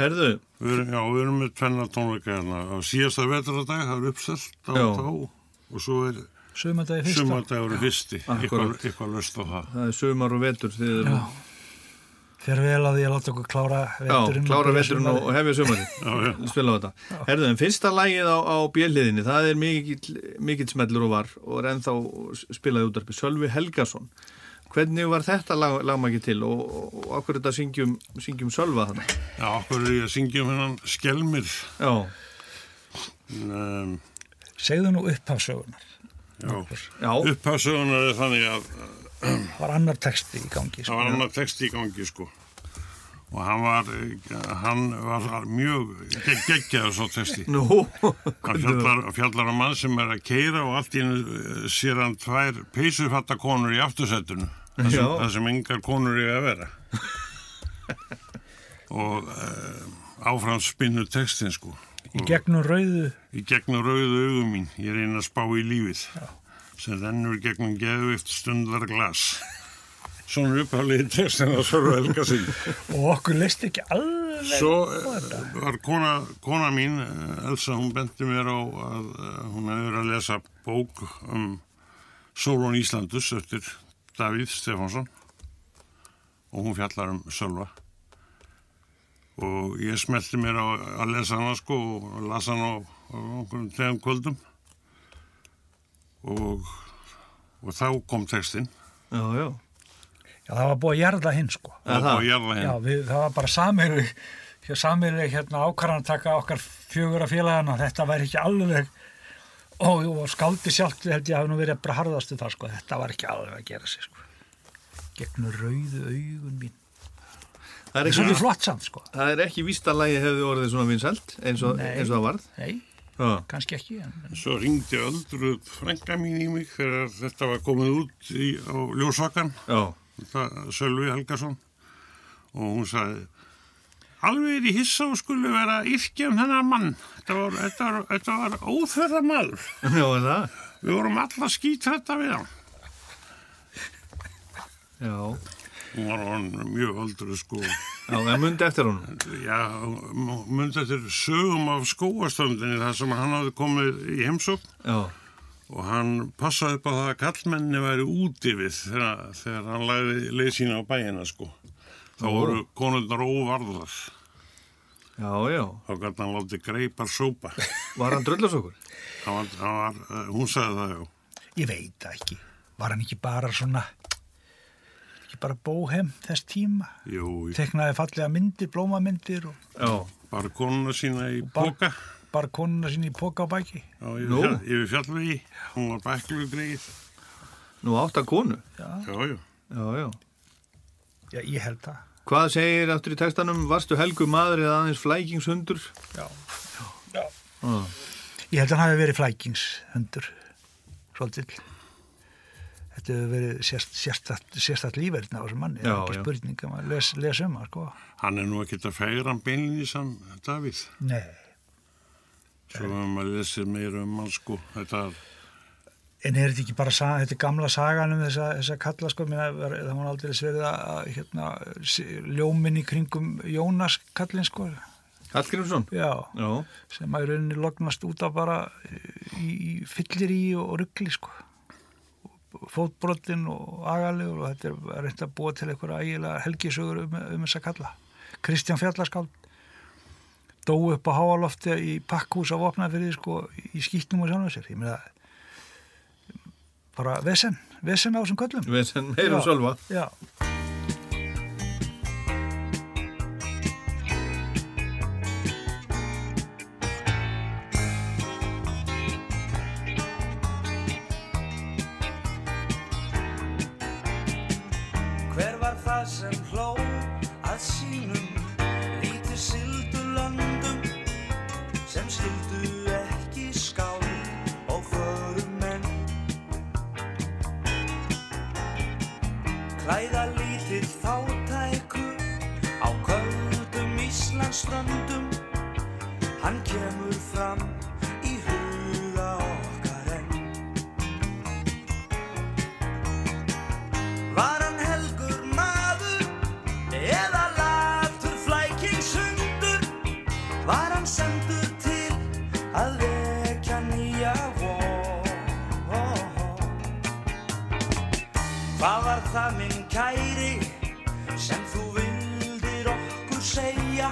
Speaker 1: Herðu
Speaker 6: við erum, Já, við erum með tvenna tónleika hérna á síðasta vetradag, það er uppselt á
Speaker 1: Já.
Speaker 6: þá og svo er
Speaker 7: Sumardagir fyrsta.
Speaker 6: sumardagur í fyrsti eitthvað,
Speaker 1: Akkúrat.
Speaker 6: eitthvað löst á það
Speaker 1: Það er sömar og vetur þegar
Speaker 7: Já. Fer vel að því að láta okkur klára veturinn
Speaker 1: Já, klára
Speaker 7: og byrja
Speaker 1: veturinn og,
Speaker 7: sumarið.
Speaker 1: og hefja
Speaker 7: <laughs>
Speaker 1: sömarinn spila á þetta Herðu, en fyrsta lagið á, á bjöliðinni það er mikill, mikill smellur og var og er ennþá spilaði útarpi Sölvi Helgason Hvernig var þetta lag, lagmæki til og, og, og akkur þetta syngjum, syngjum Sölva þarna?
Speaker 6: Já, okkur er ég að syngja um hennan Skelmir
Speaker 1: Já
Speaker 6: um,
Speaker 7: Segðu nú upphafsögunar
Speaker 6: Já, já. upphafsögunar er þannig að
Speaker 7: Það var annar texti í gangi sko,
Speaker 6: það var annar text í gangi sko og hann var hann var mjög geg- geggjaður svo texti
Speaker 1: Nú, <laughs>
Speaker 6: hann fjallar, fjallar á mann sem er að keira og allt í hennu sér hann tvær peysufattakonur í aftursættinu það sem,
Speaker 1: Já.
Speaker 6: það sem engar konur eru að vera og uh, áfram spinnu textin sko
Speaker 7: Í gegnum rauðu
Speaker 6: í gegnum rauðu augum mín ég reyna að spá í lífið sem rennur gegnum geðvift stundar glas svona upphaldið textin að Sörru Helga sín
Speaker 7: og okkur leist ekki alveg
Speaker 6: svo
Speaker 7: á þetta.
Speaker 6: eh, var kona, kona mín eh, Elsa, hún benti mér á að eh, hún hefur verið að lesa bók um Sólón Íslandus eftir Davíð Stefánsson og hún fjallar um Sölva og ég smelti mér á að lesa hana sko og las hana á á einhverjum tegum kvöldum og, og þá kom textin
Speaker 1: Já, já
Speaker 7: Já, það var búið að jarða hinn sko.
Speaker 6: Það var búið að jarða hinn.
Speaker 7: Já, við, það var bara sameilu, sameilu hérna ákvarðan að taka okkar fjögur af félagana, þetta væri ekki alveg, og, og skáldi sjálft held ég hafi nú verið bara harðastu það sko, þetta var ekki alveg að gera sig sko. Gegnum rauðu augun mín.
Speaker 1: Það
Speaker 7: er svolítið flott samt sko.
Speaker 1: Það er ekki víst að lagið hefði orðið svona vinsælt eins og,
Speaker 7: Nei.
Speaker 1: eins og það varð
Speaker 7: Nei,
Speaker 1: Já.
Speaker 7: kannski ekki, en
Speaker 6: Svo ringdi öldruð frænga mín í mig þegar þetta var komið út í, á ljósvakan,
Speaker 1: Já. <laughs>
Speaker 6: þetta Sölvi Helgason, og hún sagði, alveg er í hissa og skulle vera yrkja um hennar mann. Þetta var, þetta var, þetta var óþörða maður.
Speaker 1: Já, er það?
Speaker 6: Við vorum alla skýt þetta við hann.
Speaker 1: Já
Speaker 6: Hún var hann mjög öldruð sko.
Speaker 1: Já, það mundi eftir hún
Speaker 6: Já, mundi eftir sögum af skóastöndinni þar sem hann hafði komið í heimsókn
Speaker 1: Já,
Speaker 6: og hann passaði upp á það að kallmenni væri úti við þegar, þegar hann lagði leið sína á bæina sko. Þá
Speaker 1: Ó.
Speaker 6: voru konundar óvarðar.
Speaker 1: já, já
Speaker 6: Þá gæti hann látið greipar sópa.
Speaker 1: Var hann drullasokkur?
Speaker 6: Hann var, hann var, eh, hún sagði það, já.
Speaker 7: ég veit það ekki. Var hann ekki bara svona, ekki bara bóhem þess tíma?
Speaker 6: Jú,
Speaker 7: Teknaði fallega myndir, blómamyndir og
Speaker 1: já.
Speaker 6: Bara konuna sína í
Speaker 7: bar-
Speaker 6: boka.
Speaker 7: bara konuna sín í póka á bæki.
Speaker 6: Já, yfir,
Speaker 1: Nú.
Speaker 6: fjall, yfir fjallvegi. Hún var bæklu greið.
Speaker 1: Nú átta konu
Speaker 6: Já, já.
Speaker 1: Já, já
Speaker 7: Já, ég held það.
Speaker 1: Hvað segir aftur í textanum? Varstu helgu maður eða aðeins flækingshundur?
Speaker 7: Já. Ég held að hann hafi verið flækingshundur, svolítið. Þetta hefur verið sérst, sérstætt, sérstætt lífverðin á þessum manni, það
Speaker 6: Já,
Speaker 7: er ekki
Speaker 6: já.
Speaker 7: spurning að maður les, les um það, sko.
Speaker 6: Hann er nú ekkert að færa hann beinlinni saman, Davíð.
Speaker 7: Nei.
Speaker 1: Eh.
Speaker 6: Svo hefur maður lesið meira um hann sko. Þetta er...
Speaker 7: En er þetta ekki bara sa, þetta er gamla sagan um þessa, þessa kalla, sko, minna, var, það var aldrei sverið að, að, hérna, s- ljómin í kringum Jónas kallin, sko.
Speaker 1: Hallgrímsson?
Speaker 7: Já.
Speaker 1: Já,
Speaker 7: sem að í rauninni lognast út af bara eh, í, í fyllir í og ruggli sko fótbrotinn og agalegur og þetta er reynd að búa til einhverja ægilega helgisögur um, um þess að kalla Kristján Fjallaskáld dó upp á háalofti í pakkhús á vopnaferði sko í skýtnum og sjálfum sér ég meina bara vesen, vesen á þessum köllum
Speaker 1: við sem heyrum
Speaker 7: Já,
Speaker 1: Sölva
Speaker 7: Já,
Speaker 2: Hver var það sem hló að sínum lítið sildu löndum sem skildu ekki skál og förum menn
Speaker 8: Ræða lítill fátæku á köldum Íslandsströndum Hann kemur fram í huga okkar enn Var hann helgur maður eða latur flæking sundur Var hann sendur til að vekja nýja von Hvað var það minn kæri sem þú vildir okkur segja?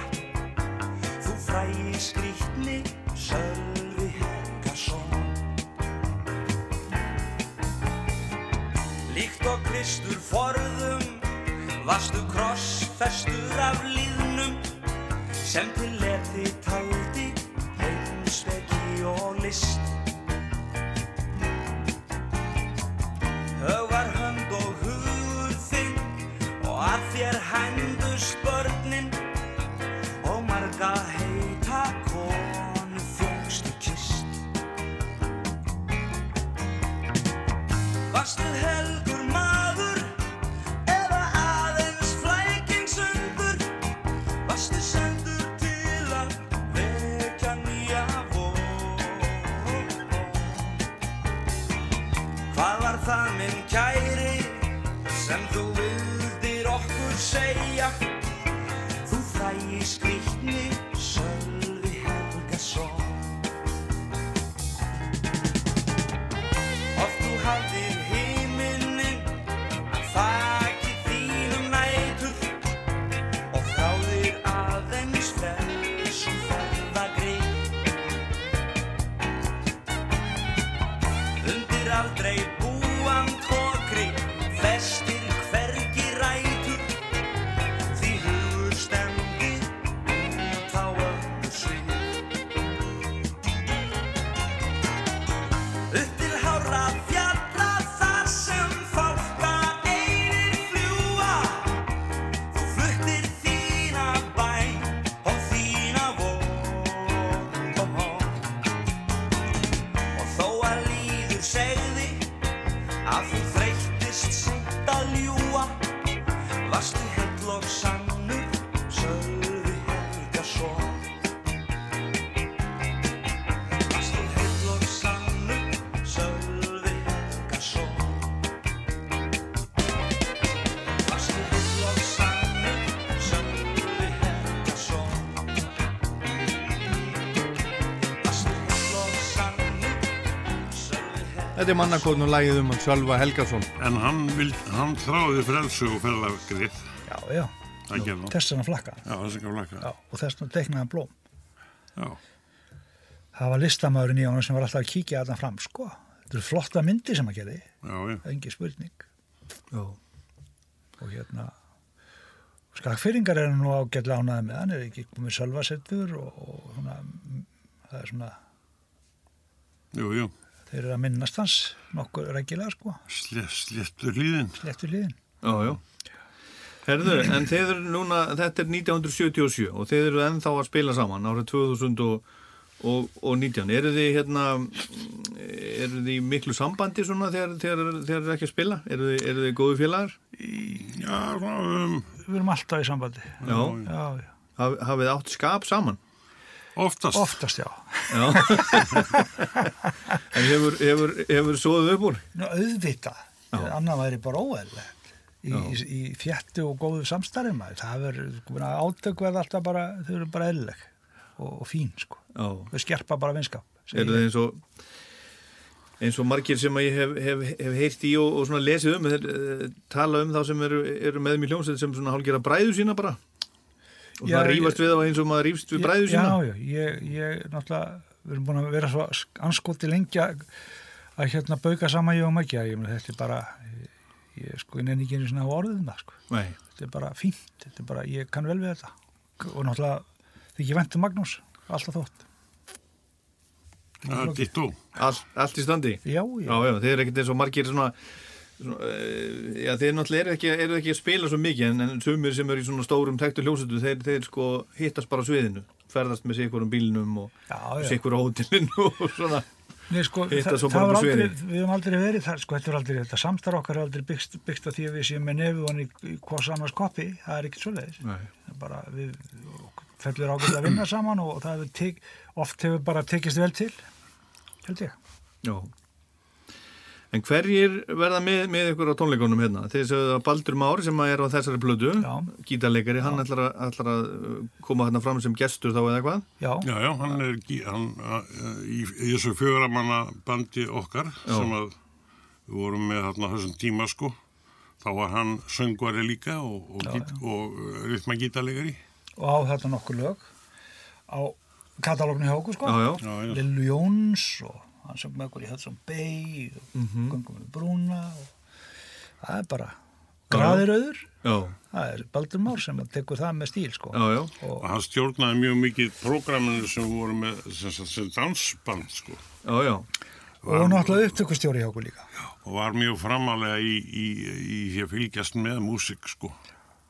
Speaker 8: Þú fræði skrýtni Sölvi Helgason. Líkt og Kristur forðum varstu krossfestur af líðnum sem til leti taldi heimspeki og list. Högar hönd og hugur þinn og að þér hændust börnin og marga heita konu fjöngstu kist. Varstu helgur maður eða aðeins flækingsundur? Varstu sendur til að vekja nýja von? Hvað var það minn kæri sem þú vildir okkur segja? Þú fræði skrýtni Sölvi Helgason Oft þú hafðir himinin að þakki þínum nætur og þáðir aðeins frels og ferðagrið Undir aldrei búan tókri festir hvergi rætur því hugur stengir út á öllu svið upp til hárra fjalla þar sem fálka einir fljúa þú fluttir þína bæn og þína von og þó að líður segði að þú þreyttist sýnt að ljúa varstu heill og sannur Sölvi Helgason Varstu heill og sannur Sölvi Helgason Varstu heill og sannur Sölvi Helgason Varstu heill og sannur Sölvi
Speaker 11: Þetta er mannakotn og lagið um hann Sölva Helgason
Speaker 6: En hann, vild, hann þráði frelsu og ferðargrið.
Speaker 7: Já, já,
Speaker 6: Það gerði hann.
Speaker 7: þess að hann flakka
Speaker 6: Já, þess að hann
Speaker 7: já, og þess að teiknaði hann blóm.
Speaker 6: Já.
Speaker 7: Það var listamæðurinn í honum sem var alltaf að kíkja þarna fram, sko. Þetta eru flotta myndir sem að gerði,
Speaker 6: Já, já.
Speaker 7: engi spurning. Já. Og hérna, skakfyrringar er hann nú ágætlega ánaði með, hann er ekki komið sölvasettur og, og svona, mm, það er svona,
Speaker 6: Jú, jú.
Speaker 7: þeir eru að minnast hans nokkur reggilega, sko,
Speaker 6: Sle, sléttur hlýðin.
Speaker 7: eftir liðin.
Speaker 1: Já, já. Herðu, en þeir eru núna, þetta er 1977 og þeir eru ennþá að spila saman árið 2019. Eru þið hérna, eru þið í miklu sambandi svona þegar, þegar, þegar þeir eru ekki að spila? Eru þið, eru þið góðu félagar?
Speaker 6: Já, svona, um,
Speaker 7: Við erum alltaf í sambandi.
Speaker 1: Já.
Speaker 7: Já, já.
Speaker 1: Haf, hafið átt skap saman?
Speaker 6: oftast.
Speaker 7: Oftast, já.
Speaker 1: Já. <laughs> en hefur, hefur, hefur svoðuð upp úr?
Speaker 7: Nú, auðvitað, annað væri bara óæðilegt í, í, í fjettu og góðu samstarfi maður, það verður átök verða alltaf bara, þau eru bara eðlileg og, og fín, sko,
Speaker 1: Já.
Speaker 7: þau skerpa bara vinskap segi
Speaker 1: Eru þið
Speaker 7: ég.
Speaker 1: eins og eins og margir sem að ég hef, hef, hef heyrt í og, og svona lesið um þeir, uh, tala um þá sem eru, eru með mér hljómsveit sem svona hálfgera bræðu sína bara og
Speaker 7: Já,
Speaker 1: það rýfast við á eins og maður rýfst við bræðu sína
Speaker 7: Já, já, ég, ég náttúrulega, við erum búin að vera svo anskoti lengi að að hérna bauka saman ég og mækja, ég meni þetta er bara ég sko, ég nenni ekki einu svona orðum það, sko
Speaker 1: Nei,
Speaker 7: þetta er bara fínt, þetta er bara, ég kann vel við þetta og náttúrulega, þykir væntum Magnús, alltaf þótt
Speaker 6: Það er ditt og.
Speaker 1: all, allt í standi Já,
Speaker 7: Já, já,
Speaker 1: já, þeir eru ekkert eins og margir svona, svona uh, já, þeir náttúrulega eru ekki, eru ekki að spila svo mikið en, en sumir sem eru í svona stórum tektu hljómsveitu þeir, þeir sko hittast bara á sviðinu ferðast með sikkur um bílnum og
Speaker 7: já, já.
Speaker 1: sikkur á hótelinu og svona
Speaker 7: Nei, sko,
Speaker 1: Hitta
Speaker 7: það,
Speaker 1: svo
Speaker 7: það
Speaker 1: bara
Speaker 7: var
Speaker 1: upp á
Speaker 7: aldrei,
Speaker 1: sviði.
Speaker 7: við höfum aldrei verið það, sko, þetta er aldrei, þetta samstar okkar er aldrei byggt, byggt á því að við séum með nefið hann í, í hvors annars koppi, það er ekkert svoleiðis.
Speaker 1: Nei.
Speaker 7: Það er bara, við okkur fellur ágætt að vinna saman og, það hefur tek, oft hefur bara tekist vel til, held ég.
Speaker 1: Já. En hverjir verða með, með ykkur á tónleikunum hérna? Þeir sögðu að Baldur Már sem að er á þessari blödu, gítarleikari, hann ætlar að, ætlar að uh, koma hérna fram sem gestur þá eða hvað?
Speaker 7: Já.
Speaker 6: Já, já, hann er gí- hann, a- e, í, í þessu fjöguramanna bandi okkar
Speaker 1: Já.
Speaker 6: sem að við vorum með þarna á þessum tíma sko. Þá var hann söngvari líka og, og,
Speaker 7: Já,
Speaker 6: gít, og e, rytmagítalegari.
Speaker 7: Og á þetta nokkur lög, á katalógnu hjá okkur, sko.
Speaker 6: Já, já. Já, já.
Speaker 7: Lillu Jóns og hann sem með okkur í Hudson Bay og
Speaker 1: Mhm.
Speaker 7: Gungum við Brúna og það er bara
Speaker 6: Já, já.
Speaker 7: graðirauður.
Speaker 1: Já.
Speaker 7: Það er Baldur Már sem að tekur það með stíl, sko.
Speaker 1: já.
Speaker 6: Og hann stjórnaði mjög mikið prógraminu sem voru með sem, sagt, sem dansband sko.
Speaker 1: Já, já.
Speaker 7: Og náttúrulega upptökustjóri hjá okkur líka.
Speaker 6: Og var mjög framalega í, í, í því að fylgjast með músík sko.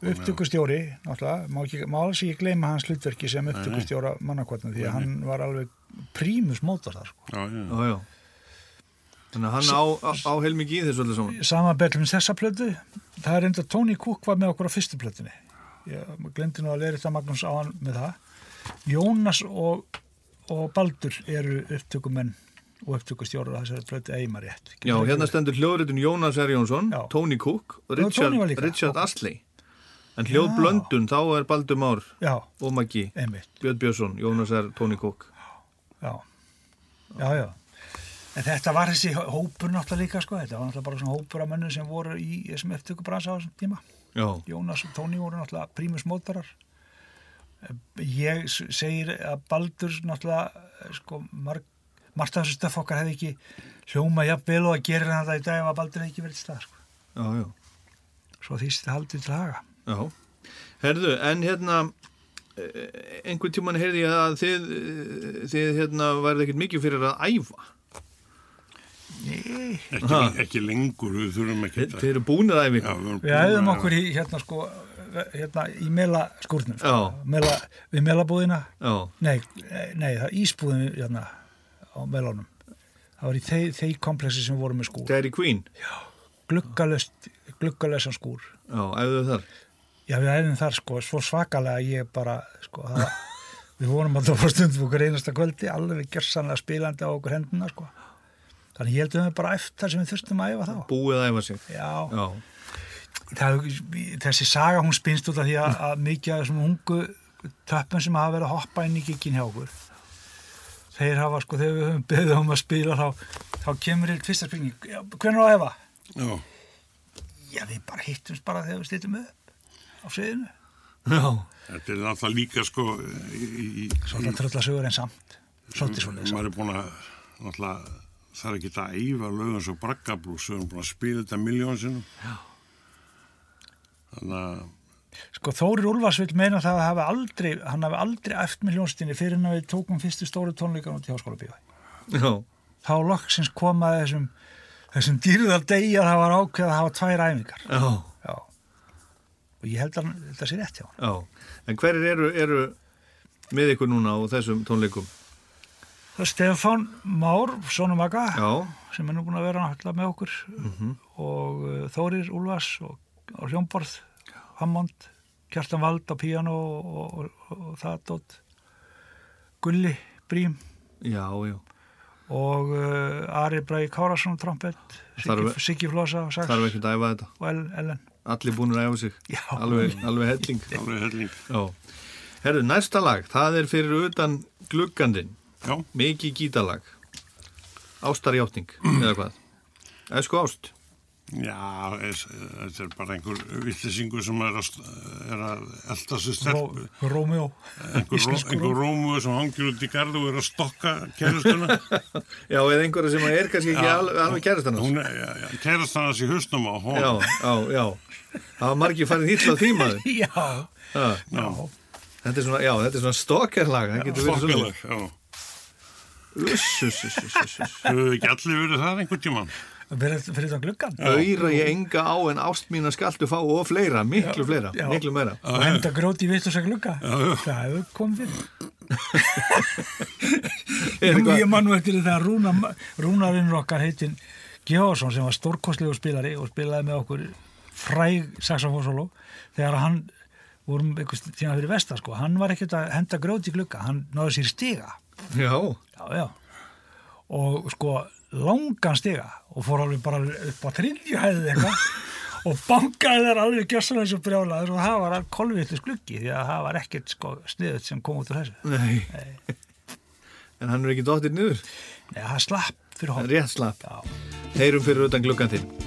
Speaker 7: upptökustjóri, náttúrulega, má, ekki, má alls ekki gleyma hans hlutverki sem
Speaker 6: Nei, nei.
Speaker 7: upptökustjóra mannakvartna því
Speaker 6: Nei,
Speaker 7: að
Speaker 6: nei.
Speaker 7: hann var alveg prímus mótor þar sko.
Speaker 6: Já, já.
Speaker 1: já, já. Þannig að hann á, á, á heilmikið í þessu öllu saman.
Speaker 7: Sama betlum þessa plötu, það er enda Tony Cook var með okkur á fyrstu plötunni. Ég glemdi nú að leira þetta Magnús á hann með það. Jónas og, og Baldur eru upptökumenn og upptökustjórar á þessari plötu eigimar rétt.
Speaker 1: Já, hérna stendur hljóðritun Jónas R. Jónsson, Tony Cook og
Speaker 7: Já,
Speaker 1: Richard,
Speaker 7: Tony var líka.
Speaker 1: Richard Astley. En hljóðblöndun, þá er Baldur Már
Speaker 7: Já,
Speaker 1: og Maggi,
Speaker 7: einmitt,
Speaker 1: Björn Björnsson, Jónas R. Tony Cook.
Speaker 7: já. Já, já. En þetta var þessi hópur náttúrulega líka sko, þetta var náttúrulega bara svona hópur af mönnum sem voru í þessum upptökubransa á þessum tíma.
Speaker 1: Já.
Speaker 7: Jónas og Tóni voru náttúrulega prímus mótarar ég s- segir að Baldur náttúrulega eh, sko, marg, margt af þessu stöf okkar hefði ekki hljóma jafnvel og að gera hann það í dag ef að Baldur hefði ekki verið til stað sko.
Speaker 1: Já, já.
Speaker 7: svo því þetta haldið til haga
Speaker 1: Já, herðu, en hérna eh, einhvern tíman heyrði ég að þið, eh, þið hérna værið ekkert mikið fyrir að æfa
Speaker 7: Nei
Speaker 6: Ekki, ekki lengur, við þurfum ekki
Speaker 1: Þið eru búin að æfa
Speaker 6: ykkur
Speaker 7: við æðum okkur í hérna sko hérna í mela skúrnum sko.
Speaker 1: Já.
Speaker 7: mela, við melabúðina
Speaker 1: Já,
Speaker 7: nei, nei, það er ísbúðin hérna á melónum það var í þeir, þeir kompleksi sem við vorum með skúr
Speaker 1: Dairy Queen
Speaker 7: gluggalöst gluggalösan skúr
Speaker 1: Já, æfðu þar
Speaker 7: Já, við æfum þar sko, svo svakalega að ég bara, sko, það, við vorum að það var stundum okkur einasta kvöldi, alveg gersanlega spilandi á okkur hendina, sko. Þannig ég heldum við bara eftir það sem við þurftum að æfa þá.
Speaker 1: Búið að æfa sig
Speaker 7: Já,
Speaker 1: Já,
Speaker 7: það, þessi saga hún spinnst út af því að, að mikið af þessum ungu töppum sem hafa verið að hoppa inn í gikkin hjá okkur, þeir hafa, sko, þegar við höfum beðið um að spila þá, þá kemur eitt fyrsta spilning, hvernig á að æfa?
Speaker 6: Já,
Speaker 7: Já, við bara hittumst bara þegar við slítum upp á sviðinu.
Speaker 1: já,
Speaker 6: þetta er náttúrulega líka sko í, í,
Speaker 7: Svolítið tröllasögur en samt. Svolítið svolítið samt.
Speaker 6: maður er búin að náttúrulega það er ekki að æfa lögum svo braggablús við erum búin að spila þetta miljón sinnum þannig að
Speaker 7: Sko Þórir Úlfars vil meina það að hafa aldrei, hann hafi aldrei eftir með hljónstinni fyrir en að við tókum fyrstu stóru tónleikan út í háskóla bíói.
Speaker 1: já,
Speaker 7: Þá loksins komaði þessum, þessum dýrðar degi að það var ákveð að hafa tvær æfingar.
Speaker 1: já,
Speaker 7: Já. Og ég held að hann- þetta sé rétt hjá hann.
Speaker 1: já. En hverjir eru, eru með ykkur núna á þessum tónleikum?
Speaker 7: Það er Stefán Már, sonum Aga,
Speaker 1: Já,
Speaker 7: sem er nú búin að vera náttúrulega með okkur og uh, Þórir Úlfars og, og Hljómborð, Hammond, Kjartan Vald á píano og, og, og, og, og það dótt, Gulli Brím
Speaker 1: já, já
Speaker 7: og uh, Ari Bræk Kárasson trompet,
Speaker 1: Þarf-
Speaker 7: Siggi, Siggi Flosa og Sax
Speaker 1: Þarf ekkert að æfa þetta
Speaker 7: og Ellen, Ellen.
Speaker 1: Allir búin að æfa sig
Speaker 7: Já.
Speaker 1: Alveg, alveg helling
Speaker 6: alveg helling
Speaker 1: Já Herðu, næsta lag, það er fyrir utan gluggandinn
Speaker 6: já,
Speaker 1: mikið gítalag ástarjátning eða hvað Æsku ást
Speaker 6: já, es, þetta er bara einhver vittlisingu sem er að, er að elda sér
Speaker 7: Ró,
Speaker 6: stelpu
Speaker 7: Rómjó
Speaker 6: einhver, ró,
Speaker 7: Íslensku
Speaker 6: einhver
Speaker 7: Rómeó.
Speaker 6: rómu sem hangir út í garð og er að stokka kærastuna
Speaker 1: Já, eða einhverja sem er kannski ekki alveg, alveg kærast hann
Speaker 6: hún er kærastan hans í hausnum á hún
Speaker 1: Já, já, já Það var margir farið hýtla því maður
Speaker 7: <laughs> Já,
Speaker 1: Ha,
Speaker 6: já,
Speaker 1: Þetta er svona, já, þetta er svona stokkerlag Það getur verið svona
Speaker 6: stokkalag já Höfðu ekki allir verið það einhvern tíman?
Speaker 7: Fyrir, fyrir það gluggan
Speaker 1: Öyra ég enga á en ást mína skaltu fá og fleira, miklu fleira,
Speaker 7: Já.
Speaker 1: miklu meira.
Speaker 7: og henda gróti í vittlösa glugga það hefur komið fyrir Jú,
Speaker 1: eitthvað-
Speaker 7: ég man nú eftir því þegar Rúna, Rúnarinn okkar heitinn Gjóðarsson sem var stórkostlegu spilari og spilaði með okkur fræg saxofónsóló þegar hann vorum einhvers tíma fyrir vestar sko, hann var ekkert að henda gróti í glugga hann náði sér stiga
Speaker 1: Já,
Speaker 7: já, já. og sko langan stiga og fór alveg bara upp á þriðju hæðið eitthvað og bankaði þær alveg gjössalega eins og brjálaður og það var kolvittis gluggi því að það var ekkert sko sniðut sem kom út úr þessu
Speaker 1: nei. En hann er ekki dóttir niður.
Speaker 7: Nei, það slapp fyrir hótt
Speaker 1: Rétt slapp. Heyrum fyrir utan gluggan þinn.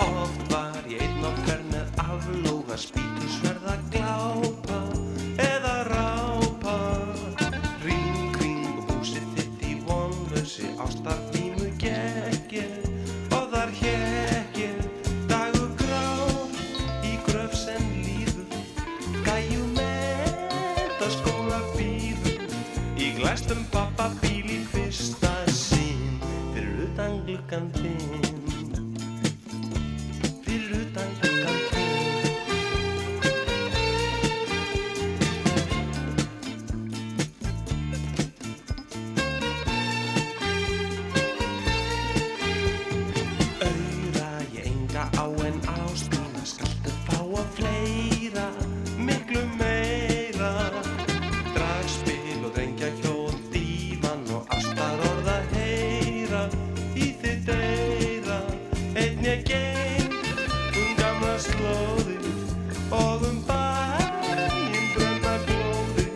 Speaker 8: Oft var ég einn okkar með aflóga spýtusverða glápa eða rápa Ring kring húsið þitt í vonlösi ástarfímu gekk ég og þar hekk ég dagur grár í gröf sem líður gæjum enda skóla býður í glæstum pappa bíl í fyrsta sín fyrir utan gluggan þinn Fyrir utan gluggan þinn. Aura ég enga á en ástmína skaltu fá að fleira, miklu meira Dragspil og drengja hjól, dívan og ástar orða heyra Í þitt eira, einn ég geng um gamla slóðir og um bæinn drömma glóðir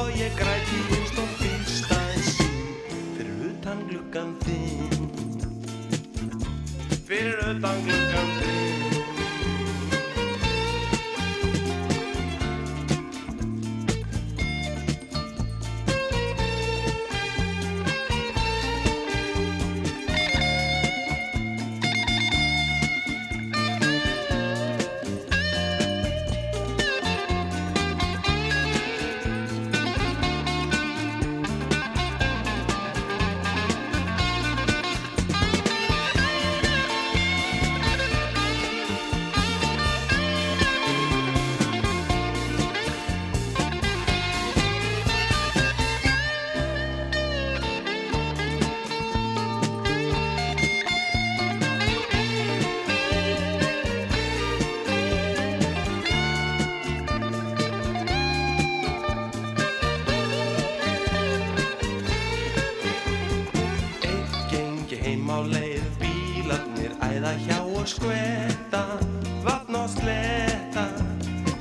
Speaker 8: og ég græti húst og fyrsta sín fyrir utan gluggan þinn fyrir utan gluggan þinn Eitt gengi heim á leið Bílarnir æða hjá og skvetta Vatn og sletta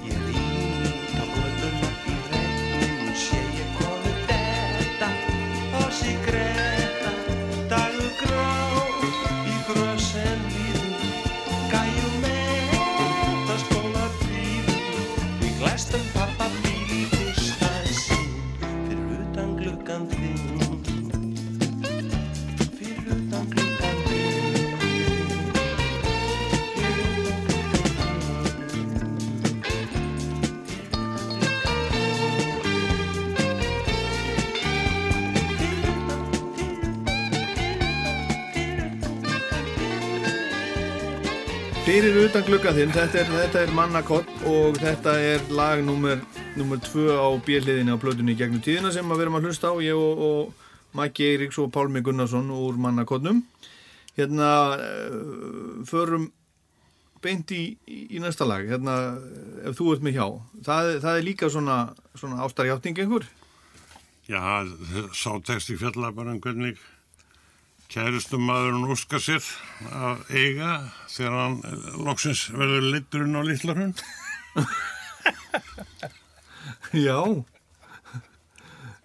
Speaker 8: Ég rýt á göduna í regnum Sé ég konu detta Og sigretta Dagur grá Í grösen líður Gæjum með að skóla fríður Í glæstum pappa bíl í fyrsta sín Fyrir utan gluggan þinn Fyrir utan gluggan þinn.
Speaker 1: Fyrir utan gluggan þinn, þetta er, þetta er mannakopp og þetta er lag nummer, nummer 2 á bjöliðinni á plötunni í gegnum tíðina sem að við erum að hlusta á, ég og, og Maggi Eiríks og Pálmi Gunnarsson úr mannakottnum. Hérna, eh, förum beint í, í næsta lag, hérna, ef þú ert með hjá. Það, það er líka svona, svona ástarjátning einhver.
Speaker 6: Já, sá texti fjallar bara um hvernig kærustum maðurinn óskar sér að eiga þegar hann eh, loksins verður leitturinn á litlarhund.
Speaker 1: Já.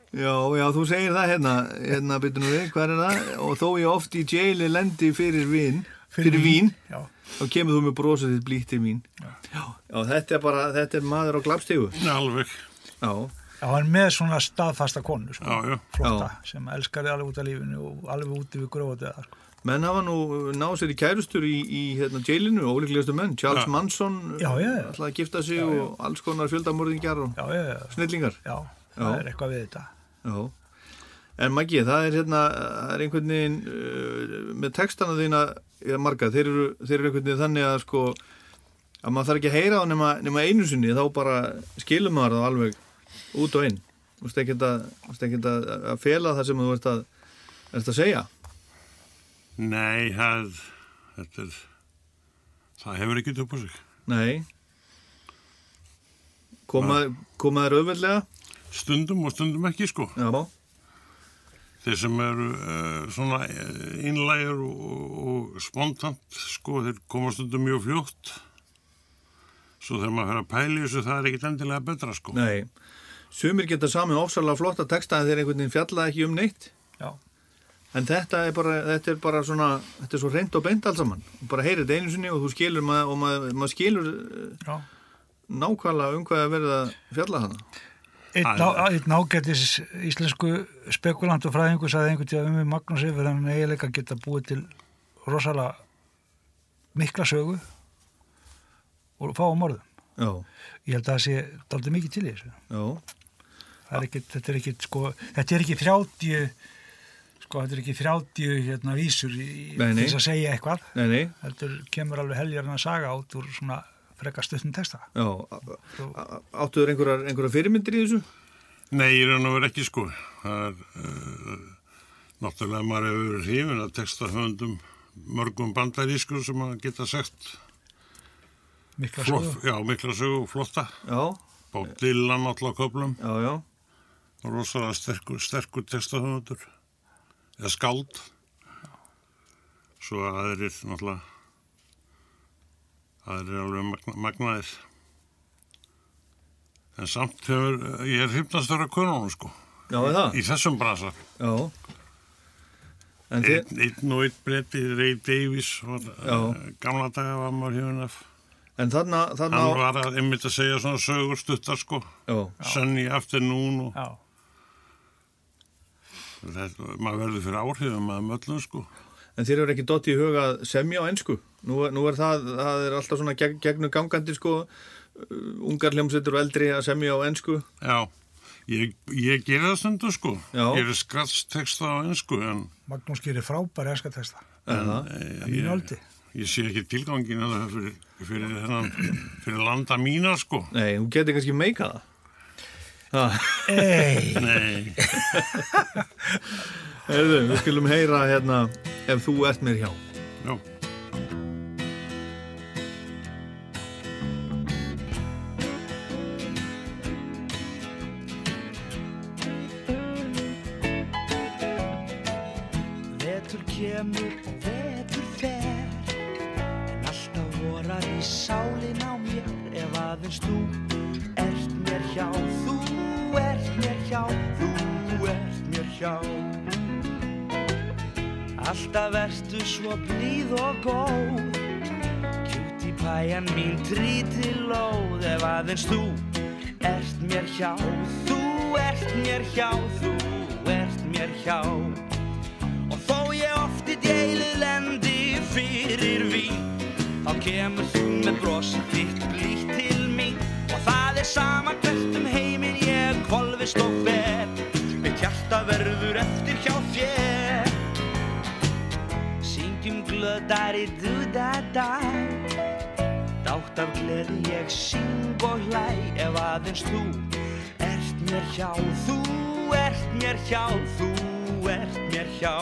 Speaker 1: Já, já, þú segir það hérna, hérna byttu nú við, hvað er það? Og þó ég oft í jaili lendi fyrir vín, fyrir, vín,
Speaker 7: já.
Speaker 1: þá kemur þú með brosið þitt blíkt til mín. Já. þetta er bara, þetta er maður á glapstígu.
Speaker 6: Alveg.
Speaker 1: Já,
Speaker 7: Já, hann með svona staðfasta konu, sko,
Speaker 6: Já, já.
Speaker 7: flotta,
Speaker 1: Já.
Speaker 7: sem elskar þið alveg út af lífinu og alveg út yfir gróðið. Sko.
Speaker 1: Menn hafa nú náð sér í kærustur í, í hérna, jailinu, ólíklegastu menn, Charles
Speaker 7: Já.
Speaker 1: Manson,
Speaker 7: Já, já, já.
Speaker 1: ætlaði að gifta sig og alls konar fjöldamorðingjar og
Speaker 7: Já, já, já.
Speaker 1: snillingar.
Speaker 7: Já, það er eitthvað við þetta.
Speaker 1: Já. En Maggi, það er hérna, það er einhvern veginn, uh, með textana þína, eða marga, þeir eru, þeir eru einhvern veginn þannig að sko, að maður þarf ekki að heyra á nema, nema einu sinni, þá bara skilum maður það alveg út og inn. Þú veist ekkert að, þú veist ekkert að, að fela það sem þú ert að, ert að segja.
Speaker 6: Nei, það, þetta er, það hefur ekki upp á sig.
Speaker 1: Nei. Koma, koma þér auðveldlega?
Speaker 6: Stundum og stundum ekki, sko.
Speaker 1: Já.
Speaker 6: Þeir sem eru uh, svona innlægur og, og spontant, sko, þeir koma stundum mjög fljótt. Svo þegar maður fyrir að pæli þessu, það er ekkit endilega betra, sko.
Speaker 1: Nei. Sumir geta samin ofsalega flotta texta en þeir einhvern veginn fjalla ekki um neitt.
Speaker 7: Já.
Speaker 1: En þetta er bara, þetta er bara svona, þetta er svo reynd og beint alls saman. Þú Bara heyrir þetta einu sinni og þú skilur maður, og maður, maður skilur eh,
Speaker 7: Já.
Speaker 1: nákvæmlega um hvað er verið að fjalla hana.
Speaker 7: Einn á- einn ágættis íslensku spekulant og fræðingu sagði einhvern tíða um við Magnús yfir hann eiginleika geta búið til rosalega mikla sögu og fá á morðum.
Speaker 1: Já.
Speaker 7: Ég held að það sé daldið mikið til í þessu.
Speaker 1: Já.
Speaker 7: Það er ekki, þetta er ekki, sko, þetta er ekki 30, sko, þetta er ekki 30 hérna vísur í,
Speaker 1: Nei, nei.
Speaker 7: til þess að segja eitthvað.
Speaker 1: Nei, nei.
Speaker 7: Þetta kemur alveg heljarinn að saga át úr svona frekka stöttum texta.
Speaker 1: Já. A- a- Áttuður einhverjar, einhverjar fyrirmyndir í þessu?
Speaker 6: Nei, ég raun og verið ekki sko. Það er, uh, náttúrulega maður hefur verið hrifin að texta höfundum mörgum bandarískur sem maður geta sagt
Speaker 7: Mikla sögu.
Speaker 6: flott, já, mikla sögu og flotta.
Speaker 1: Já.
Speaker 6: Bob Dylan náttúrulega á köflum.
Speaker 1: Já, já.
Speaker 6: Og rosalega sterkur, sterkur texta höfundur. Eða skáld. Svo aðrir náttúrulega, aðrir alveg magna, magnaðir. En samt hefur, ég er hrifnast að vera konunum sko.
Speaker 1: Já, er það?
Speaker 6: Í þessum brasa.
Speaker 1: Já. En þið,
Speaker 6: Einn einn og einn bretti, Ray Davies var,
Speaker 1: Já.
Speaker 6: eh, gamla daga var maður hefðin af
Speaker 1: en þarna, þarna
Speaker 6: hann var að, einmitt að segja svona sögur stuttar sko
Speaker 1: Já.
Speaker 6: Sunny Afternoon og
Speaker 7: Já.
Speaker 6: þetta, maður verður fyrir áhrifum að möllum sko
Speaker 1: En þér hefur ekki dottið í huga að semja á ennsku? Nú, nú er það, það er alltaf svona gegn, gegnum gangandi sko, uh, ungar hljómsveitur og eldri að semja á ennsku.
Speaker 6: já, ég, ég gerir það stundu sko
Speaker 1: Já.
Speaker 6: ég er skratstexta á ennsku en,
Speaker 7: Magnús gerir frábæri eska texta.
Speaker 6: en
Speaker 1: það?
Speaker 6: eh,
Speaker 7: Að mínu
Speaker 6: ég,
Speaker 7: aldi.
Speaker 6: ég sé ekki tilgangin að það fyrir, fyrir, hennan, fyrir landa mína sko
Speaker 1: Nei, hún getur kannski meika það. Ha,
Speaker 7: Ei!
Speaker 6: nei,
Speaker 1: Herðu, við skulum heyra hérna ef þú ert mér hjá.
Speaker 6: já
Speaker 2: Vetur kemur og vetur fer En alltaf vorar í sálin á mér Ef aðeins þú ert mér hjá Þú ert mér hjá Þú ert mér hjá Alltaf ertu svo blíð og góð Kjúti pæjan mín tríti lóð Ef aðeins þú ert mér hjá Þú ert mér hjá Þú ert mér hjá Og þó ég oft í deilu lendi fyrir vín Þá kemur þú með brosið þitt blítt til mín Og það er sama hvert um heiminn ég kvolvist og fer Mitt hjarta verður eftir hjá þér Syngjum glöðar í du-da-da Dátt af gleði ég syng og hlæ Ef aðeins þú ert mér hjá Þú ert mér hjá Þú ert mér hjá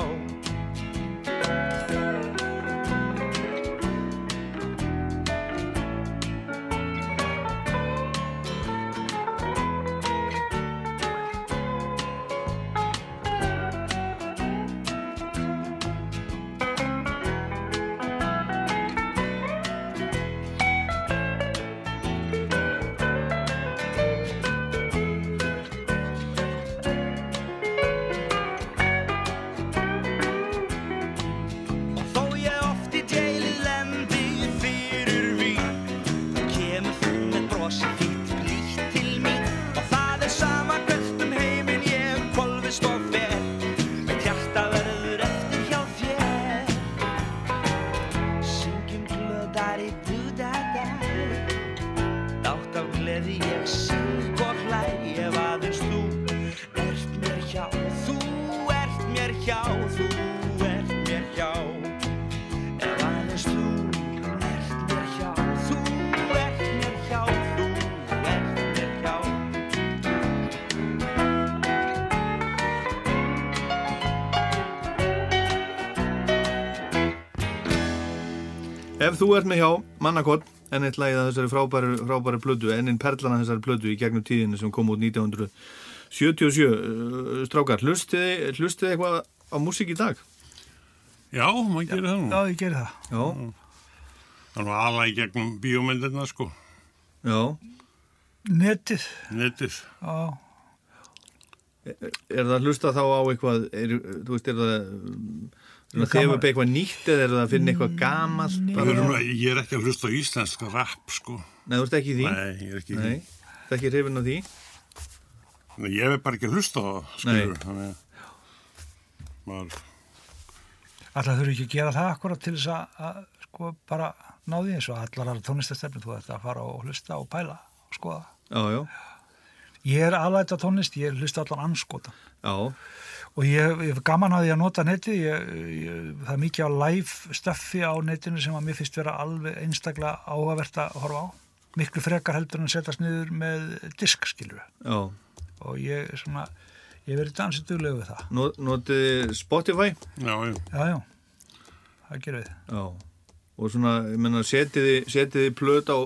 Speaker 2: Þó um daddy do da da Dátt á gleði ég syng og hlæ ef aðeins þú ert mér hjá Þú ert mér hjá, þú ert mér hjá Ef aðeins þú ert mér hjá Þú ert mér hjá, þú ert mér hjá
Speaker 1: Ef þú ert með hjá mannakott enn eitt lagið að þessari frábæri, frábæri plötu enn einn perlan að þessari plötu í gegnum tíðinu sem kom út 1977 uh, strákar, hlustiði hlustiði eitthvað á músík í dag?
Speaker 6: Já, maður gerir það nú.
Speaker 7: Já, ég gerir það.
Speaker 1: Já.
Speaker 6: Þannig að ala í gegnum bíómyndirna, sko.
Speaker 1: Já.
Speaker 7: Netið.
Speaker 6: Netið.
Speaker 7: Já.
Speaker 1: Er, er það hlusta þá á eitthvað er, þú veist, er það um, er það
Speaker 6: Gaman-
Speaker 1: þegar upp eitthvað nýtt eða er það að finna eitthvað gamalt?
Speaker 6: Við erum að- Ég er ekki að hlusta á íslensk rap, sko.
Speaker 1: Nei, þú ert ekki í því?
Speaker 6: Nei, ég er ekki í því.
Speaker 1: Nei, þú ert ekki hrifin á því?
Speaker 6: Nei, ég er bara ekki að hlusta á það, skilur. Þannig að maður...
Speaker 7: Alltaf þurfi ekki að gera það akkurat til þess að, að sko bara ná því eins og allar aðra tónlistastefni þú ert að fara og hlusta og pæla og skoða.
Speaker 1: Já, já,
Speaker 7: Ég er aðlætt á tónlist, ég hlusta allan anskota
Speaker 1: já,
Speaker 7: og ég hef gaman að því að nota netið, ég, ég, það er mikið á live stöffi á netinu sem að mér finnst vera alveg einstaklega áhugavert að horfa á. Miklu frekar heldur en setjast niður með disk skilur
Speaker 1: já.
Speaker 7: og ég er svona, ég hef verið dansið duglegu við það.
Speaker 1: Not, Notiði Spotify?
Speaker 6: Já, já.
Speaker 7: Já, já, það gerum við.
Speaker 1: Já, og svona, ég menna, setiði, setiði plöt á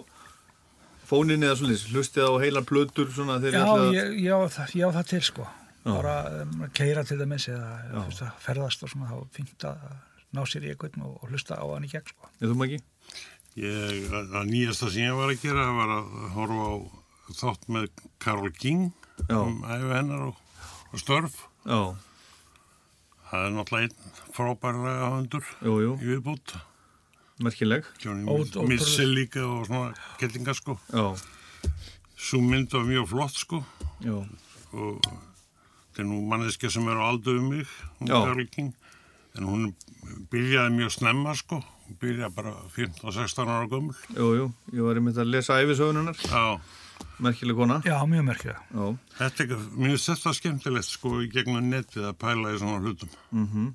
Speaker 1: fóninni eða svolítið, hlustið á heilar plötur svona þegar
Speaker 7: Já,
Speaker 1: ætlaði
Speaker 7: ég, ég, á það, ég á það til sko
Speaker 1: Já.
Speaker 7: bara um, keira til dæmis eða
Speaker 1: Já.
Speaker 7: fyrst, að ferðast og svona þá er fínt að ná sér í einhvern og, og hlusta á hann í gegn sko.
Speaker 1: Ég þú maður ekki?
Speaker 6: Ég, það nýjasta sem ég var að gera var að horfa á þátt með Karol King
Speaker 1: Já.
Speaker 6: um æfi hennar og, og störf.
Speaker 1: Já.
Speaker 6: Það er náttúrulega einn frábærlega höndur
Speaker 1: Jú, jú.
Speaker 6: í viðbútt.
Speaker 1: Merkileg. Ót-
Speaker 6: Johnny
Speaker 1: ótrúleg.
Speaker 6: Mitchell líka og svona kellinga sko.
Speaker 1: Já.
Speaker 6: Svo mynd var mjög flott sko
Speaker 1: Já.
Speaker 6: og þetta er nú manneskja sem er á aldu um mig, hún
Speaker 1: Já.
Speaker 6: Karol King. En hún byrjaði mjög snemma sko, hún byrjaði bara 15-16 ára gömul.
Speaker 1: Jú, jú, ég var einmitt að lesa æfisögununar.
Speaker 6: Já.
Speaker 1: Merkileg kona.
Speaker 7: Já, mjög merkileg.
Speaker 1: Já.
Speaker 6: Þetta er, mér finnst þetta skemmtilegt sko í gegnum netið að pæla í svona hlutum.
Speaker 1: Mm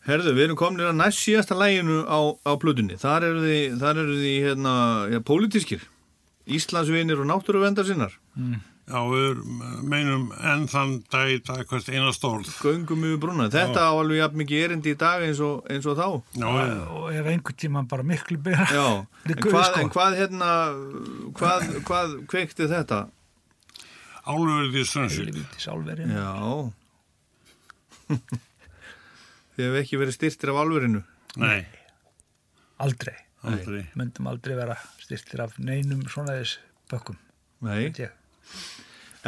Speaker 1: Herðu, við erum komin að næst síðasta læginu á, á plötunni. Þar eru þið, þar eru þið, hérna, já, pólitískir. Íslandsvinir og náttúruvendarsinnar.
Speaker 6: Mm. Já, við meinum enn þann dag í dag hvert einast orð.
Speaker 1: Göngum yfir brúna. Þetta á alveg jafn mikið erindi í dag eins og, eins og þá.
Speaker 7: og ef einhvern tíma bara miklu byrja <laughs>
Speaker 1: Já, en hvað,
Speaker 7: sko.
Speaker 1: en hvað hérna, hvað, hvað kveikti þetta?
Speaker 6: Álverið í Sunnsvík.
Speaker 7: Helvítis álverið.
Speaker 1: Já. <laughs> Þið hefur ekki verið styrtir af álverinu.
Speaker 6: Nei.
Speaker 7: aldrei,
Speaker 1: Aldrei.
Speaker 7: myndum aldrei vera styrtir af neinum svona þess bökkum
Speaker 1: Nei.
Speaker 7: veit ég.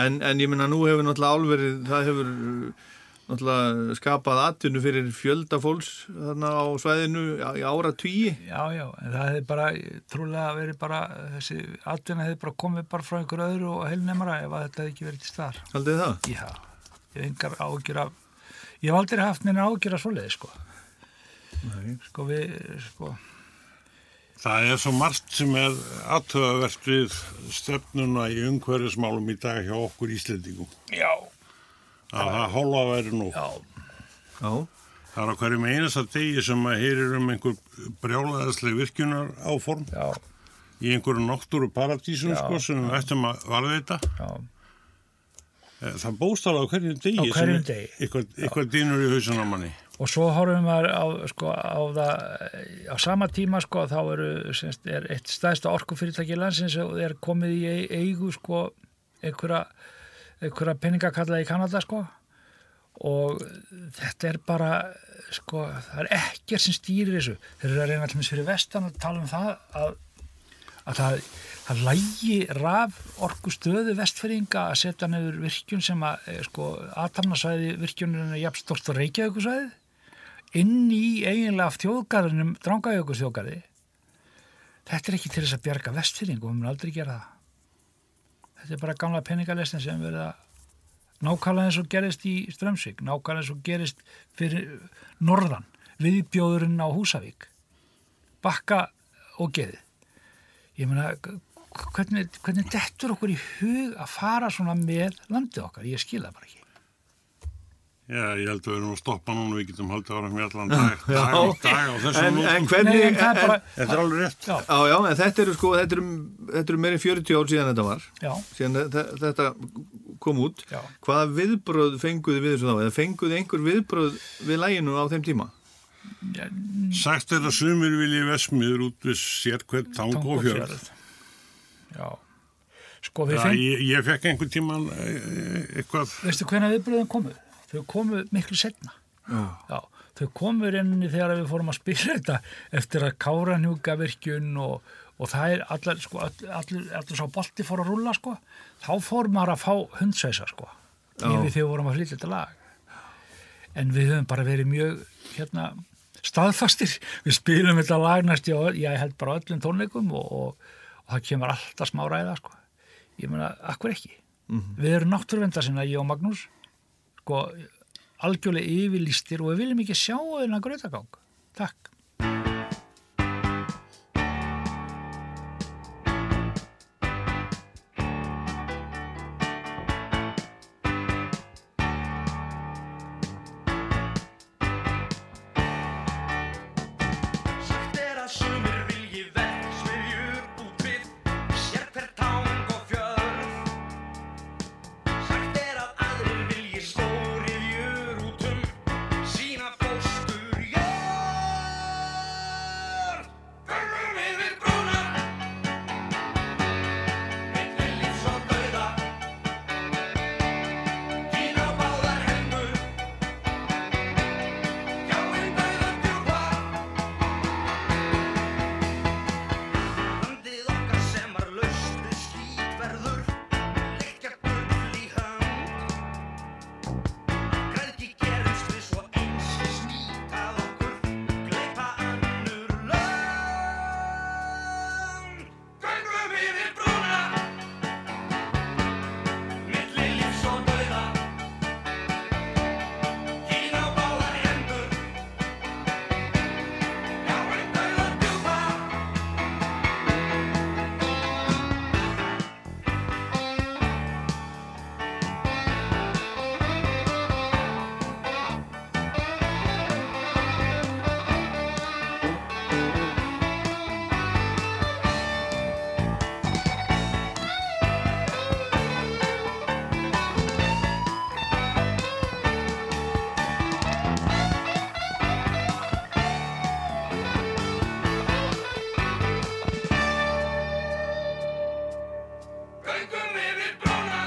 Speaker 1: En, en ég minna, nú hefur náttúrulega álverið, það hefur uh, náttúrulega skapað atvinnu fyrir fjölda fólks þarna á svæðinu á- í ára tíi.
Speaker 7: Já, já, en það hefði bara trúlega verið bara, þessi atvinna hefði bara komið bara frá einhver öðru og heilnemara ef að þetta hefði ekki verið til staðar.
Speaker 1: Haldið þið það?
Speaker 7: Já, ég hef engar ágjur af, ég hef aldrei haft neina ágjur af svoleiði, sko.
Speaker 1: Nei.
Speaker 7: Sko við, sko,
Speaker 6: Það er svo margt sem er aðtöðavert við stefnuna í umhverfismálum í dag hjá okkur Íslendingum.
Speaker 7: já,
Speaker 6: Að það hálfa væri nú.
Speaker 7: Já.
Speaker 1: Já.
Speaker 6: Það er á hverjum einasta degi sem að heyrir um einhver brjálæðisleg virkunar áform.
Speaker 7: Já.
Speaker 6: Í einhverju náttúru paradísum,
Speaker 7: Já.
Speaker 6: sko, sem við ættum að varðveita.
Speaker 7: Já.
Speaker 6: Eh, Það bóstar á hverjum degi.
Speaker 7: Á hverjum
Speaker 6: sem
Speaker 7: degi.
Speaker 6: Eitthvað, eitthvað dýnur í hausuna manni.
Speaker 7: og svo horfum við á, sko, á það, á sama tíma, sko, þá eru, semst, er eitt stæðsta orkufyrirtæki í landsins og er komið í ei- eigu, sko, einhverja, einhverja peningakalla í Kanada, sko. og þetta er bara sko, það er ekkert sem stýrir þessu þeir eru að reyna allmest fyrir vestan að tala um það að, að það, það lægi raf orku stöðu vestfyrringa að setja nefur virkjun sem að eh, sko, aðtamnasvæði virkjunum er jafn stort og reykjavíkusvæði inn í eiginlega þjóðgarðinum drangavíkus þjóðgarði þetta er ekki til þess að bjarga vestfyrringu við mun aldrei gera það þetta er bara gamla peningalestin sem verða nákvæmlega eins og gerist í Strömsvík, nákvæmlega eins og gerist fyrir norðan, viðbjóðurinn á Húsavík, bakka og geði ég meina h- hvernig, hvernig dettur okkur í hug að fara svona með landið okkar ég skil það bara ekki
Speaker 6: Já, ég held að við erum að stoppa núna, við getum haldið ára með allan dag, dag, og dag á
Speaker 1: en,
Speaker 6: þessum
Speaker 1: en
Speaker 6: nótum.
Speaker 1: hvernig
Speaker 7: Nei, en það er bara-
Speaker 6: Þetta er alveg rétt.
Speaker 7: já,
Speaker 1: Já, já, en þetta eru sko, þetta eru, þetta eru meiri 40 ár síðan þetta var,
Speaker 7: já,
Speaker 1: síðan þe- þetta kom út.
Speaker 7: Já.
Speaker 1: Hvaða viðbröð fenguðu við þessu þá? Eða fenguðu einhver viðbröð við læginu á þeim tíma?
Speaker 6: Sagt er að sumir vilji vesmiður út við sér hvert tang og fjörð.
Speaker 7: Tangófjörð. já sko við
Speaker 6: Já,
Speaker 7: fengum
Speaker 6: ég, ég fekk einhvern tíman eitthvað,
Speaker 7: veistu hvernig viðbröðin komu? Þau komu miklu setna. Já. þau komu reyninni þegar við fórum að spila þetta eftir að káranhjúka virkjun og, og það er allar, sko, all- allur, allur sá bolti fór að rúlla, sko, þá fór maður að fá hundsveisa, sko, yfir þegar við vorum að flytja þetta lag. En við höfum bara verið mjög, hérna, staðfastir. Við spilum þetta lag næst, já, ég held bara á öllum tónleikum og, og, og það kemur alltaf smá ræða, sko. Ég meina, akkur ekki? Við erum náttúruvenda sinna, ég og Magnús, sko, algjörlega yfirlýstir og við viljum ekki sjá þeirna grötagang. Takk.
Speaker 8: Sagt er að sumir vilji verksmiðjur út við sér hver táng og fjörð. Sagt er að aðrir vilji stóriðjur út um sína fóstur jörð. Förum yfir brúna, milli lífs og dauða. Þín á báðar hendur, Gjáinn dauðan djúpa Landið okkar sem var laust við skítverður, leggja gull í hönd. Græðgi gerumst við svo eins, snýtað okkur, gleypa önnur lönd. Göngum yfir brúna, milli lífs og dauða. Kín á báðar hendur, jáinn dauðan djúpa. Göngum yfir brúna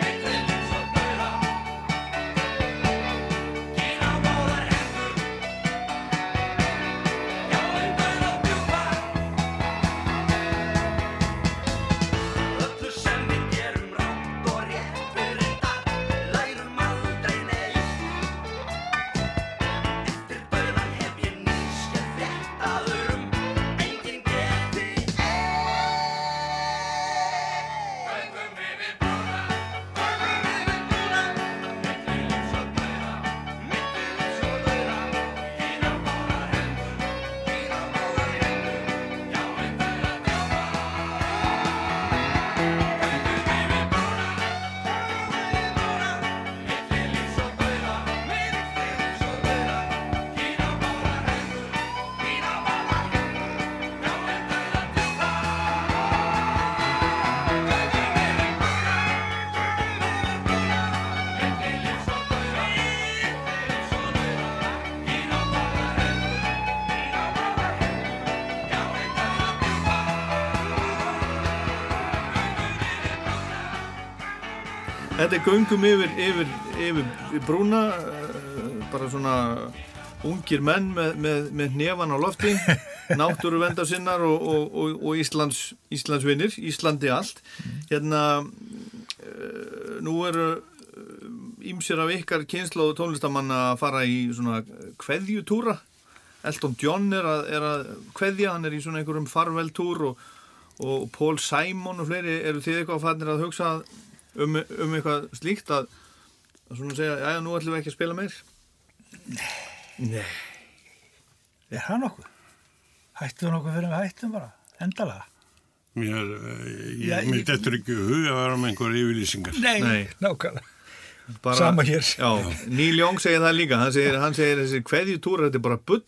Speaker 8: Milli lífs og dauða Kín á báðar hendur Já, en dauða djúpa Öllu sem við gerum rátt og rétt fyrir þetta Lærum aldrei neitt Eftir dauðan hef ég nýskjöld fréttaður um Engin geti Göngum yfir brúna, göngum yfir brúna Milli lífs og dauða, milli lífs og dauða Þínar báðar hendur, þínar báðar hendur Já, en dauða djúpa Göngum yfir brúna, göngum yfir brúna Milli lífs og dauða, milli lífs og dauða Þínar báðar hendur, þínar báðar hendur Já, en dauða djúpa
Speaker 1: Þetta er göngum yfir, yfir, yfir brúna, eh, bara svona ungir menn með, með, með hnefan á lofti, náttúru vendarsinnar og, og, og, og Íslands, Íslandsvinir, Íslandi allt. Hérna, eh, nú eru ímsir af ykkar kynslu og tónlistamanna að fara í svona kveðjutúra. Elton John er að, er að kveðja, hann er í svona einhverjum farveltúr og, og Paul Simon og fleiri, eru þið eitthvað fannir að hugsa um, um eitthvað slíkt að, að svona segja, já, nú ætlum við ekki að spila meir?
Speaker 7: Er það nokkuð? Hættum við nokkuð fyrir við hættum bara, endalega.
Speaker 6: Mér, eh, ég,
Speaker 7: Já,
Speaker 6: mér
Speaker 7: ég-
Speaker 6: dettur ekki í hug að vera með einhverja yfirlýsingar.
Speaker 7: Nei,
Speaker 1: Nei.
Speaker 7: nákvæmlega.
Speaker 1: bara,
Speaker 7: Sama hér.
Speaker 1: já, Neil Young segir það líka hann segir, hann segir þessi kveðjutúrar þetta er bara bull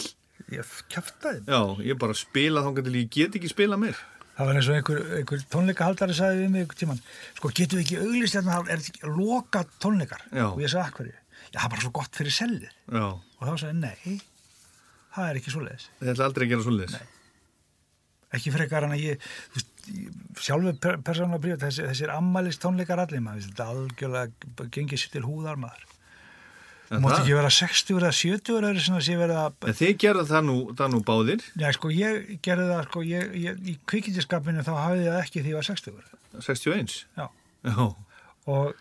Speaker 7: Ég kæftaði.
Speaker 1: já, ég bara spila þá til ég get ekki spila mér
Speaker 7: Það var eins og einhver, einhver tónleikahaldari sagði við mig einhver tíman, sko getum við ekki auglýst þarna, það er ekki loka tónleikar.
Speaker 1: Já.
Speaker 7: Og ég sagði að hverju, já það er bara svo gott fyrir sellið.
Speaker 1: já,
Speaker 7: Og þá sagði, ég, nei, það er ekki svoleiðis.
Speaker 1: þetta er aldrei að gera svolítið
Speaker 7: Ekki frekar en að ég, þú veist, ég- sjálfur per, persónulega bríða, þessi, þessir ammælist tónleikar allir maður, þetta er algjörlega b- gengið sér til húðar maður. Þú mátt ekki vera 60 eða 70 eða sem að sé verið að
Speaker 1: en þið gerðu það nú, það nú báðir
Speaker 7: Já, sko, ég gerði það, sko, ég, ég, í kvikindjaskapinu þá hafði ég það ekki því ég var 60
Speaker 1: 61
Speaker 7: Já.
Speaker 1: já,
Speaker 7: og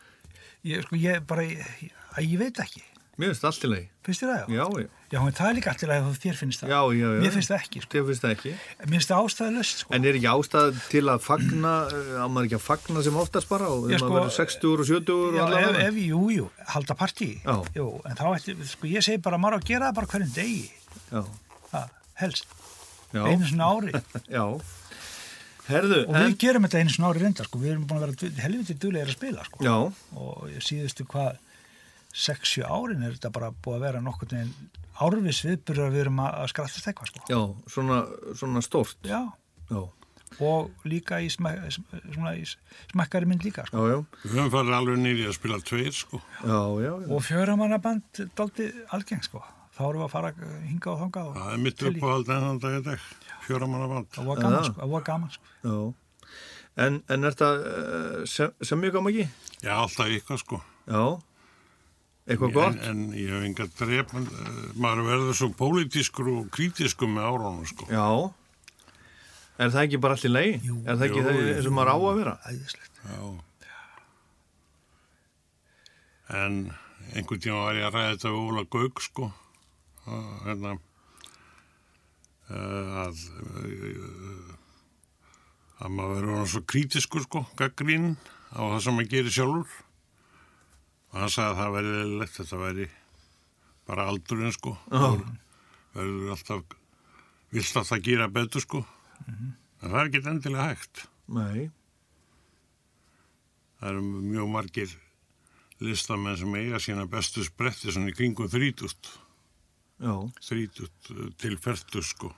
Speaker 7: ég, sko, ég bara, ég, að ég veit ekki,
Speaker 1: mér finnst allt í lagi
Speaker 7: finnst þér það?
Speaker 1: já, já,
Speaker 7: Já, en það er líka alltaf að þér finnst það.
Speaker 1: já, já, já.
Speaker 7: Mér finnst það ekki, sko.
Speaker 1: Þér finnst það ekki
Speaker 7: Mér finnst það ástæðilust, sko.
Speaker 1: En er ekki ástæð til að fagna, eh, á maður ekki að fagna sem oftast bara og
Speaker 7: Ég
Speaker 1: þegar
Speaker 7: sko-
Speaker 1: maður verður 60 og 70
Speaker 7: Já,
Speaker 1: og
Speaker 7: ef,
Speaker 1: allavega?
Speaker 7: ef, jú, jú, halda partí.
Speaker 1: Já.
Speaker 7: Jú, en þá ætti, sko, ég segi bara, maður á að gera það bara hverjum degi.
Speaker 1: Já,
Speaker 7: Ha, helst,
Speaker 1: já,
Speaker 7: einu svona
Speaker 1: <laughs>
Speaker 7: ári.
Speaker 1: já. Herðu,
Speaker 7: Og við
Speaker 1: en,
Speaker 7: gerum þetta einu svona ári reynda, sko. Við erum búin að vera du- helviti duglegir að spila, sko.
Speaker 1: já,
Speaker 7: og síðustu hvað 6-7 árin er þetta bara búið að vera nokkur neginn árvis viðbyrður að við erum að, að skrattast eitthvað sko.
Speaker 1: já, svona, svona stórt.
Speaker 7: Já,
Speaker 1: Já,
Speaker 7: og líka í, smek, svona, í smekkari mynd líka sko.
Speaker 1: já, já,
Speaker 6: Við höfum farið alveg nýri að spila tveir, sko.
Speaker 1: já, já, já.
Speaker 7: og fjöramannaband daldi algeng sko. þá erum við að fara eh, hingað og þangað og
Speaker 6: Það er mitt
Speaker 7: til í.
Speaker 6: uppáhald en þann dag í dag. Fjóra manna band.
Speaker 7: það var
Speaker 1: Já.
Speaker 7: gaman, sko, það var gaman sko.
Speaker 1: já. En, en er þetta eh, sem, sem mjög gaman ekki?
Speaker 6: Já, alltaf eitthvað, sko.
Speaker 1: Já. Eitthvað gott?
Speaker 6: En, en ég hef enga dref, maður verður svo pólitískur og krítiskur með árónu, sko.
Speaker 1: Já. Er það ekki bara allt í lagi? Er það ekki
Speaker 6: Jú,
Speaker 1: það
Speaker 6: jú.
Speaker 1: eins og maður á að vera?
Speaker 7: æðislegt
Speaker 6: Já. En einhvern tíma var ég að ræða þetta við Óla Gauk, sko. Og, hérna, eh, að, eh, að maður verður orðinn svo krítiskur, sko, gaggrín á það sem maður gerir sjálfur. Og hann sagði að það verði leiðilegt, þetta verði bara aldurinn, sko. Oh. Verður alltaf, vilt alltaf gera betur, sko. En það er ekki endilega hægt.
Speaker 1: Nei.
Speaker 6: Það eru mjög margir listamenn sem eiga sína bestu spretti svona í kringum þrítut,
Speaker 1: Já.
Speaker 6: þrítut til fertu sko.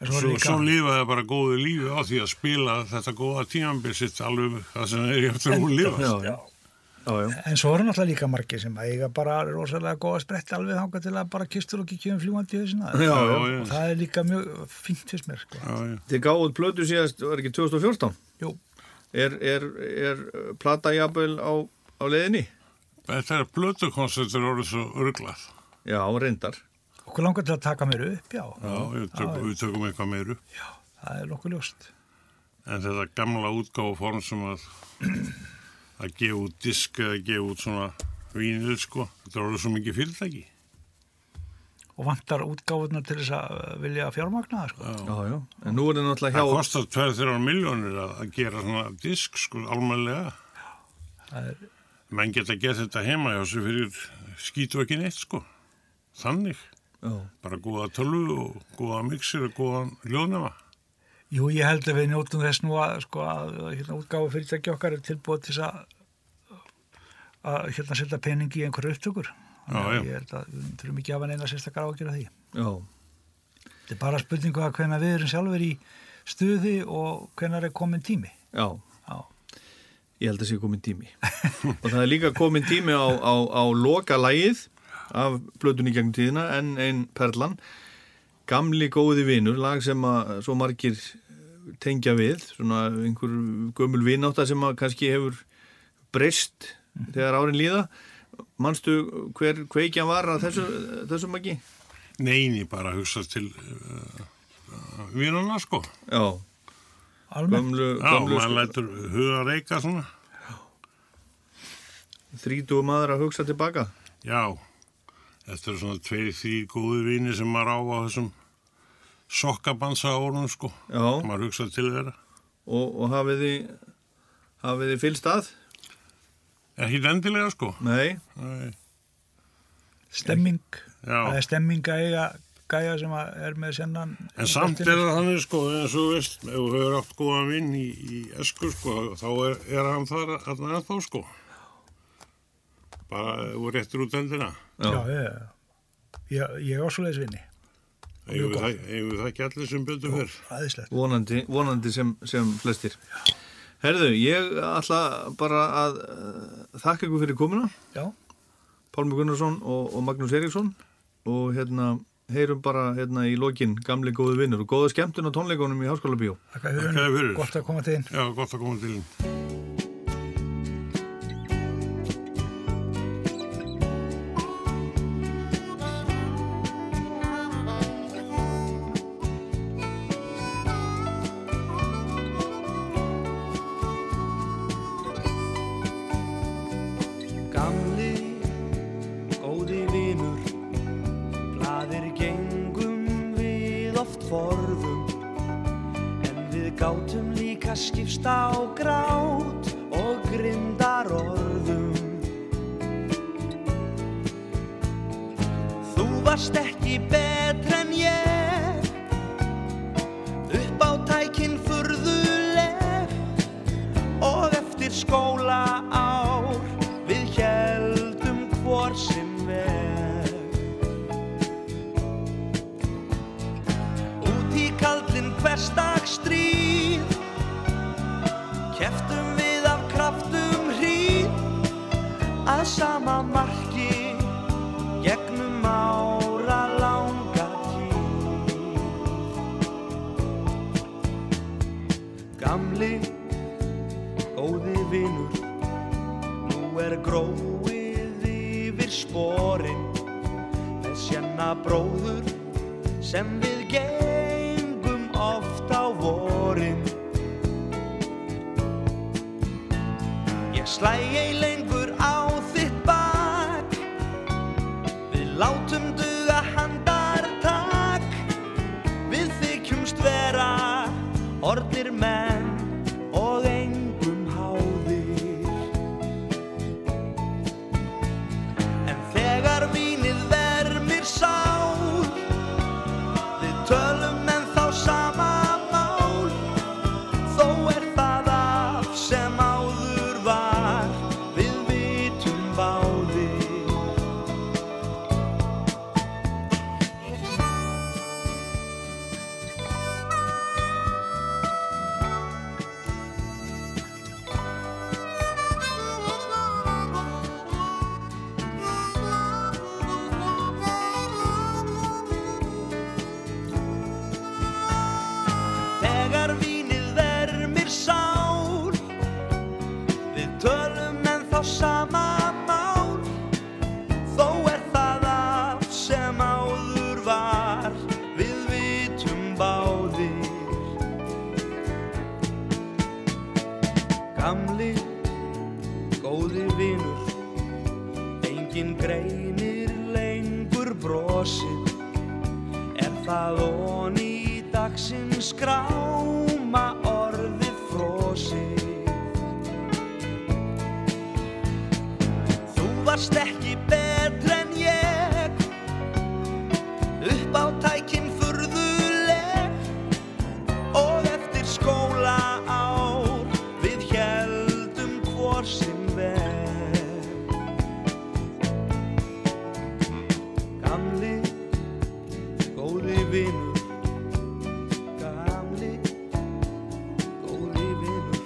Speaker 7: En svo, er
Speaker 6: Svo,
Speaker 7: líka,
Speaker 6: svo lifa það bara góðu lífi á því að spila þetta góða tímambil sitt alveg það sem er eftir að hún lifa. sko.
Speaker 1: Já, já. Já, já.
Speaker 7: en svo eru náttúrulega líka margir sem að eiga bara rosalega góða sprett alveg þangað til að bara kistur og kikjum fljúandi í hausina
Speaker 1: Já, já.
Speaker 6: já.
Speaker 7: og það er líka mjög fínt fyrst mér sko.
Speaker 6: Já, já.
Speaker 1: Þið gáðuð plötu síðast, var ekki 2014?
Speaker 7: Jú.
Speaker 1: Er, er, er plata jafnvel á, á leiðinni?
Speaker 6: Þetta er blödukonsertur orðið svo örglað.
Speaker 1: Já, reyndar.
Speaker 7: okkur langar til að taka mér upp, já,
Speaker 6: Já, við tökum, við tökum eitthvað meiru.
Speaker 7: það er nokkuð ljóst
Speaker 6: En þetta gamla útgáfuform sem að, að gefa út disk eða gefa út svona vínil sko, þetta er orðið svo mikið fyrirtæki.
Speaker 7: og vantar útgáfurnar til þess að uh, vilja fjármagna það sko.
Speaker 1: Já, já. En nú er það náttúrulega
Speaker 6: Það
Speaker 1: hjá...
Speaker 6: kostar 2-3 miljónir að að gera svona disk, sko, almennlega.
Speaker 7: það er,
Speaker 6: Menn geta gett þetta heima hjá sig fyrir skýtu ekki neitt, sko. Þannig.
Speaker 1: Já.
Speaker 6: Bara góða tölvu og góða mixir og góðan ljóðnema.
Speaker 7: jú, ég held að við njótum þess nú að, sko, að hérna, útgáfu fyrirtæki okkar er tilbúið til þess að uh, að hérna setja pening í einhverju upptökur Þannig að
Speaker 6: já.
Speaker 7: ég held að við þurfum ekki að hafa neina sérstakar á að gera því
Speaker 1: Já.
Speaker 7: þetta er bara spurningu að hvenna við erum sjálfur í stuði og hvenna er komin tími
Speaker 1: Já.
Speaker 7: já,
Speaker 1: Ég held að það sé komin tími. og það er líka komin tími á, á, á loka lægið af plötunni í gegnum tíðina en ein perlan. Gamli góði vinur, lag sem að svo margir eh, tengja við, svona einhver gömul vináta sem að kannski hefur breyst
Speaker 6: Mhm.
Speaker 1: þegar árin líða. Manstu hver kveikja var að þessu, þessum ekki?
Speaker 6: Neini bara hugsa til uh, vínuna, sko.
Speaker 1: Já,
Speaker 7: almennt
Speaker 1: gömlu,
Speaker 6: Já,
Speaker 1: gömlu
Speaker 6: maður lætur huga reyka svona.
Speaker 1: þrítu maður að hugsa tilbaka.
Speaker 6: Já, þetta eru svona tveir, þrýr góði vini sem maður á á þessum sokkabansa árunum, sko.
Speaker 1: Já.
Speaker 6: Maður hugsa til þeirra.
Speaker 1: og, og hafið þið hafið þið fylgst að?
Speaker 6: Ekki endilega, sko.
Speaker 1: Nei,
Speaker 6: Nei.
Speaker 7: stemming
Speaker 6: Já.
Speaker 7: það er stemming að eiga gæja sem að er með sennan
Speaker 6: En samt er það þannig sko, eins og þú veist, ef þú hefur átt góðan vinn í, í esku sko, þá er, er hann þar að þá sko. Bara ef þú réttir út endina.
Speaker 7: Já, já, já, já. Ég, ég er ásvoleiðis vinni
Speaker 6: Eigum við það- eigum við það ekki allir sem betur fyrr.
Speaker 7: Æðislegt
Speaker 1: vonandi, vonandi sem, sem flestir Herðu, ég ætla bara að uh, þakka ykkur fyrir komuna
Speaker 7: Já.
Speaker 1: Pálmi Gunnarsson og, og Magnús Eriksson og hérna, heyrum bara hérna í lokin gamli góði vinnur og góða skemmtun á tónleikunum í Háskóla Bíó
Speaker 7: Þakka fyrir.
Speaker 6: Þakka fyrir.
Speaker 7: Gott að koma til þín
Speaker 6: Já, gott að koma til þín.
Speaker 2: Gamli, góði vinur Gladir gengum við oft forðum En við gátum líka skipst á grát Og grindar orðum Þú varst ekki betr en ég Upp á tækin furðuleg Og eftir skóla ár Við heldum hvor sem er Út í kaldin hverstak stríð Keftum við af kraftum hríð Að sama marki Gegnum ára langa tíð Gamli góði vinur Nú er gróið yfir sporin Með sjanna bróður sem við gengum oft á vorin Ég slæ ei lengur á þitt bak Við látum duga handartak Við þykjumst vera orðnir menn og engum háðir En þegar vínið vermir sál Við tölum en þá sama mál Þó er það af sem áður var Við vitum báðir Þegar vínið vermir sál Við tölum en þá sama mál Þó er það af sem áður var Við vitum báðir Gamli, góði vinur Engin greinir lengur brosið Er það von í dagsins gráma orðið frosið Þú varst ekki betr en ég Upp á tækin furðuleg Og eftir skóla ár Við heldum hvor sem veg Gamli góði vinur gamli góði vinur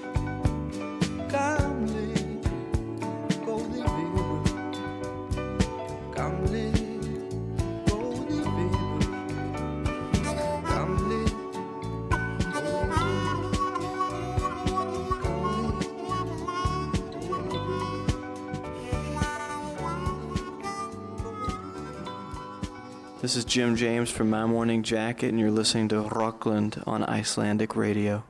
Speaker 2: gamli góði vinur gamli góði vinur gamli
Speaker 12: This is Jim James from My Morning Jacket, and you're listening to Rockland on Icelandic Radio.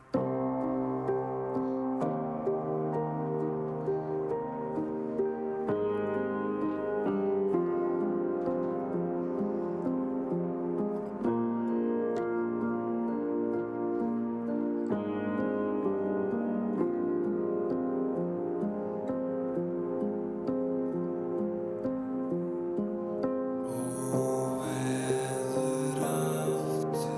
Speaker 2: Óveður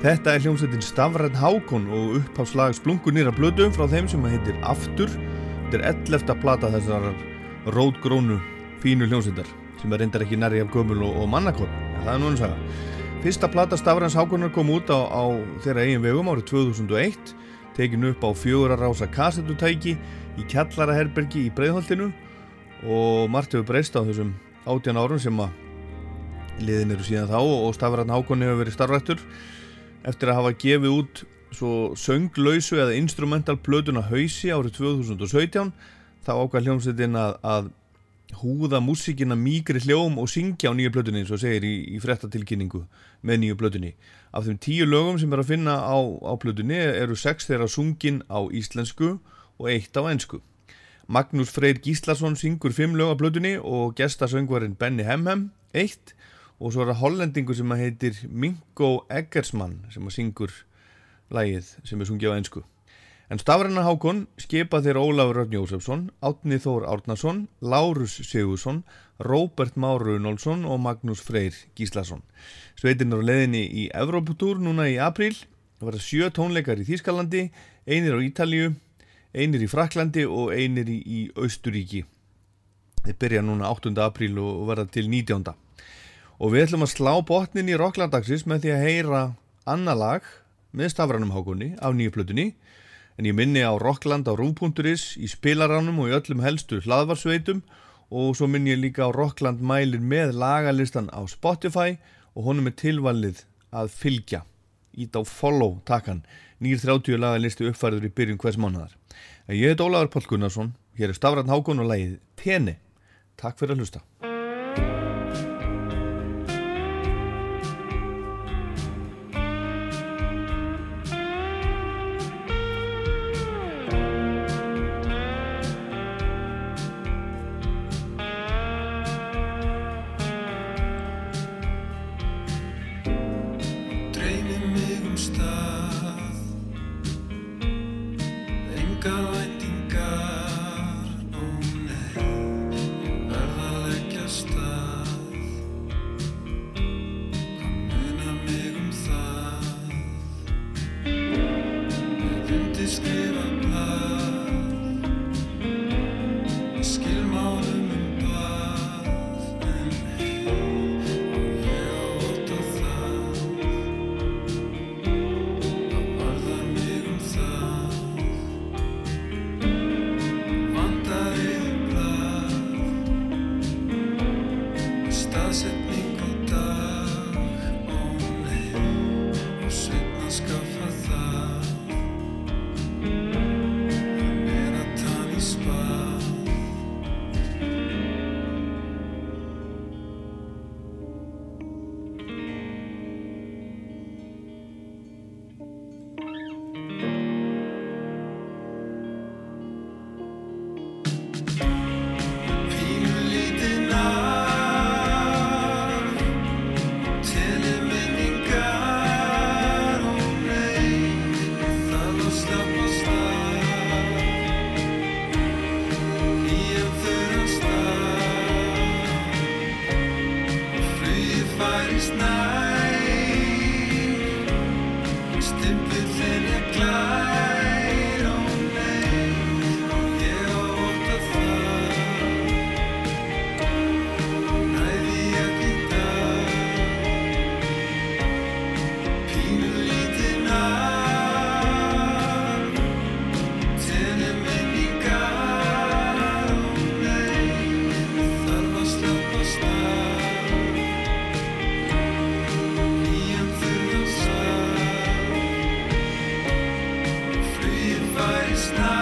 Speaker 1: Þetta er hljómsveitin Stafræn Hákon og uppháslag splungunir að blödu frá þeim sem að heitir Aftur. Þetta er 11. plata þessar rótgrónu fínu hljómsveitar sem er reyndar ekki nærri af gömul og, og mannakon. En það er nú eins að Fyrsta plata Stafræns Hákonar kom út á, á þeirra eigin vegum árið 2001 tekin upp á fjögur að rása kassetutæki í kjallaraherbergi í Breiðholtinu og margt hefur breyst á þessum 18 árum sem að liðin eru síðan þá og Stafræn Hákon hefur verið starfrættur eftir að hafa gefið út svo sönglausu eða instrumental plötuna hausi árið 2017 þá ákvað hljómsveitin að, að húða músíkina mýgri hljóm og syngja á nýju plötunni eins og segir í, í frettatilkynningu með nýju plötunni af þeim tíu lögum sem er að finna á, á plötunni eru sex þeirra sungin á íslensku og eitt á ensku Magnús Freyr Gíslason syngur fimm lög á plötunni og gestasöngvarinn Benny Hemhem eitt og svo er það hollendingur sem að heitir Mingo Eggersmann sem að syngur lægið sem er sungið á ensku En Stafræna Hákon skipa þeir Ólafur Örn Jósefsson, Átni Þór Árnason, Lárus Sigursson, Róbert Már Runolfsson og Magnús Freyr Gíslason. Sveitin eru á leiðinni í Evróputúr núna í apríl. Það verða sjö tónleikar í Þýskalandi, einir á Ítalíu, einir í Fraklandi og einir í, í Austuríki. Þeir byrja núna 8. apríl og verða til 19. Og við ætlum að slá botnin í rocklandagsins með því að heyra annar lag með Stafrænum Hákonni af nýju plötunni en ég minni á Rockland á Rú.is, í spilaránum og í öllum helstu hlaðvarsveitum og svo minni ég líka á Rockland mælin með lagalistan á Spotify og honum er tilvalið að fylgja ít á follow takkan 930 lagalisti uppfærður í byrjun hvers mánadar en ég heit Ólafur Pál Gunnarsson hér er Stafran Hákon og lagið Tene Takk fyrir að hlusta
Speaker 8: Dreymi mig um stað Engar væntingar Ó nei Ég verð að leggja af stað Hvað munar mig um það Ég undi skrifa blað Ég skil málum um bað En nei Ég á ótt á það Varðar mig um það Vandar yfir blað Staðsetning og dag Ó nei Og sveitna skaffa það Hann er að tann í spað Stimpillin er glær, ó nei, og ég á ótt að það Næði ekki dag Pínu lítið nafn Tenni minningar Ó nei, þarf að slöpa stað Nýjan þurfa stað Flugið færi snart